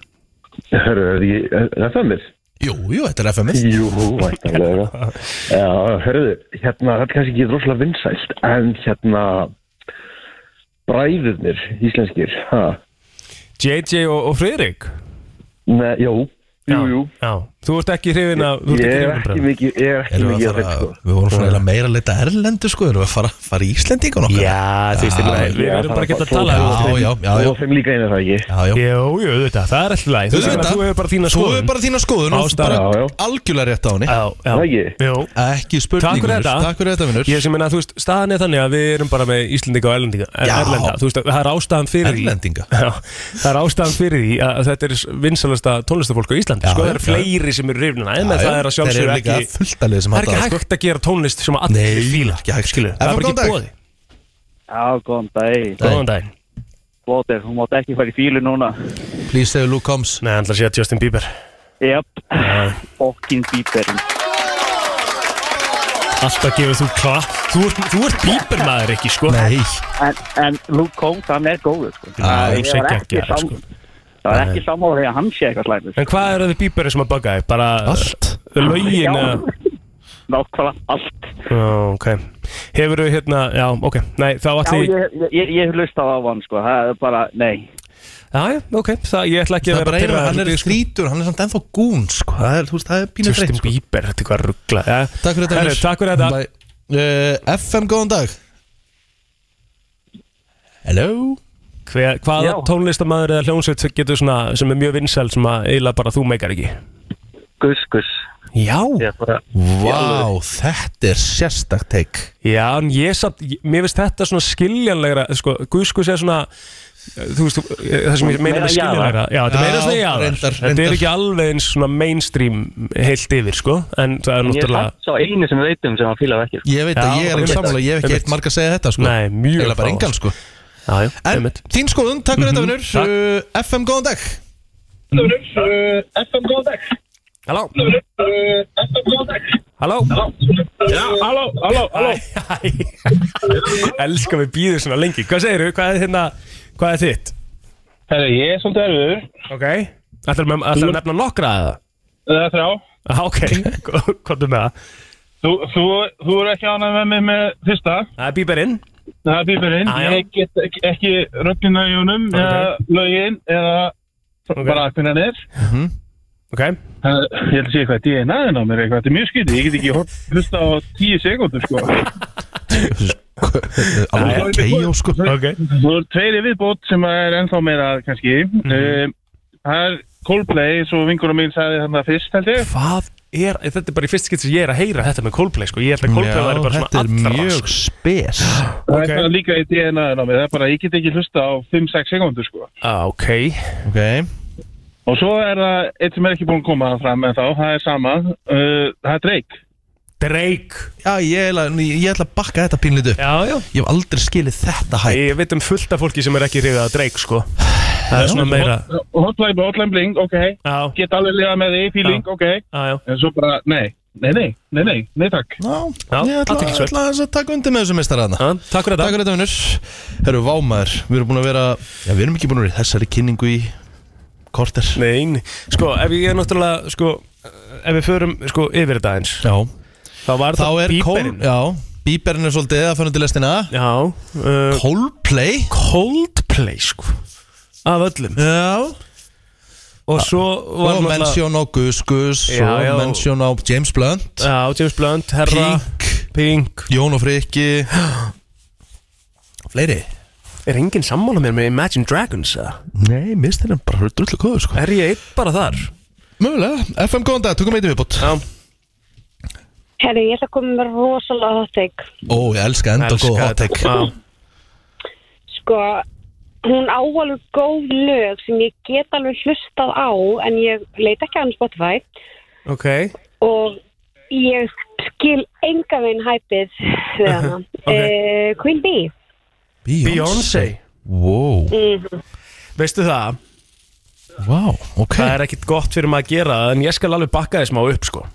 Speaker 9: Herru, er því, er það mér?
Speaker 1: Jú, jú, þetta er FM
Speaker 9: Jú, væntanlega Já, herruðu, hérna, þetta er kannski ekki rosalega vinsælt En hérna, bræðurnir, íslenskir, ha?
Speaker 2: JJ og, og Friðrik
Speaker 9: Nei, jú, jú, jú
Speaker 2: Já, þú ert ekki hrifin að þú
Speaker 9: Ég
Speaker 2: ert
Speaker 9: er
Speaker 2: hrifinn af
Speaker 9: ekki
Speaker 2: bröðum.
Speaker 9: mikið, ég er ekki
Speaker 1: Erum við
Speaker 9: mikið
Speaker 1: að
Speaker 9: að þetta,
Speaker 1: fara,
Speaker 9: sko
Speaker 1: við vorum svona eiginlega meira að leita erlendu sko, erum við að fara, fara í Íslendingun okkar?
Speaker 2: Já, þú veist, ég meina,
Speaker 1: Já,
Speaker 2: við
Speaker 9: já,
Speaker 2: verðum bara
Speaker 9: það var
Speaker 2: að geta að
Speaker 9: bara
Speaker 2: tala um
Speaker 1: já,
Speaker 2: þetta.
Speaker 1: já, já, já,
Speaker 9: Og þeim líka einu það ekki
Speaker 1: já, já.
Speaker 2: Jú, jú, auðvitað, það er alltaf læg Þú veist, ég meina, þú hefur bara þína
Speaker 1: Þú hefur
Speaker 2: skoðun
Speaker 1: bara þína skoðun og
Speaker 2: Ástæða.
Speaker 1: bara
Speaker 9: Já, já.
Speaker 1: algjörlega rétt á henni
Speaker 2: Já,
Speaker 9: Það
Speaker 2: já,
Speaker 9: ekki?
Speaker 2: jú
Speaker 1: Ekki spurning
Speaker 2: Takk fyrir
Speaker 1: vinur.
Speaker 2: þetta.
Speaker 1: Takk fyrir þetta vinnur
Speaker 2: Ég sem meina, þú veist, staðan er þannig að við erum bara með Íslendinga og Erlendinga, er,
Speaker 1: Já.
Speaker 2: Erlenda Þú veist, það er ástæðan fyrir því-
Speaker 1: Erlendinga
Speaker 2: Já, það er ástæðan fyrir því að þetta er vinsalasta tónlistafólk á Íslandi
Speaker 1: Já,
Speaker 2: sko, það
Speaker 1: já,
Speaker 2: eru
Speaker 1: já.
Speaker 2: fleiri sem eru rifnina en það er
Speaker 1: Já, já,
Speaker 2: að
Speaker 1: þeir eru
Speaker 2: sjálfsögur
Speaker 1: líka
Speaker 2: ekki
Speaker 1: fullt af liðið sem
Speaker 2: það er
Speaker 1: hafa
Speaker 2: ekki
Speaker 1: það, sko.
Speaker 2: hægt að gera tónlist sem allir
Speaker 1: Nei,
Speaker 2: fíla
Speaker 1: ekki hægt.
Speaker 2: skilur,
Speaker 1: Ef
Speaker 2: það er bara
Speaker 1: við
Speaker 2: ekki
Speaker 1: góðan
Speaker 2: bóði
Speaker 1: dag.
Speaker 10: Já, góðan dag,
Speaker 2: Góðan daginn
Speaker 10: Blóter, hún mátt ekki fara í fílu núna.
Speaker 1: Please say Luke comes
Speaker 2: Nei, hann ætla að sé að Justin Bieber
Speaker 10: Jep, fokkin bíberinn.
Speaker 2: Alltaf gefur þú klapp Þú ert, þú ert bíbermaður ekki sko Nei
Speaker 11: en, en Luke Combs, hann er góður sko.
Speaker 2: Já,
Speaker 11: ég var
Speaker 2: ég segi
Speaker 11: ekki
Speaker 2: geggjær,
Speaker 11: sam-
Speaker 2: sko.
Speaker 11: það var
Speaker 2: Nei.
Speaker 11: ekki sammála því að hann sé eitthvað slæmur
Speaker 2: En hvað er það við bíberið sem að bugga þig? Bara Allt
Speaker 11: Já.
Speaker 2: Lögin eða-
Speaker 11: nákvæmlega allt
Speaker 2: Já, ok Hefur þú hérna Já, ok Nei, þá
Speaker 11: já,
Speaker 2: allir
Speaker 11: ég, ég, ég, ég hlusta á hann sko. það er bara, nei
Speaker 2: Já, já, ok Það ég ætla ekki
Speaker 1: Það
Speaker 2: að
Speaker 1: er bara
Speaker 2: vera
Speaker 1: einu, hann er
Speaker 2: pirraður, sko.
Speaker 1: skrítur, hann er samt ennþá gún sko. það, er, þú veist, það er pínu
Speaker 2: Justin
Speaker 1: þreytt sko.
Speaker 2: Bieber, þetta er hvað ruggla ja.
Speaker 1: Takk fyrir þetta
Speaker 2: Herru,
Speaker 1: Unnur.
Speaker 2: Takk fyrir þetta
Speaker 1: Bye. uh, FM, góðan dag Hello
Speaker 2: Hver, Hvaða tónlistamæður eða hljónsveit getur svona sem er mjög vinsæl sem að eiginlega bara þú meikar ekki?
Speaker 11: Gus, gus
Speaker 2: Já
Speaker 1: Vá, þetta er sérstakt teik
Speaker 2: Já, en ég samt, ég- mér finnst þetta svona skiljanlegra sko, Guskus er svona eh, þú veist, eh, það sem ég meina
Speaker 11: Meira
Speaker 2: með
Speaker 11: jaðar.
Speaker 2: skiljanlegra Já, þetta er meira
Speaker 1: Já,
Speaker 2: svona jaðar
Speaker 1: reyndar,
Speaker 2: Þetta
Speaker 1: reyndar.
Speaker 2: er ekki alveg eins svona mainstream heilt yfir, sko en það er
Speaker 11: ég er
Speaker 2: náttúrulega
Speaker 11: samt sá einu sem við veitum sem hann fílar ekki sko.
Speaker 1: Ég veit
Speaker 2: Já,
Speaker 1: að ég er alveg
Speaker 2: einmitt.
Speaker 1: sammála, ég hef ekki
Speaker 2: Einmitt.
Speaker 1: eitt marg að segja þetta sko.
Speaker 2: Nei, mjög
Speaker 1: Eiginlega bara
Speaker 2: fáar.
Speaker 1: engan sko.
Speaker 2: Já, já,
Speaker 1: En
Speaker 2: einmitt.
Speaker 1: þín skoðun, takk fyrir
Speaker 2: Mhm,
Speaker 1: þetta vinnur uh, FM, góðan dag
Speaker 10: Eh, FM, góðan dag
Speaker 2: Halló,
Speaker 10: Eh, FM, góðan dag
Speaker 2: halló
Speaker 10: Já, halló, halló, halló
Speaker 2: Elskar við býður svona lengi Hvað segirðu, hvað er hérna, hvað er þitt?
Speaker 10: Herra, ég er svolítið erfiður
Speaker 2: Ok, ætlar að nefna nokkra eða?
Speaker 10: Það er þrjá
Speaker 2: Ah, Ok, hvað er með það?
Speaker 10: Þú, þú, þú er ekki ánægð með mig með fyrsta
Speaker 2: Það er bíberinn
Speaker 10: Það er bíberinn
Speaker 2: Ah, já.
Speaker 10: Ég get ekki, ekki röddina í honum
Speaker 2: Ok.
Speaker 10: eða lögin eða bara hvernig hann er
Speaker 2: Mhm. Ok,
Speaker 10: Það, ég held að sé eitthvað DNA-in á mér eitthvað, þetta er mjög skytið, ég get ekki hort- hlusta á tíu sekundur sko.
Speaker 1: Alveg keio sko
Speaker 2: ok Mhm.
Speaker 10: Þú eru tveiri viðbót sem er ennþá meira kannski. Mm það er Coldplay, svo vingunum mín sagði þarna fyrst held ég.
Speaker 2: Hvað er, þetta er bara í fyrst skitt sem ég er að heyra þetta með Coldplay sko, ég held að Coldplay væri bara svona
Speaker 1: þetta er
Speaker 2: allra
Speaker 1: mjög
Speaker 2: sko.
Speaker 1: spes
Speaker 10: Það
Speaker 2: Ok.
Speaker 10: er það líka í DNA-in á mér, það er bara, ég get ekki hlusta á 5-6 sekundur sko.
Speaker 2: ah, Ok,
Speaker 1: Ok,
Speaker 10: Og svo er það eitt sem er ekki búin að koma fram en þá, það er sama, uh, það er Drake.
Speaker 2: Drake
Speaker 1: já ég ætla, ég ætla að bakka þetta pínlítu upp
Speaker 2: Já, já
Speaker 1: Ég hef aldrei skilið þetta hæ
Speaker 2: Ég veit um fullt af fólki sem er ekki hrifið að Drake sko Það er svona meira
Speaker 10: Hotline, hotline bling, ok,
Speaker 2: Já,
Speaker 10: get alveg liða með því, feeling, ok,
Speaker 2: já, já,
Speaker 10: en svo bara, nei, nei, nei, nei, nei, nei takk.
Speaker 1: Já,
Speaker 2: Já,
Speaker 1: ég ætla,
Speaker 2: athyglisvert.
Speaker 1: ætla aðeins að taka undir með þessu mistaraðna
Speaker 2: já Takk fyrir
Speaker 1: Takk
Speaker 2: þetta
Speaker 1: fyrir þetta vinnur Herru, vámaður, við erum búin að vera Já, við erum ekki búin að vera í þessari kynningu í korter
Speaker 2: Nein, sko, ef ég er náttúrulega sko, ef við förum sko yfir þetta eins
Speaker 1: Já,
Speaker 2: þá var
Speaker 1: þá
Speaker 2: þetta
Speaker 1: er
Speaker 2: bíberinn
Speaker 1: Col- Já, bíberinn er svolítið að fannu til lestina
Speaker 2: Já, uh,
Speaker 1: Coldplay
Speaker 2: Coldplay sko af öllum
Speaker 1: Já,
Speaker 2: og svo var
Speaker 1: Ah, og mention á Gus Gus
Speaker 2: Já, já.
Speaker 1: og mention á James Blunt
Speaker 2: Já, James Blunt, Herra
Speaker 1: Pink,
Speaker 2: Pink
Speaker 1: Jón og Frikki Fleiri
Speaker 2: Er enginn sammála mér með Imagine Dragons eða?
Speaker 1: Nei, mist þeirra bara drullu kóður sko
Speaker 2: Er ég einn bara þar?
Speaker 1: Mögulega, FM góðan dag, tökum eitt viðbútt
Speaker 2: Já,
Speaker 7: Herri, ég ætla að koma með rosalega hotteik.
Speaker 1: Ó, ég elska enda
Speaker 2: elska
Speaker 1: góð hot
Speaker 2: þetta.
Speaker 1: take
Speaker 2: Já,
Speaker 7: Sko, hún á alveg góð lög sem ég get alveg hlustað á en ég leit ekki á hann Spotify
Speaker 2: ok
Speaker 7: og ég skil enga veginn hæpið við hana.
Speaker 2: Ok.
Speaker 7: Eh, Queen Bee.
Speaker 2: Beyoncé
Speaker 1: Wow,
Speaker 7: Mhm.
Speaker 2: Veistu það,
Speaker 1: wow, ok
Speaker 2: það er ekkit gott fyrir maður að gera það, En ég skal alveg bakka þið smá upp sko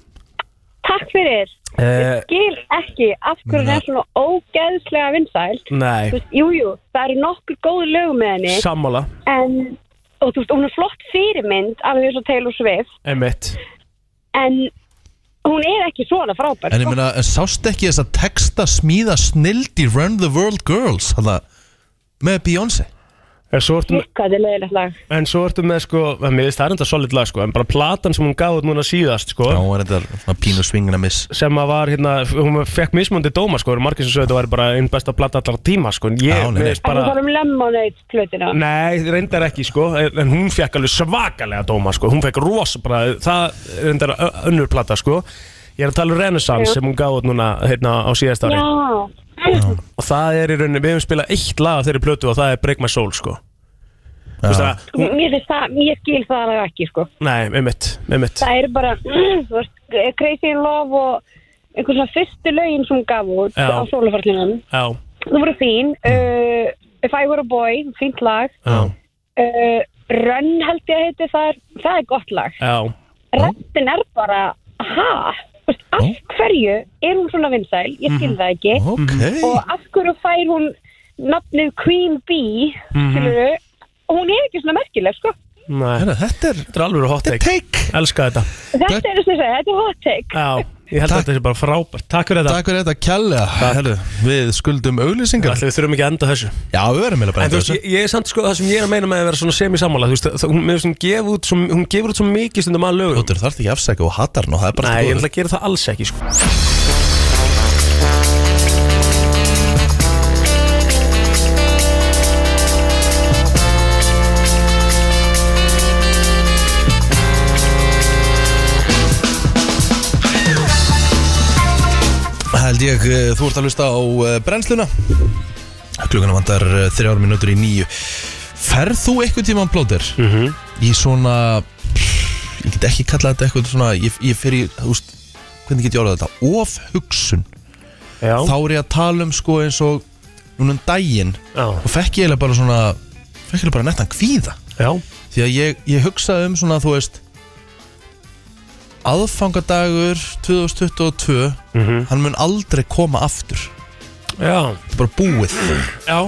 Speaker 7: Takk fyrir.
Speaker 2: eh,
Speaker 7: Skil ekki af hverju hún er svona ógeðslega vinsælt.
Speaker 2: Nei,
Speaker 7: Þú veist, Jú, jú, það eru nokkur góð lög með henni
Speaker 2: sammála,
Speaker 7: en, og þú veist, hún er flott fyrirmynd alveg eins og Taylor Swift
Speaker 2: emitt
Speaker 7: en hún er ekki svona frábær
Speaker 1: En ég
Speaker 7: sko.
Speaker 1: meina, sást ekki þess að texta smíða snild í Run the World Girls hana, með Beyoncé
Speaker 2: En svo ertu með,
Speaker 7: Hvað þetta er leiðilegt lag
Speaker 2: en svo ertu með sko, en mér veist það er enda solid lag sko En bara platan sem hún gaf út núna síðast sko
Speaker 1: Já, hún er þetta svona pínu svingina miss
Speaker 2: sem að var hérna, hún fekk mismundi dóma sko, eru margir sem sögðu þetta var bara einn besta plata allar tíma sko, en ég,
Speaker 1: Já, nei, nei.
Speaker 2: mér finnst
Speaker 7: En þú
Speaker 2: bara
Speaker 7: farum Lemonade plötina
Speaker 2: Nei, reyndar ekki sko En hún fekk alveg svakalega dóma sko Hún fekk rosa bara Það er reyndar ö- önnur plata sko Ég er að tala um Renaissance
Speaker 7: Já.
Speaker 2: sem hún gaf út núna hérna á síðasta ári
Speaker 7: Já,
Speaker 2: Og það er í rauninni, við hefum spilað eitt lag af þeirri plötu og það er Break My Soul sko Þú veist það, hún,
Speaker 7: mér finnst það, ég skil það alveg ekki sko.
Speaker 2: nei, einmitt, einmitt
Speaker 7: Það eru bara, þú veist, Crazy in Love og einhvern svona fyrstu lögin sem hún gaf út
Speaker 2: Já.
Speaker 7: á sólufarlinum
Speaker 2: Já,
Speaker 7: Þú voru fín uh, If I Were a Boy, fínt lag
Speaker 2: já,
Speaker 7: uh, Run held ég að heiti það er, það er gott lag
Speaker 2: já
Speaker 7: Rettin er bara, ha Þú veist, af hverju er hún svona vinsæl, ég
Speaker 6: Mhm.
Speaker 7: skil það ekki
Speaker 1: Ókei.
Speaker 7: og af hverju fær hún nafnið Queen Bee
Speaker 2: Mhm.
Speaker 7: skilur við, og hún er ekki svona merkileg sko,
Speaker 2: Herra,
Speaker 1: þetta er
Speaker 2: Þetta er alveg hot take, take. Elska þetta
Speaker 7: þetta er þess að segja, þetta er hot take
Speaker 2: Já, ég held að þetta er bara frábært Takk fyrir þetta
Speaker 1: Takk fyrir þetta kjalla Herru, Við skuldum auglýsingar
Speaker 2: Ætli við þurfum ekki að enda þessu
Speaker 1: Já, við verðum eiginlega bara
Speaker 2: En
Speaker 1: að
Speaker 2: þú
Speaker 1: enda
Speaker 2: veist,
Speaker 1: þessu
Speaker 2: ég, ég er samt sko það sem ég er að meina með að vera svona semi-sammála Þú veist, það, hún, mér finnst hún, gefur út svo, hún gefur út svo mikið stundum að lögum
Speaker 1: Þú þarf ekki að afsækja og hatar hann og það er bara
Speaker 2: Nei, ég
Speaker 1: allt í góðu.
Speaker 2: ætla að gera það alls ekki sko.
Speaker 1: Held ég, eh, þú ert að hlusta á eh, brennsluna Klukkana vandar eh, þrjár mínútur í nýju Ferð þú eitthvað tíma plóter
Speaker 2: Mhm.
Speaker 1: í svona Ég get ekki kallað þetta eitthvað svona Ég, ég fer í, þú veist, hvernig get ég orðað þetta Ofhugsun
Speaker 2: Já.
Speaker 1: Þá er ég að tala um sko eins og Núna um daginn
Speaker 2: Já.
Speaker 1: Og fekk ég eiginlega bara svona Fekk ég eiginlega bara nettan kvíða
Speaker 2: Já.
Speaker 1: Því að ég, ég hugsaði um svona, þú veist aðfangadagur 2022 hann mun aldrei koma aftur
Speaker 2: Mhm. Já
Speaker 1: Þetta er bara búið
Speaker 2: Já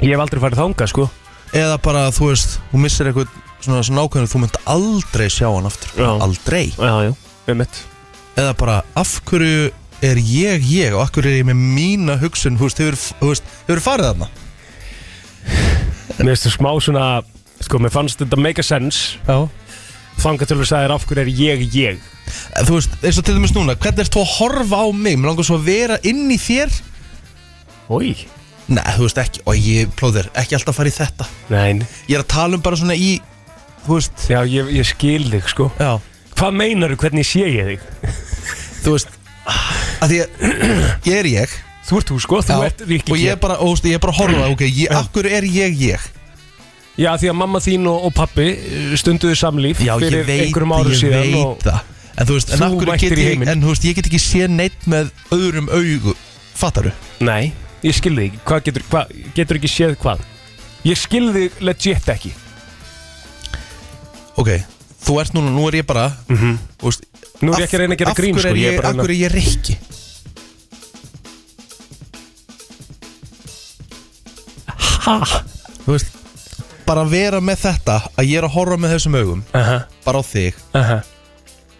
Speaker 2: Ég hef aldrei farið þangað sko
Speaker 1: eða bara þú veist, þú missir eitthvað svona, svona ákveðinu, þú munt aldrei sjá hann aftur já. aldrei
Speaker 2: já, já,
Speaker 1: eða bara af hverju er ég ég og af hverju er ég með mína hugsun þú veist, hefur, þú veist, hefur farið þarna
Speaker 2: Mér finnst það smá svona Sko, mér fannst þetta make a sense
Speaker 1: Já
Speaker 2: Þangað til við sagðir af hverju er ég ég
Speaker 1: En þú veist, eins og til dæmis núna, hvernig ert þú að horfa á mig mér langar svo að vera inn í þér
Speaker 2: Ói
Speaker 1: Nei, þú veist ekki, og ég plóðir ekki alltaf að fara í þetta
Speaker 2: Nein
Speaker 1: Ég er að tala um bara svona í, þú veist
Speaker 2: Já, ég, ég skil þig sko
Speaker 1: Já
Speaker 2: Hvað meinaru hvernig sé ég þig?
Speaker 1: þú veist að því að ég er ég
Speaker 2: Þú ert þú sko, þú ert Rikki
Speaker 1: og ég er
Speaker 2: G.
Speaker 1: bara, óst, ég er bara að horfa ok, ég, akkur er ég ég
Speaker 2: Já, því að mamma þín og, og pappi stunduðu samlíf
Speaker 1: já, ég
Speaker 2: fyrir
Speaker 1: veit,
Speaker 2: einhverjum árum
Speaker 1: ég
Speaker 2: síðan
Speaker 1: veit
Speaker 2: og,
Speaker 1: það en þú veist, en
Speaker 2: Þú
Speaker 1: akkur
Speaker 2: mættir
Speaker 1: get
Speaker 2: í
Speaker 1: ég
Speaker 2: heiminn.
Speaker 1: en þú veist, ég get ekki séð neitt með öðrum augu, fattaru
Speaker 2: Nei, ég skil þig ekki. Hvað getur, hva, getur ekki séð hvað? Ég skil þig legit ekki
Speaker 1: ok, þú ert núna, nú er ég bara þú veist,
Speaker 2: Mhm. Nú er ég ekki að reyna að gera grín,
Speaker 1: af
Speaker 2: sko,
Speaker 1: hverju
Speaker 2: ég er
Speaker 1: er ég,
Speaker 2: bara að
Speaker 1: af
Speaker 2: reyna-
Speaker 1: hverju er ég rikki
Speaker 2: Ha?
Speaker 12: Ah.
Speaker 1: þú veist, bara vera með þetta að ég er að horfa með þessum augum
Speaker 2: -huh.
Speaker 1: bara á þig
Speaker 2: -huh.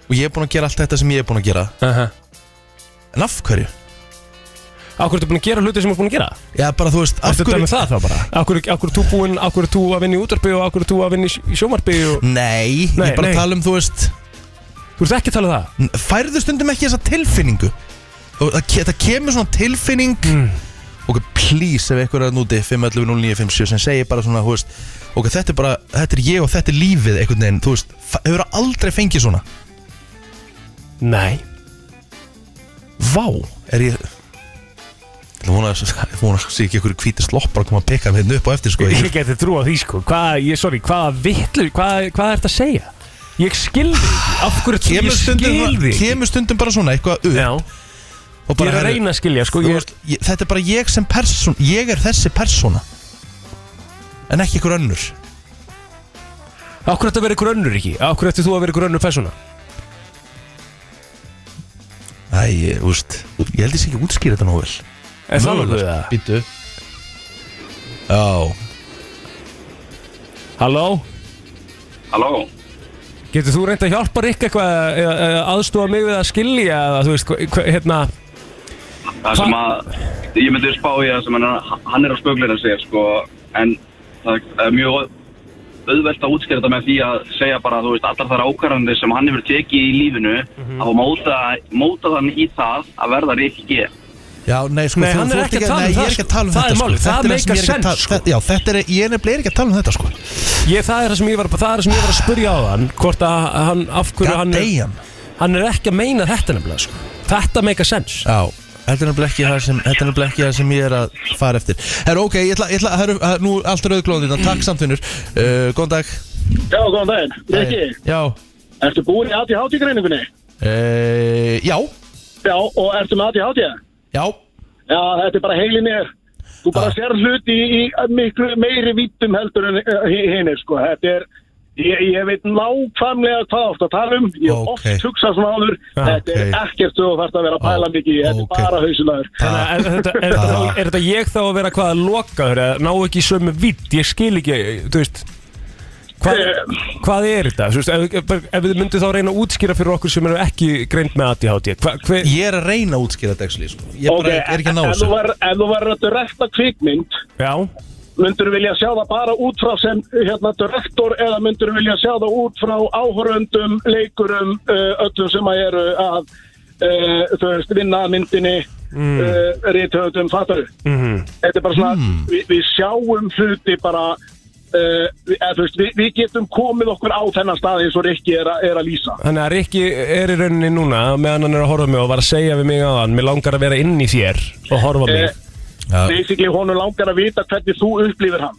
Speaker 1: og ég er búin að gera allt þetta sem ég er búin að gera
Speaker 2: -huh.
Speaker 1: en af hverju?
Speaker 2: Akkur ertu búin að gera hluti sem þú ert búin að gera?
Speaker 1: Já, bara þú veist,
Speaker 2: Ertu dæmið það þá bara? Akkur, akkur er þú búin, akkur er þú að vinna í útarpi og akkur er þú að vinna í sj- í sjómarpi og...
Speaker 1: Nei, ég er bara að tala um, þú veist
Speaker 2: Þú ert ekki að tala um það?
Speaker 1: færðu stundum ekki þessa tilfinningu og það, ke- það kemur svona tilfinning
Speaker 2: Mm.
Speaker 1: ok, please ef einhver er að núti 511-0957 sem segir bara svona, þú veist ok, þetta er bara, þetta er ég og þetta er lífið einhvern veginn, þú veist, fa- hefur það aldrei fengið svona
Speaker 2: Nei
Speaker 1: Vá, er ég Ég vona að ég vona að sé ekki einhverju hvíti sloppar að koma að peka með hérna upp á eftir sko
Speaker 2: Ég geti trú á því sko Hvað, ég, sorry, hvað vitlu, hvað, hvað ert að segja? Ég skil þig ekki Af hverju ert þú,
Speaker 1: kemur
Speaker 2: ég skil
Speaker 1: stundum,
Speaker 2: þig ekki
Speaker 1: kemur stundum bara svona eitthvað upp
Speaker 2: Já.
Speaker 1: og
Speaker 2: Ég er að
Speaker 1: herru,
Speaker 2: reyna að skilja, sko,
Speaker 1: þú
Speaker 2: ég-
Speaker 1: veist, ég, þetta er bara ég sem person ég er þessi persona en ekki ykkur önnur
Speaker 2: Af hverju ertu að vera ykkur önnur ekki? Af hverju ertu þú að vera ykkur önnur persóna?
Speaker 1: Æ, ég, þú veist, ég held ég sé ekki að útskýra þetta nógu vel
Speaker 2: Er það nokkuð
Speaker 1: Mögulega. sko,
Speaker 2: það?
Speaker 1: Bíddu. Já
Speaker 2: Halló?
Speaker 13: Halló,
Speaker 2: Getur þú reynd að hjálpa Rikk eitthvað eða- eða aðstofa mig við að skilja eða þú veist, hva, hva, hérna
Speaker 13: það sem að ég myndi spá í það sem hann er, hann er að spöglina sig sko, en það er mjög auðvelt að útskýra þetta með því að segja bara þú veist allar þar ákvarðandi sem hann hefur tekið í lífinu
Speaker 2: Mhm.
Speaker 13: að móta, móta þann í það að verða Rikki G
Speaker 1: Já, nei, sko,
Speaker 13: Nei,
Speaker 1: þú-
Speaker 13: hann
Speaker 1: þú
Speaker 13: er
Speaker 1: ert
Speaker 13: ekki að tala um
Speaker 1: nei, ég
Speaker 13: það,
Speaker 1: er ekki að
Speaker 13: sko.
Speaker 1: tala um
Speaker 13: Það
Speaker 1: þetta
Speaker 13: er
Speaker 1: sko.
Speaker 13: málið,
Speaker 1: Þetta
Speaker 13: það
Speaker 1: er
Speaker 13: make
Speaker 1: sem ég er
Speaker 13: a
Speaker 1: ekki að
Speaker 13: sense,
Speaker 1: tala- þetta- Já, þetta er, ég er nefnilega ekki að tala um þetta
Speaker 2: sko.
Speaker 1: sko
Speaker 2: Ég, það er það sem ég var, það er það sem ég var að spyrja á hann Hvort að hann, af hverju
Speaker 1: God
Speaker 2: hann
Speaker 1: damn.
Speaker 2: er Hann er ekki að meina þetta nefnilega sko. Þetta make a sense
Speaker 1: um. Já, þetta er nefnilega ekki það sem, þetta er nefnilega ekki það sem ég er að fara eftir Herra, ok, ég ætla, ég ætla, herru, herru, nú er allt rauðglóðin, takk samtvinnur uh, Góðan dag
Speaker 14: Já, góðan daginn, Rikki,
Speaker 1: Já,
Speaker 14: ertu búin í ADHD greiningunni?
Speaker 1: uh, já,
Speaker 14: Já, og ertu með ADHD?
Speaker 1: Já Ah.
Speaker 14: Já, þetta er bara heilin er Þú bara sér hluti í, í miklu meiri vítum heldur en uh, hinnir, eh, sko Þetta er, Ég, ég veit nákvæmlega hvað þú ert að tala um Ég hef oft hugsað svona áður
Speaker 2: Já,
Speaker 14: Þetta
Speaker 2: ok.
Speaker 14: er ekkert þú þarft að vera að
Speaker 1: Ah,
Speaker 14: pæla mikið í, Þetta er bara hausulagur
Speaker 2: Þannig að er þetta, er, þetta, þá- er þetta ég þá að vera hvað að loka þér eða ná ekki í sömu vitt, ég skil ekki, þú veist Hvað, hvað er þetta? Þú Veist, ef, ef, ef við myndum þá reyna að útskýra fyrir okkur sem eru ekki greind með ADHD hva, hver...
Speaker 1: Ég er að reyna að útskýra Dexli sko. Ég
Speaker 14: Ok,
Speaker 1: bara er ekki að ná
Speaker 14: en- en
Speaker 1: þessu
Speaker 14: þú var- Ef þú verður að direkta kvikmynd
Speaker 2: Já
Speaker 14: Myndur vilja sjá það bara út frá sem hérna direktor eða myndur vilja sjá það út frá áhoröndum, leikurum uh, öllum sem að eru að uh, þú veist, vinna að myndinni mm.
Speaker 2: Mm.
Speaker 14: uh, rithöfundum, fattar
Speaker 2: Mhm.
Speaker 14: Þetta er bara svona,
Speaker 1: Mm.
Speaker 14: við, við sjáum hluti bara uh, við, eða, þú veist, við, við getum komið okkur á þennan stað eins og Rikki er, a, er að lýsa
Speaker 2: Þannig að Rikki er í rauninni núna meðan hann er að horfa á mig og var að segja við mig á hann Mér langar að vera inn í þér og horfa á mig
Speaker 14: Eh, Basically, honum langar að vita hvernig þú upplifir hann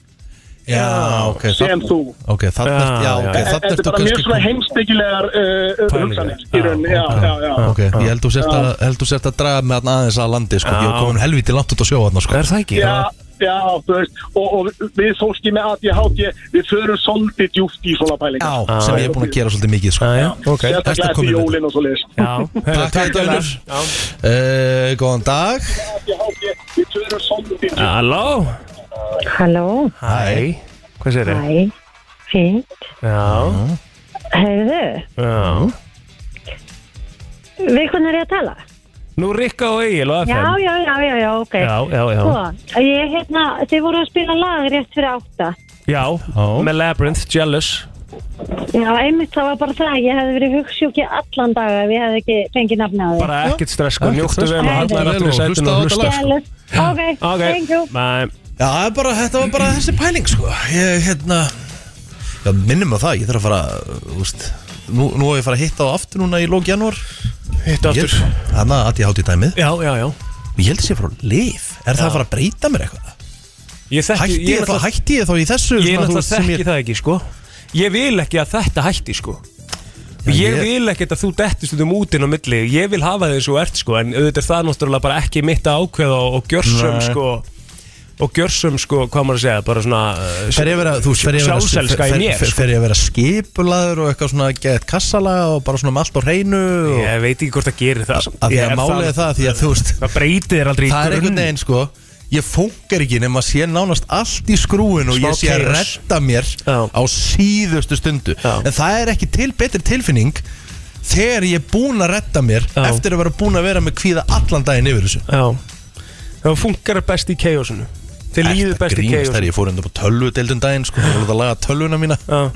Speaker 1: Já, ok
Speaker 14: sem þú
Speaker 1: Ok, þannig er Já, ok,
Speaker 14: Þetta
Speaker 1: þannig
Speaker 14: er
Speaker 1: ertu
Speaker 14: bara mjög
Speaker 1: kannski
Speaker 14: svona heimsbyggilegar uh, hugsanir í rauninni, já, já, já
Speaker 1: Ok, ég held þú sért
Speaker 14: Já.
Speaker 1: að- held þú sért að draga með hann aðeins að landi sko.
Speaker 2: Já.
Speaker 1: Ég var komin helviti langt út á sjó hann sko.
Speaker 2: Er það ekki?
Speaker 14: Já, já, þú veist, og, og við fólki með ADHD, við förum svolítið djúft í svona pælingar.
Speaker 1: Já, sem ég er búin að gera svolítið mikið sko.
Speaker 2: Já, já, ok
Speaker 1: Best
Speaker 14: Sérstaklega
Speaker 1: að koma inn
Speaker 14: eftir
Speaker 1: með
Speaker 14: jólinn og svo leiðis.
Speaker 2: Já,
Speaker 1: Takk fyrir þetta Unnur Eh, Góðan dag
Speaker 2: Halló
Speaker 15: Halló,
Speaker 2: Hæ Hvað segir þið?
Speaker 15: hæ, fínt,
Speaker 2: Já,
Speaker 15: heyrðu,
Speaker 2: já
Speaker 15: við hvernig er ég að tala?
Speaker 2: Nú Rikka og Egil og FM
Speaker 15: Já, já, já, já, já, ok.
Speaker 2: Já, já, já.
Speaker 15: Sko, ég, hérna, þið voru að spila lag rétt fyrir átta.
Speaker 2: Já, með Labyrinth, Jealous
Speaker 15: Já, einmitt það var bara það, ég hefði verið hugssjúki allan dag ef ég hefði ekki fengið nafna á því.
Speaker 2: Bara ekkert stress, sko,
Speaker 1: Ekkert
Speaker 2: njóttu
Speaker 1: stress.
Speaker 2: vel og hallar
Speaker 1: Nei,
Speaker 2: aftur í
Speaker 1: nei,
Speaker 2: sætinu
Speaker 1: hlusta á
Speaker 2: og
Speaker 1: þetta
Speaker 2: hlusta
Speaker 1: lag,
Speaker 2: sko.
Speaker 15: Jealous. Ok,
Speaker 2: Ok,
Speaker 15: thank you.
Speaker 2: bye
Speaker 1: Já, það er bara, þetta var bara þessi pæling sko Ég, hérna Já, minnum að það, ég þarf að fara úst, Nú, nú er ég að fara að hitta á aftur núna í lók janúar
Speaker 2: Hitta
Speaker 1: aftur Þannig að ég hátt í dæmið
Speaker 2: Já, já, já
Speaker 1: Ég held að sé frá lif, er það að fara að breyta mér eitthvað?
Speaker 2: Ég þekki,
Speaker 1: Hætti ég, þá,
Speaker 2: náttúrulega-
Speaker 1: hætti ég þá í þessu
Speaker 2: Ég
Speaker 1: svona, þú
Speaker 2: náttúrulega
Speaker 1: veist, sem
Speaker 2: þekki það ekki, sko Ég vil ekki að þetta hætti, sko
Speaker 1: Já,
Speaker 2: ég,
Speaker 1: ég-
Speaker 2: vil ekkert að þú dettist út um útin og milli Ég vil hafa þig eins og þú ert, sko En auðvitað er það náttúrulega bara ekki mitt að ákveða og, og gjörsum,
Speaker 1: Nei.
Speaker 2: sko Og gjörsum, sko, hvað maður að segja Bara svona uh,
Speaker 1: Fer ég að vera, þú veist, fer ég að vera
Speaker 2: sjálfselska í
Speaker 1: fer-
Speaker 2: mér,
Speaker 1: fer-
Speaker 2: sko.
Speaker 1: Fer ég að vera skipulaður og eitthvað svona gett kassalaga og bara svona með allt á hreinu og...
Speaker 2: Ég veit ekki hvort það gerir það samt.
Speaker 1: Sko. Af því
Speaker 2: Ég
Speaker 1: að
Speaker 2: er
Speaker 1: málið er það, því að þú veist
Speaker 2: Það breytir þér aldrei í
Speaker 1: Það er einhvern
Speaker 2: grunn.
Speaker 1: veginn sko Ég fóngar ekki nema að sé nánast allt í skrúin og
Speaker 2: Smá
Speaker 1: ég sé að
Speaker 2: chaos.
Speaker 1: redda mér á síðustu stundu En það er ekki til betri tilfinning þegar ég er búin að redda mér eftir að vera búin að vera með kvíða allan daginn yfir þessu
Speaker 2: Já, það funkar best í chaosinu Þið líður best í
Speaker 1: grínast þegar
Speaker 2: chaosinu
Speaker 1: ég fór undan på tölvu deildum daginn sko, ég var að laga tölvuna mína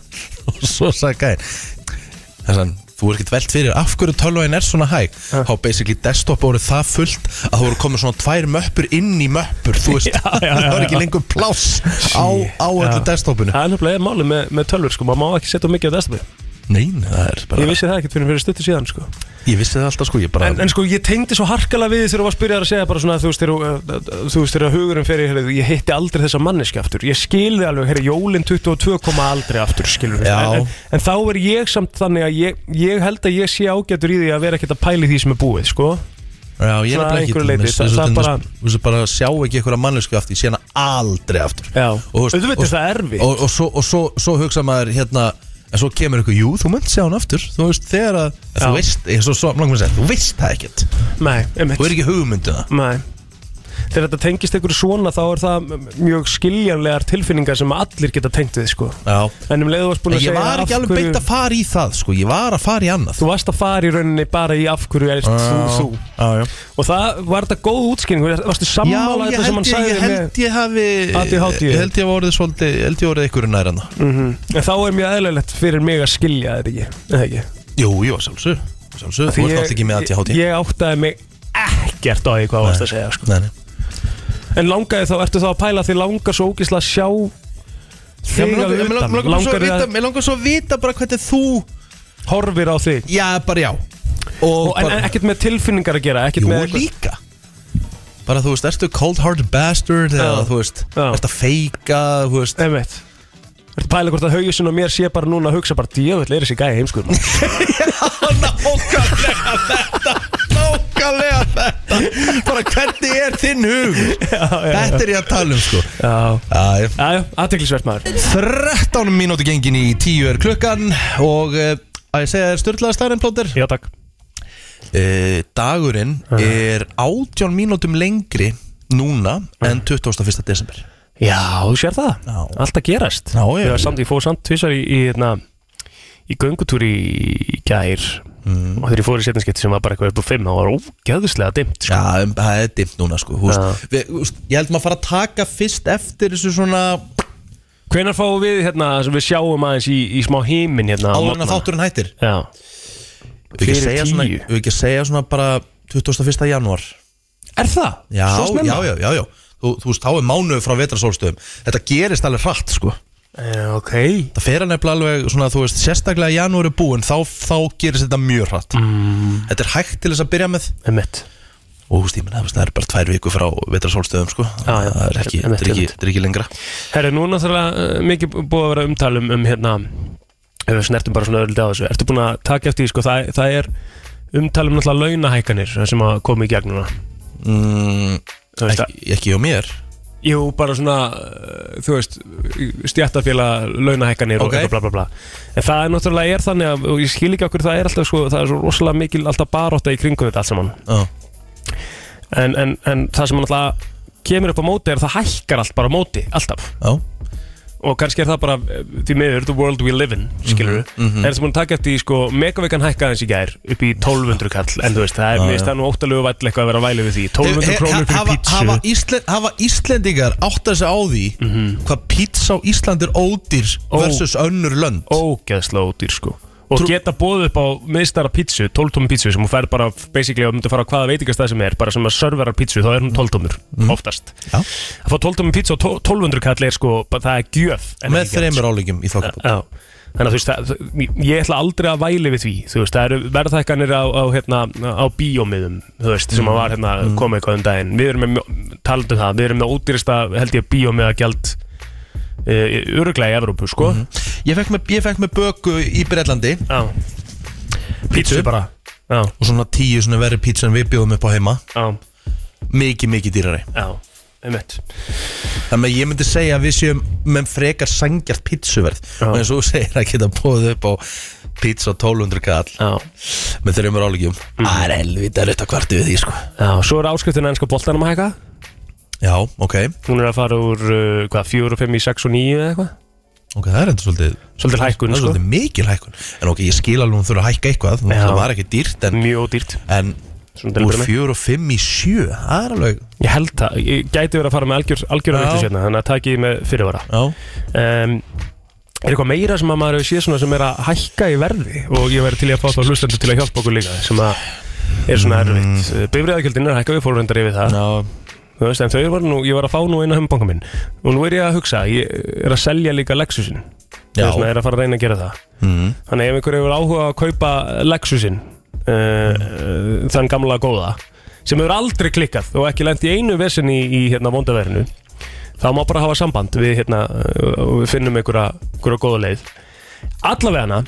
Speaker 1: og svo sagði gæðin þessan, þú er ekkert velt fyrir af hverju tölvaðin er svona hæg þá basically desktop voru það fullt að það voru komið svona tvær möppur inn í möppur þú veist,
Speaker 2: já,
Speaker 1: það var
Speaker 2: já.
Speaker 1: ekki lengur pláss á, á öllu
Speaker 2: Já.
Speaker 1: desktopinu
Speaker 2: Það er náttúrulega málið með, með tölvur sko, maður má ekki setja of mikið á desktopi
Speaker 1: Nei, það er bara
Speaker 2: Ég vissi það ekkert fyrir fyrir stuttu síðan sko.
Speaker 1: Ég vissi það alltaf sko, ég bara
Speaker 2: en, en sko, ég tengdi svo harkala við þegar þú var að spyrja þér að segja bara svona, þú veist, þegar þú- eh, þú veist, þegar hugurinn fer í, heyrðu, ég hitti aldrei þessa manneski aftur Ég skil þið alveg, herri, jólin 22 koma aldrei aftur, skilur við en, en, en þá er ég samt þannig að ég, ég held að ég sé ágætur í því að vera ekkert að pæli því sem er búið, sko
Speaker 1: Já, ég er
Speaker 2: Svona að
Speaker 1: nefnilega ekki
Speaker 2: einhverju
Speaker 1: til
Speaker 2: leyti,
Speaker 1: dæmis,
Speaker 2: það-
Speaker 1: eins og
Speaker 2: það
Speaker 1: til
Speaker 2: bara-
Speaker 1: dæmis, Þú veist bara að sjá ekki einhverja mannesku aftur Ég sé hana aldrei aftur
Speaker 2: Já,
Speaker 1: og, þú
Speaker 2: Auðvitað er það erfitt.
Speaker 1: Og, og, svo, og svo, svo hugsa maður hérna En svo kemur ykkur, jú, þú munt sjá hana aftur Þú veist, þegar að Þú
Speaker 2: Já.
Speaker 1: veist, ég er svo, svo langum að segja Þú veist það ekkert
Speaker 2: Nei, einmitt
Speaker 1: Þú er ekki hugmyndu það
Speaker 2: Nei Þegar þetta tengist einhverju svona þá er það mjög skiljanlegar tilfinningar sem allir geta tengt við sko
Speaker 1: Já
Speaker 2: En um leiðu varst búin
Speaker 1: En
Speaker 2: að
Speaker 1: ég
Speaker 2: segja
Speaker 1: var
Speaker 2: af
Speaker 1: ekki alveg beint að fara í það sko, ég var að fara í annað
Speaker 2: Þú varst að fara í rauninni bara í af hverju ert þú þú
Speaker 1: já, já.
Speaker 2: Og það var þetta góð útskýring var- Varstu sammála
Speaker 1: Já,
Speaker 2: þetta
Speaker 1: ég
Speaker 2: sem hann
Speaker 1: held ég,
Speaker 2: sagði
Speaker 1: ég held ég hafi
Speaker 2: ADHD.
Speaker 1: Ég held ég hafi orðið svolítið, ég held ég orðið ykkur nær hana
Speaker 2: mm En þá er mjög eðlilegt fyrir mig að skilja þetta ekki Eða ekki
Speaker 1: Jú, jú, sjálfsög
Speaker 2: Því
Speaker 1: Sjálfsög, þú ert
Speaker 2: ég-
Speaker 1: alltaf ekki með ADHD
Speaker 2: Ég, ég áttaði mig ekkert á því hvað varst að segja sko.
Speaker 1: Nei, nei
Speaker 2: En langaði þá, ertu þá að pæla því langar svo ógislega að sjá
Speaker 1: Já,
Speaker 2: þig
Speaker 1: mig
Speaker 2: að
Speaker 1: langar- mig langar- mig
Speaker 2: utan
Speaker 1: langar svo að
Speaker 2: þig
Speaker 1: vita- Mig langar svo að vita bara hvernig þú
Speaker 2: Horfir á þig
Speaker 1: Já, bara já
Speaker 2: og, en,
Speaker 1: bara-
Speaker 2: en ekkert með tilfinningar að gera ekkert
Speaker 1: Jú,
Speaker 2: með eitthvað-
Speaker 1: líka Bara þú veist, ertu cold hearted bastard Eða þú veist, ertu að feika Þú veist
Speaker 2: Einmitt Ertu að pæla hvort að haugisun og mér sé bara núna að hugsa bara djöfull er þessi gæði heimskur maður?"
Speaker 1: Nákvæmlega þetta Nákvæmlega þetta Bara hvernig er er þinn hug Þetta er ég að tala um sko
Speaker 2: Já, já, já, aðteklisvert maður
Speaker 1: 13 mínúti gengin í 10 er klukkan og eh, að ég segja þér styrlaða starinn plóter Eh,
Speaker 2: Já, takk
Speaker 1: Dagurinn er 18 mínútum lengri núna en 21. desember
Speaker 2: Já, þú sér það, já. allt að gerast
Speaker 1: Já,
Speaker 2: ég var samt, ég fór samt tvisar í, í, hérna, í göngutúr í í gær
Speaker 1: Mm.
Speaker 2: og þegar ég fór í setjanskipti sem var bara eitthvað upp á 5 þá var ógeðslega dimmt sko.
Speaker 1: Já, en það er dimmt núna sko húst, við, húst, Ég held maður að fara að taka fyrst eftir þessu svona
Speaker 2: Hvenær fáum við hérna sem við sjáum aðeins í, í smá heimin hérna á
Speaker 1: áður en
Speaker 2: morgnana?
Speaker 1: að þátturinn hættir
Speaker 2: Já
Speaker 1: Við ekki að
Speaker 2: Fyrir
Speaker 1: segja svona,
Speaker 2: tíu.
Speaker 1: við ekki að segja svona bara 21. janúar
Speaker 2: Er það?
Speaker 1: Já,
Speaker 2: Svo snemma?
Speaker 1: já, já, já, já Þú, þú veist, þá er mánuðu frá vetrasólstöðum Þetta gerist alveg hratt, sko
Speaker 2: Eh, Ok
Speaker 1: Það fer alveg alveg, svona, þú veist, sérstaklega í janúar er búin Þá, þá gerist þetta mjög hratt mm. Þetta er hægt til þess að byrja með
Speaker 2: Emmett
Speaker 1: Og þú veist, ég menna, það er bara tvær viku frá vetrasólstöðum, sko
Speaker 2: Já, já.
Speaker 1: Það er ekki,
Speaker 2: Einmitt,
Speaker 1: þetta er ekki,
Speaker 2: einmitt.
Speaker 1: þetta er ekki lengra
Speaker 2: Herri, nú er náttúrulega uh, mikið búið að vera umtalum um hérna ef við snertum bara svona öðruldið á þessu Ertu búin að taka eftir því, sko, það, það er umtalum náttúrulega launahækanir sem að koma í gegn núna
Speaker 1: mm,
Speaker 2: ekki,
Speaker 1: ekki hjá mér
Speaker 2: Jú, bara svona, uh, þú veist stjættafélag launahækanir
Speaker 1: Ok.
Speaker 2: og eitthvað bla bla bla En það er náttúrulega er þannig að, og ég skil ekki okkur það er alltaf sko, það er svo rosalega mikil alltaf baróta í kringum þetta allt saman
Speaker 1: uh.
Speaker 2: en, en, en það sem náttúrulega kemur upp á móti er að það hækkar allt bara á móti, alltaf
Speaker 1: Já
Speaker 2: og kannski er það bara eh, því miður the world we live in, skilur við mm
Speaker 1: Mhm, mhm.
Speaker 2: -hmm. en þess að taka eftir, í, sko, megavikan hækkaði eins í gær upp í 1200 kall, en þú veist það er,
Speaker 1: Já,
Speaker 2: mér finnst
Speaker 1: já.
Speaker 2: það nú óttalegu væll eitthvað að vera að væli við því 1200
Speaker 1: He- he-
Speaker 2: krónur fyrir
Speaker 1: hafa-
Speaker 2: pítsu
Speaker 1: hafa, Ísland, hafa Íslendingar átt að segja á því
Speaker 2: Mhm.
Speaker 1: hvað pizza á Ísland er ódýr versus önnur lönd
Speaker 2: ógeðslega ódýr sko og geta bóðið upp á miðstara pítsu 12 tómi pítsu sem hún fær bara basically að myndi fara á hvaða veitingastæð sem er bara sem að serverar pítsu þá er hún 12 tómur
Speaker 1: Mhm.
Speaker 2: oftast
Speaker 1: Já.
Speaker 2: að fá 12 tómi pítsu og 1200 kall er sko bara það er gjöf en
Speaker 1: Með
Speaker 2: ekki gjald,
Speaker 1: þremur
Speaker 2: sko.
Speaker 1: álíkjum í þokkabót.
Speaker 2: Já. þannig að þú veist það, ég ætla aldrei að væli við því þú veist það eru verðhækkanir á, á, hérna, á bíómiðum þú veist sem að var hérna
Speaker 1: Mm.
Speaker 2: komið eitthvað um daginn við erum með talandum það við erum með ódýrista held ég bíómiða gjald öruglega í Evrópu sko
Speaker 1: Mhm. Ég fekk með, ég fekk með böku í Breitlandi
Speaker 2: Já Pítsu bara Já.
Speaker 1: Og svona tíu svona verri pítsu en við bjóðum upp á heima
Speaker 2: Já
Speaker 1: Mikið, mikið dýrari
Speaker 2: Já, einmitt
Speaker 1: Þannig að ég myndi segja að við séum með frekar sangjart pítsuverð Og eins og þú segir að geta bóðið upp á pítsa á 1200 kall
Speaker 2: Já Mm.
Speaker 1: Með þreymur álíkjum Það er helvita rötta kvartu við því sko
Speaker 2: Já, svo er áskriftin ennska boltanum að hækka
Speaker 1: Já, ok
Speaker 2: Hún er að fara úr, uh, hvað, 4, 5, 6 og 9 eða eitthvað
Speaker 1: Ok, það er enda svolítið
Speaker 2: Svolítið hækkun,
Speaker 1: Það er
Speaker 2: sko.
Speaker 1: svolítið mikil hækkun En ok, ég skil alveg hún þurfa að hækka eitthvað
Speaker 2: Já.
Speaker 1: Það var ekki dýrt en
Speaker 2: Mjög dýrt
Speaker 1: En
Speaker 2: til að
Speaker 1: úr
Speaker 2: byrja með.
Speaker 1: fjör og fimm í sjö Það er alveg
Speaker 2: Ég held það, ég gæti verið að fara með algjör, algjörða
Speaker 1: Já.
Speaker 2: vittu sérna Þannig að taki ég með fyrirvara
Speaker 1: Já
Speaker 2: um, Er eitthvað meira sem að maður hefur séð svona sem er að hækka í verði Og ég væri til í að fá þá hlustandi til að hjálpa okkur líka Sem að er svona erfitt mm. Bifriðaðgjöldin er að hækka, við fórum reyndar yfir það
Speaker 1: Já
Speaker 2: Þú veist, en þau var nú, ég var að fá nú einu höfumbanka minn Og nú er ég að hugsa, ég er að selja líka Lexusin Þú
Speaker 1: Já.
Speaker 2: veist, maður er að fara að reyna að gera það
Speaker 1: Mhm.
Speaker 2: Þannig ef einhver hefur áhuga að kaupa Lexusin uh, uh, Þann gamla góða Sem hefur aldrei klikkað og ekki lent í einu vesin í, í hérna vondaverinu Þá má bara hafa samband Við, hérna, uh, og við finnum einhverja, einhverja góða leið Allavega hana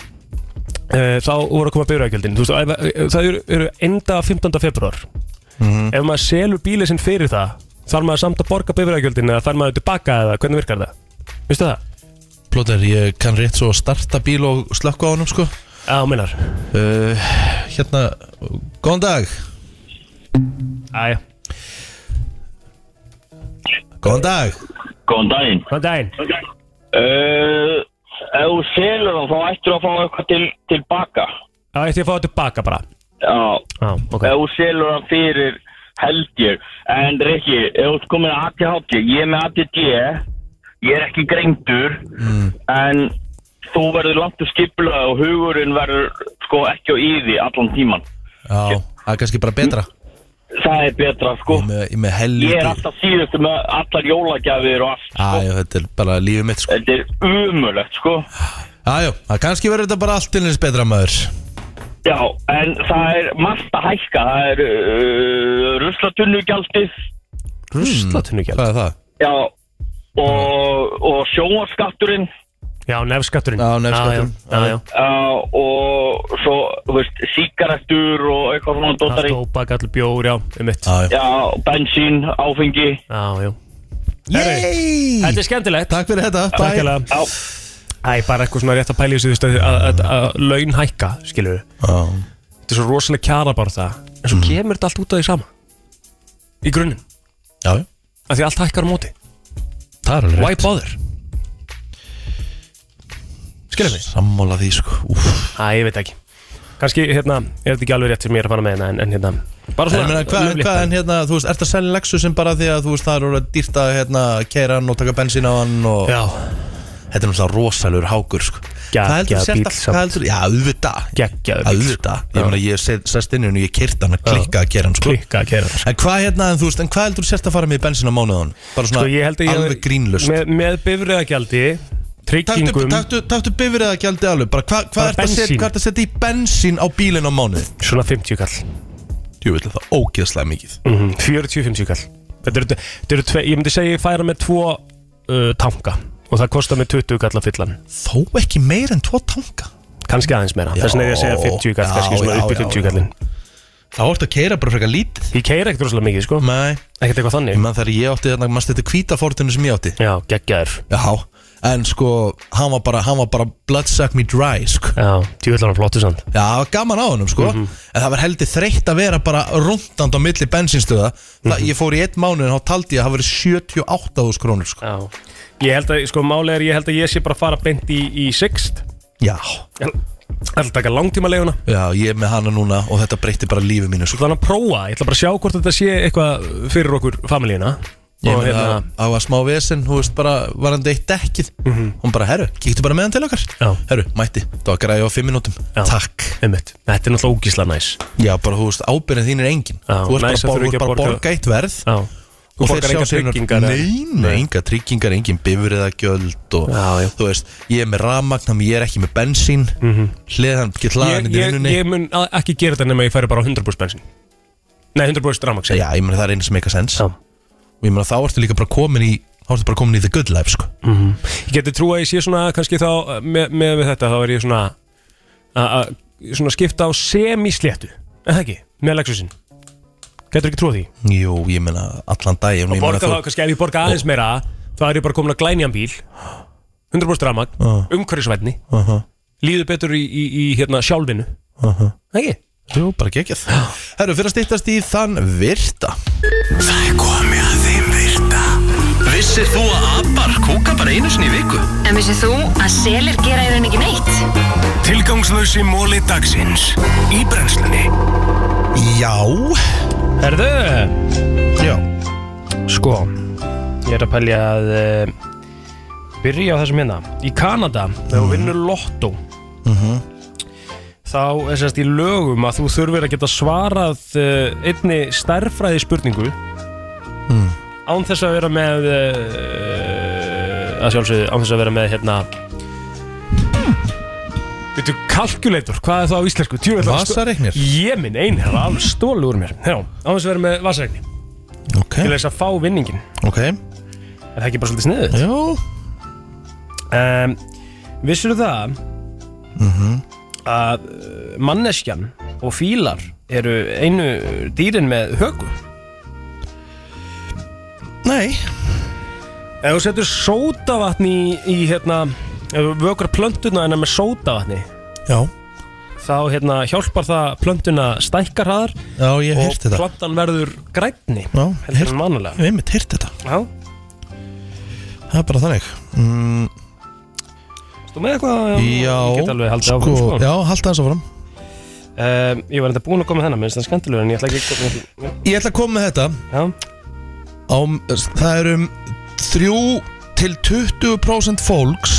Speaker 2: eh, Þá voru að koma byrjaðgjöldin Þú veist, ef- eh, það eru- eru enda 15. februar
Speaker 1: sko- Mhm.
Speaker 2: Ef maður selur bílið sinn fyrir það Þarf maður samt að borga bifræðagjöldin Eða þarf maður tilbaka eða hvernig virkar það Vistu það?
Speaker 1: Plóter, ég kann rétt svo að starta bíl og slökka á honum sko
Speaker 2: Já, minnar
Speaker 1: uh, Hérna, góðan dag
Speaker 2: Æja
Speaker 1: Góðan dag
Speaker 16: Góðan daginn
Speaker 2: Góðan daginn
Speaker 16: uh, Ef þú selur hann þá ættir að fá eitthvað til, til baka
Speaker 2: Já, ég ætti að fá það tilbaka bara
Speaker 16: Já,
Speaker 2: Já, ok
Speaker 16: ef þú selur hann fyrir held ég En Rikki, ef þú ert komin að ATHG Ég er með ATD Ég er ekki greindur
Speaker 1: Mm.
Speaker 16: En þú verður langt að skipla Og hugurinn verður sko ekki á yði allan tíman
Speaker 1: Já, það er kannski bara betra
Speaker 16: Það er betra sko
Speaker 1: Ég er með, ég er með helviti
Speaker 16: Ég er alltaf síðustu með allar jólagjafir og allt
Speaker 1: Æjó, þetta er bara lífið mitt sko
Speaker 16: Sko. Þetta er umulegt sko
Speaker 1: Æjó, það kannski verður þetta bara allt til eins betra maður
Speaker 16: Já, en það er margt að hækka, það er uh, ruslatunnugjaldið,
Speaker 2: Ruslatunnugjald
Speaker 1: Hvað er Hmm, það?
Speaker 16: já, og, og sjónvarskatturinn,
Speaker 2: Já, nefskatturinn Já,
Speaker 1: nefskatturinn.
Speaker 2: Já, já, já,
Speaker 16: uh, og svo, þú veist, síkarettur og eitthvað svona
Speaker 2: já. Allt
Speaker 16: dóttari
Speaker 2: tóbak, allir bjór, já, um mitt
Speaker 16: Já, bensín, áfengi
Speaker 2: Já, já Yey! Þetta er skemmtilegt
Speaker 1: Takk fyrir þetta
Speaker 2: Takk fyrir þetta Æ, bara eitthvað svona rétt að pæli þessu þú veist, að- að að- að laun hækka, skilur við Þetta er svo rosalega kjara bara það En svo
Speaker 1: Hmm.
Speaker 2: kemur þetta allt út af því sama Í grunninn
Speaker 1: Já, já
Speaker 2: Af því allt hækkar á móti
Speaker 1: Það er alveg
Speaker 2: Why bother? Skilja mig
Speaker 1: Sammála því sko Úf.
Speaker 2: Æ, ég veit ekki Kanski, hérna, er þetta ekki alveg rétt sem ég er að fara með hérna En, en hérna, bara
Speaker 1: En ég
Speaker 2: svona
Speaker 1: meina, Hvað hva, en hérna, þú veist, ertu að selja Lexusin bara því að þú veist, það er orðið dýrt að hérna, keira hann og taka bensín á hann og...
Speaker 2: Já
Speaker 1: Þetta er náttúrulega rosalur hákur sko
Speaker 2: Geggjaður
Speaker 1: Hvað heldur
Speaker 2: bíll
Speaker 1: sérst að,
Speaker 2: samt.
Speaker 1: hvað heldur, já, auðvitað
Speaker 2: Geggjaður bíll,
Speaker 1: Auðvitað, ég meina, ég set- sest inn í hann og ég kyrta hann að klikka að kera hann sko
Speaker 2: Klikka að kera hann
Speaker 1: En hvað hérna, en þú veist, en hvað heldur sérst að fara með í bensín á mánuðan? Bara svona
Speaker 2: Sko, ég held að ég
Speaker 1: alveg grínlust
Speaker 2: Með, með bifriðagjaldi, tryggingum
Speaker 1: Taktu, taktu bifriðað gjaldi alveg, bara hvað hva
Speaker 2: Bara
Speaker 1: er
Speaker 2: bensín.
Speaker 1: þetta að setja í bensín á bílinn á mánuði?
Speaker 2: Svona 50 kall
Speaker 1: Jú, veitir það, ógeðslega mikið
Speaker 2: Mhm, 40-50 kall þetta eru, þetta eru tve, ég myndi segja ég færa með tvo uh, tanka og það kostar með 20 kall að fylla hann
Speaker 1: Þó ekki meir en tvo tanka
Speaker 2: kannski aðeins meira,
Speaker 1: Já,
Speaker 2: þess vegna er ég að segja 50 kall
Speaker 1: já,
Speaker 2: kannski svona
Speaker 1: já,
Speaker 2: uppi
Speaker 1: já,
Speaker 2: 50
Speaker 1: já.
Speaker 2: kallin
Speaker 1: þá ertu að keira bara frekar lítið
Speaker 2: ég keira ekkert rosalega mikið sko
Speaker 1: Nei.
Speaker 2: ekkert eitthvað þannig
Speaker 1: Man þegar ég átti þarna, mannst þetta kvítafortinu sem ég átti
Speaker 2: Já, geggjaður
Speaker 1: Já, en sko, hann var bara, hann var bara bloodsuck me dry, sko
Speaker 2: Já, djúvillan var flottu samt Mhm.
Speaker 1: Já, það var gaman á honum, sko En það var heldur þreytt að vera bara rundand á milli bensinstöða
Speaker 2: Mhm.
Speaker 1: mm Ég fór í einn mánuð en þá taldi ég að það verið 78.000 krónur, sko
Speaker 2: Já, ég held að, sko máli er ég held að ég sé bara að fara beint í, í sixt
Speaker 1: Já,
Speaker 2: ég ætla að taka langtíma leguna
Speaker 1: já ég er með hana núna og þetta breytti bara lífið mínu, sko
Speaker 2: þannig að prófa, ég ætla bara að sjá hvort þetta sé eitthvað fyrir okkur familíina
Speaker 1: Ég
Speaker 2: og
Speaker 1: meina,
Speaker 2: hérna
Speaker 1: á að smá vesen, þú veist, bara var hann deitt dekkið Hún bara, herru, kíktu bara með hann til okkar
Speaker 2: Mhm. Já.
Speaker 1: Herru, mætti, það var græði á fimm mínútum
Speaker 2: Já.
Speaker 1: Takk
Speaker 2: Einmitt. Þetta er náttúrulega ógísla næs
Speaker 1: Já, bara, þú veist, ábyrðin þín er engin
Speaker 2: Já,
Speaker 1: Þú
Speaker 2: næs
Speaker 1: ert
Speaker 2: að
Speaker 1: bara, bara,
Speaker 2: þurfa
Speaker 1: þú
Speaker 2: ekki
Speaker 1: ert
Speaker 2: að
Speaker 1: bara að
Speaker 2: borga-
Speaker 1: borga eitt verð
Speaker 2: Já. Þú
Speaker 1: Og þeir
Speaker 2: borgar
Speaker 1: sjá
Speaker 2: engar
Speaker 1: sér
Speaker 2: tryggingar eða-
Speaker 1: Nei, nei,
Speaker 2: Nei.
Speaker 1: enga tryggingar, engin bifriðagjöld og, Þú veist, ég er með rafmagn Ég er ekki með bensín mm -hmm. Hleðan, get
Speaker 2: Mhm. ég,
Speaker 1: hlaðan í
Speaker 2: ég,
Speaker 1: vinnunni
Speaker 2: ég mun að- ekki gera þetta nema ég færi bara á 100% bensin Nei, 100% rafmagn
Speaker 1: Já, ég meina það er einu sem eitthvað sens
Speaker 2: Já.
Speaker 1: Og ég meina þá ertu líka bara komin í Þá ertu bara komin í the good life, sko
Speaker 2: Ég geti trú að ég sé svona kannski þá eh, með, með við þetta þá er ég svona að- að svona skipta á semisléttu En það ekki, með lexusinn Getur ekki trú að því
Speaker 1: Jú, ég meina allan dag Og
Speaker 2: Borga þá, kannski ef ég borga aðeins meira þá er ég bara komin að glænjan bíl 100% rafmagn,
Speaker 1: Já.
Speaker 2: umhverfisvænni
Speaker 1: uh -huh.
Speaker 2: líður betur í, í, í hérna, sjálfinu Ekki?
Speaker 1: Jú, bara geggjað Herru, fyrir að stýttast í þann virta
Speaker 6: Það er komið að þeim virta Vissir þú að abar kúka bara einu sinni í viku?
Speaker 12: En vissið þú að selir gera í raun ekki neitt?
Speaker 6: Tilgangslösi móli dagsins Í brennslunni
Speaker 1: Já
Speaker 2: Herðu
Speaker 1: Já
Speaker 2: Sko Ég er að pælja að uh, Byrja á þessum hérna Í Kanada,
Speaker 1: Mm.
Speaker 2: þegar þú vinnur lottó Þá er sérst í lögum að þú þurfir að geta svarað uh, Einni stærfræði spurningu
Speaker 1: Mm.
Speaker 2: Án þess að vera með uh, Að sjálfsögðu Án þess að vera með hérna Veitu, kalkulator, hvað er það á íslensku? Djú, er það að stó-
Speaker 1: Vasareiknir?
Speaker 2: Ég minn, ein, það var alveg stólu úr mér Já, á þess að vera með vasareikni
Speaker 1: Ok.
Speaker 2: Til þess að fá vinningin
Speaker 1: Ok
Speaker 2: Er það ekki bara svolítið sniðið?
Speaker 1: Jó
Speaker 2: um, Vissur það
Speaker 1: Mhm.
Speaker 2: að uh, manneskjan og fílar eru einu dýrin með höku?
Speaker 1: Nei
Speaker 2: Ef þú setur sódavatni í, í hérna, ef þú vökar plöntuna hennar með sódavatni
Speaker 1: Já
Speaker 2: þá hérna, hjálpar það plöntuna stækkar hraðar
Speaker 1: Já, ég
Speaker 2: og
Speaker 1: heyrti þetta.
Speaker 2: plantan verður grænni
Speaker 1: Já,
Speaker 2: heldur en manulega
Speaker 1: Við mitt hýrt þetta
Speaker 2: Já,
Speaker 1: Það er bara þannig mm,
Speaker 2: þú með eitthvað
Speaker 1: Já,
Speaker 2: ég get alveg haldið áfram
Speaker 1: sko, Já, halda þess áfram
Speaker 2: Um, ég var enda búin að koma með þennan, minnst það skemmtilegur en ég ætla ekki að koma
Speaker 1: Ég ætla að koma með þetta
Speaker 2: Já.
Speaker 1: Á, Það er um 3 til 20% fólks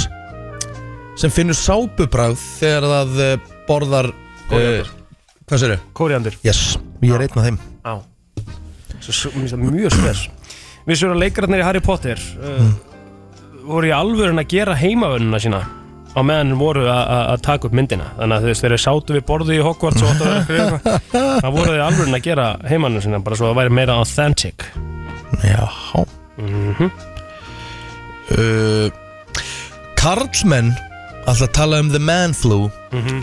Speaker 1: sem finnur sápubræð þegar það eh, borðar
Speaker 2: Kóríander.
Speaker 1: eh, Hvað sér þau?
Speaker 2: Kóriandur
Speaker 1: Yes, ég er einn af þeim
Speaker 2: Já Svo, svo, mér finnst það mjög spes Við séum að leikararnir í Harry Potter uh,
Speaker 1: Mm.
Speaker 2: voru í alvörun að gera heimavönnuna sína á meðan voru að- að að taka upp myndina þannig að þú veist þeir eru sátu við borðið í Hogwarts og áttu að vera að skrifa eitthvað. það voru þeir í alvörun að gera heimavönnuna sína bara svo að það væri meira authentic
Speaker 1: Já mm
Speaker 2: Mhm.
Speaker 1: uh, karlmenn alltaf tala um the man flu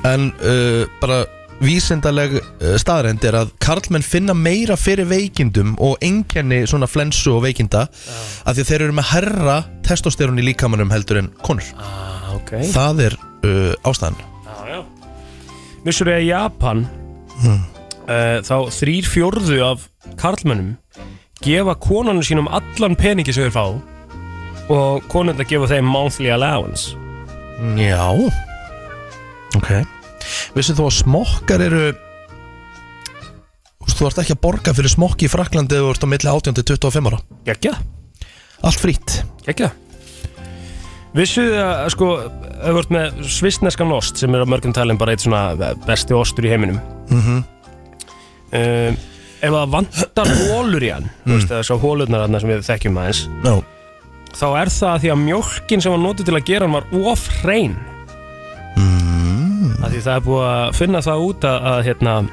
Speaker 1: en uh, bara vísindaleg uh, staðreind er að karlmenn finna meira fyrir veikindum og engjenni svona flensu og veikinda af því að þeir eru með herra testosterón í líkamanum heldur en konur ah,
Speaker 2: okay.
Speaker 1: það er uh, ástæðan
Speaker 2: Já, já Vissur ég að í Japan uh, þá þrýr fjórðu af karlmönnum gefa konunum sínum allan peningi sem þeir fá og konundar gefa þeim monthly allowance
Speaker 1: Já Ok Vissið þú að smokkar eru Þú veist, þú ert ekki að borga fyrir smokki í Fraklandi eða þú ert á milli 18 til 25 ára
Speaker 2: Gekja
Speaker 1: Allt frýtt
Speaker 2: Gekja Vissu þið að sko, hefur vart með svistneskan ost sem er á mörgum talin bara eitt svona besti ostur í heiminum
Speaker 1: Mhm.
Speaker 2: um, Ef það vantar hólur í hann þú veist, það er svo hólurnar hann sem við þekkjum aðeins
Speaker 1: no.
Speaker 2: þá er það því að mjólkin sem var notið til að gera hann var of hrein mm. að því það er búið að finna það út að, að hérna að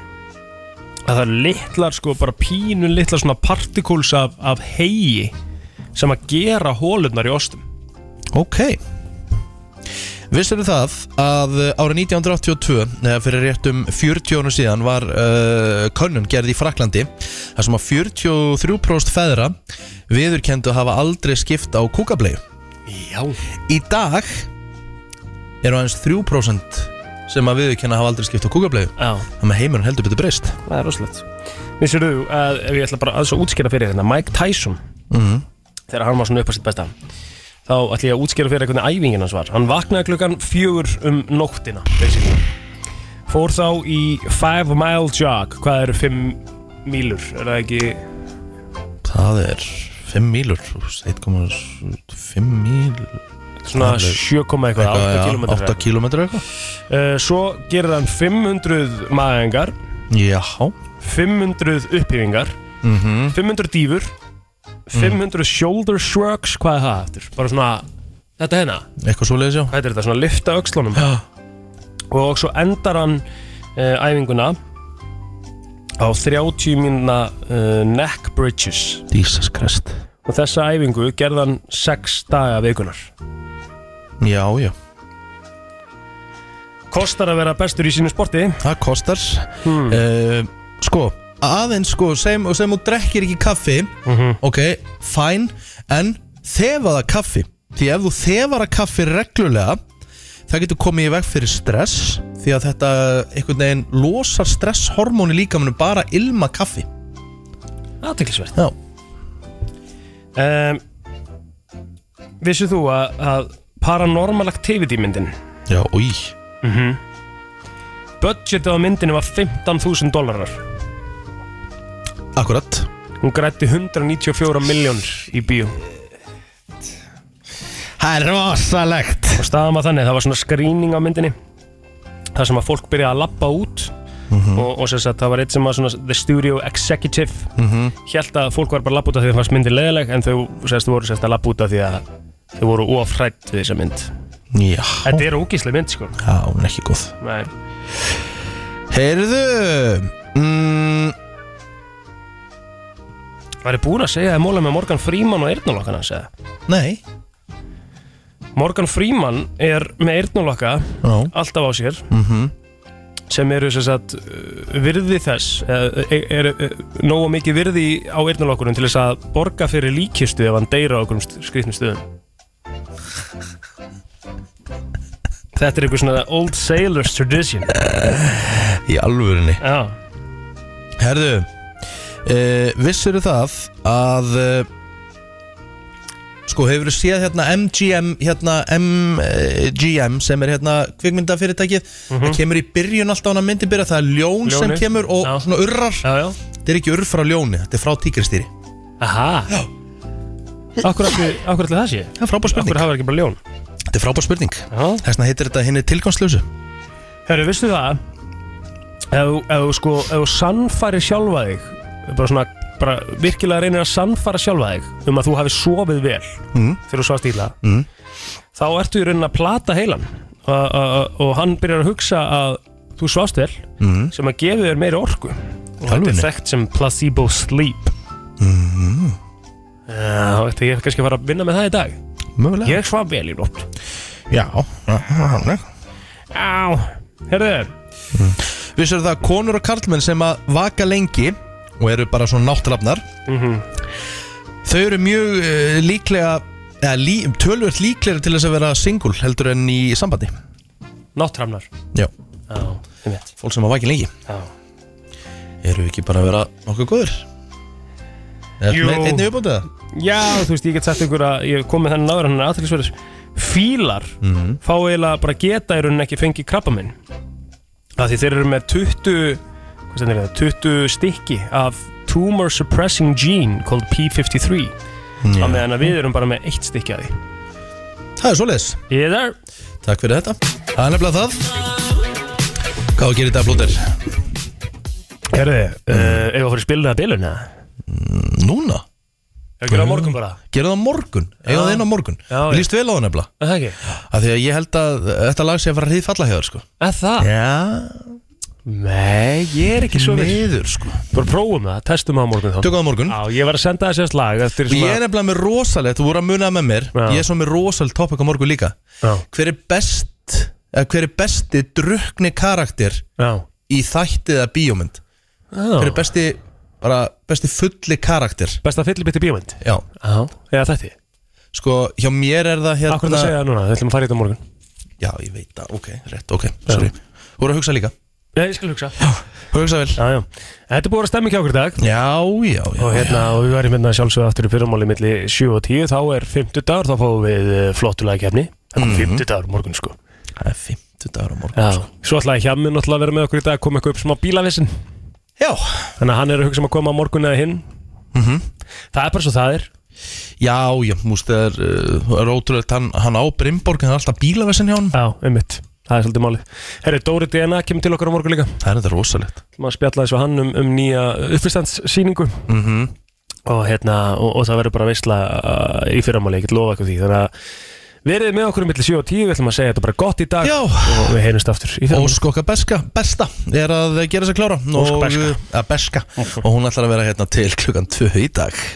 Speaker 2: það er litlar sko bara pínu litlar svona partikúls af, af hegi sem að gera hólurnar í ostum
Speaker 1: Ok Vissir það að árið 1982, eða eh, fyrir réttum 40 árum síðan, var uh, könnun gerð í Fraklandi þar sem að 43% feðra viðurkendu að hafa aldrei skipt á kúkablegu.
Speaker 2: Já.
Speaker 1: Í dag eru aðeins 3% sem að viðurkenna að hafa aldrei skipt á kúkablegu.
Speaker 2: Já.
Speaker 1: Þannig að heimurinn heldur betur breyst.
Speaker 2: Það er rosalegt Vissir þú að ef ég ætla bara aðeins að útskýra fyrir þetta Mike Tyson Mm-hmm.
Speaker 1: Mhm.
Speaker 2: þegar hann var svona upp á sitt besta þá ætla ég að útskýra fyrir hvernig æfingin hans var hann vaknaði klukkan fjögur um nóttina basically. fór þá í 5 mile jog hvað eru 5 mílur er það ekki
Speaker 1: Það er 5 mílur, þú veist, 1,5 míl...
Speaker 2: Svona 7, komma eitthvað, átta kílómetra.
Speaker 1: 8 km eitthvað.
Speaker 2: uh, svo gerði hann 500 maðingar
Speaker 1: Já.
Speaker 2: 500 upphýfingar
Speaker 1: Mhm.
Speaker 2: 500 dýfur 500 shoulder shrugs hvað er það eftir bara svona þetta hérna
Speaker 1: eitthvað svo leiðis já
Speaker 2: hvað er þetta svona lifta öxlunum
Speaker 1: já.
Speaker 2: og svo endar hann uh, æfinguna á 30 mínuna uh, neck bridges
Speaker 1: Jesus Christ
Speaker 2: og þessa æfingu gerði hann 6 daga vikunar
Speaker 1: Já, já
Speaker 2: kostar að vera bestur í sínu sporti Hmm.
Speaker 1: það kostar Eh, sko, aðeins sko sem, sem þú drekkir ekki kaffi
Speaker 2: Mhm.
Speaker 1: ok, fæn en þefaða kaffi því ef þú þefara kaffi reglulega það getur komið í veg fyrir stress því að þetta einhvern veginn losar stresshormóni líkamannu bara að ilma kaffi
Speaker 2: aðteklisvert
Speaker 1: já
Speaker 2: um, Vissu þú að, að Paranormal Activity myndin
Speaker 1: Já, új
Speaker 2: mm -hmm. Budgetið á myndinu var 15.000 dólarar
Speaker 1: Akkurat
Speaker 2: Hún grætti 194 miljónir í bíó
Speaker 1: Það er rosalegt
Speaker 2: Og staðan var þannig, það var svona skrýning á myndinni Það sem að fólk byrjaði að labba út Og, og sem sagt, það var eitt sem var svona The Studio Executive
Speaker 1: Mhm.
Speaker 2: Hjælt að fólk var bara að labba út af því að það fannst myndin leðileg En þau sérst, voru sérst að labba út af því að Þau voru ofrætt við þessa mynd
Speaker 1: Já,
Speaker 2: Þetta er ógíslega mynd, sko
Speaker 1: já, hún er ekki góð
Speaker 2: Nei.
Speaker 1: Heyrðu mm,
Speaker 2: Var ég búin að segja að móla með Morgan Freeman og eyrnulokkan hans eða?
Speaker 1: Nei
Speaker 2: Morgan Freeman er með eyrnulokka
Speaker 1: Já.
Speaker 2: alltaf á sér
Speaker 1: Mhm.
Speaker 2: sem eru sem sagt uh, virði þess eða, e- er e, nógu mikið virði á eyrnulokkunum til þess að borga fyrir líkistu ef hann deyra á okkur skrýtnum stöðum Þetta er eitthvað svona old sailor's tradition
Speaker 1: Í alvörinni
Speaker 2: Já
Speaker 1: Herðu uh, Vissur það að uh, Sko hefur þú séð hérna MGM hérna MGM sem er hérna kvikmyndafyrirtækið það kemur í byrjun alltaf hann að myndi byrja það er ljón sem
Speaker 2: Mhm. Ljónið.
Speaker 1: kemur og
Speaker 2: Já.
Speaker 1: svona urrar
Speaker 2: já, já.
Speaker 1: þetta er ekki urr frá ljóni, þetta er frá tíkristýri
Speaker 2: Aha Já Akkur allir það sé?
Speaker 1: Það er frábær spurning.
Speaker 2: Akkur hafa ekki bara ljón
Speaker 1: þetta er frábær spurning
Speaker 2: þess
Speaker 1: vegna heitir þetta hinn er tilgangslösu
Speaker 2: Herru, visstu það ef þú- ef þú sko, ef þú sannfæri sjálfa þig bara svona, bara virkilega reynir að sannfæra sjálfa þig um að þú hafi sofið vel
Speaker 1: mm.
Speaker 2: þegar þú svast illa
Speaker 1: Mm.
Speaker 2: þá ertu í raunin að plata heilan og, og, og hann byrjar að hugsa að þú svast vel
Speaker 1: Mm.
Speaker 2: sem að gefi þér meiri orku og þetta er
Speaker 1: Alvörinni?
Speaker 2: þekkt sem placebo sleep
Speaker 1: Mm.
Speaker 2: Eh, Já, þetta ég kannski að fara að vinna með það í dag
Speaker 1: Mögulega
Speaker 2: Ég svaf vel í nótt
Speaker 3: Já, hann er
Speaker 2: Á, herðu
Speaker 1: Við sérum það að konur og karlmenn sem að vaka lengi og eru bara svona náttrafnar þau eru mjög uh, líklega eða lí, tölvöld líklega til þess að vera single heldur en í sambandi
Speaker 2: Náttramnar
Speaker 1: Já,
Speaker 2: Já, ég veit
Speaker 1: fólk sem að vaki lengi
Speaker 2: Já
Speaker 1: Eru ekki bara að vera nokkuð góður? Jú Einnig uppbútið það?
Speaker 2: Já, þú veist, ég get sagt ykkur að ég kom með þennan áður hann er aðtækisverðis Fílar
Speaker 1: Mhm.
Speaker 2: fá eiginlega bara geta í rauninni ekki fengið krabba minn Því þeir eru með 20 hvað stendur það, 20 stykki af Tumor Suppressing Gene called P53
Speaker 1: Já.
Speaker 2: á meðan að við erum bara með eitt stykki af því
Speaker 1: Það er svoleiðis
Speaker 2: Ég er
Speaker 1: Takk fyrir þetta Það er nefnilega það Hvað gerir þetta blóter?
Speaker 2: Herði, mm. uh, ef að fara að spila það bilun eða?
Speaker 1: Mm, Núna? Mm.
Speaker 2: Ég gera það á morgun bara
Speaker 1: Gera það á morgun Eða það inn á morgun
Speaker 2: Já,
Speaker 1: Mér líst vel á það nefnilega
Speaker 2: Er Það ekki
Speaker 1: Af því að ég held að þetta lag sé að fara að hriðfalla hjá þér sko
Speaker 2: Eða það?
Speaker 1: Já
Speaker 2: Nei, ég er ekki svo viss.
Speaker 1: Miður sko
Speaker 2: Bara prófum það, testum það á morgun þá
Speaker 1: Tökum það á morgun
Speaker 2: Já, ég var að senda það sérst lag eftir
Speaker 1: Og ég er nefnilega með rosalegt, þú voru að muna það með mér
Speaker 2: Já.
Speaker 1: Ég er svo með rosalegt topic á morgun líka
Speaker 2: Já.
Speaker 1: Hver er best eða Hver er besti drukni karakter
Speaker 2: Já.
Speaker 1: Í þættið að bíómynd
Speaker 2: Já.
Speaker 1: Hver er besti bara besti fulli karakter
Speaker 2: Besta fyllibitti bíómynd
Speaker 1: Já
Speaker 2: Já, eða þetta
Speaker 1: Sko, hjá mér er það hérna
Speaker 2: Akkur það segja það núna, við ætlum að fara í þetta á morgun
Speaker 1: Já, ég veit það, ok, rétt, ok, sorry Þú voru að hugsa líka
Speaker 2: Nei, ég skal hugsa Já,
Speaker 1: hugsa vel
Speaker 2: Já, já Þetta er búið að stemma ekki okkur í dag
Speaker 1: Já, já, já
Speaker 2: Og hérna, og við verðum hérna sjálfsögðu aftur í fyrramáli milli 7 og 10 Þá er 50 dagur, þá fáum við eh, flottulega kefni Það er
Speaker 1: Mhm.
Speaker 2: 50 dagur á morgun, sko
Speaker 1: Það er 50 dagur á morgun sko.
Speaker 2: Já, svo ætlaði Hjammi náttúrulega að vera með okkur í dag að koma eitthvað upp smá bílavissin
Speaker 1: Já
Speaker 2: Þannig að hann er að hugsa um að koma á morgun eða hinn
Speaker 1: Mhm.
Speaker 2: Það er bara svo það er
Speaker 1: Já, já, múst það er, uh, það er ótrúlegt hann, hann á Brimborg en það er alltaf bílavesin hjá hann
Speaker 2: Já, einmitt, það er svolítið málið Herri, Dóri DNA kemur til okkar á morgun líka
Speaker 1: Það er þetta rosalegt
Speaker 2: maður spjallaði svo hann um, um nýja uppfyrstandssýningu
Speaker 1: Mhm.
Speaker 2: og, hérna, og, og það verður bara veistla uh, í fyrramáli, ég get lofa eitthvað því þannig að verið með okkur um milli 7 og 10 við ætlum að segja þetta bara gott í dag
Speaker 1: Já.
Speaker 2: og við heyrjumst aftur í fyrramáli
Speaker 1: Ósk okkar beska, besta er að gera sig klára
Speaker 2: Ósk
Speaker 1: Og-
Speaker 2: Beska.
Speaker 1: að beska Og hún ætlar að vera hérna til klukkan 2 í dag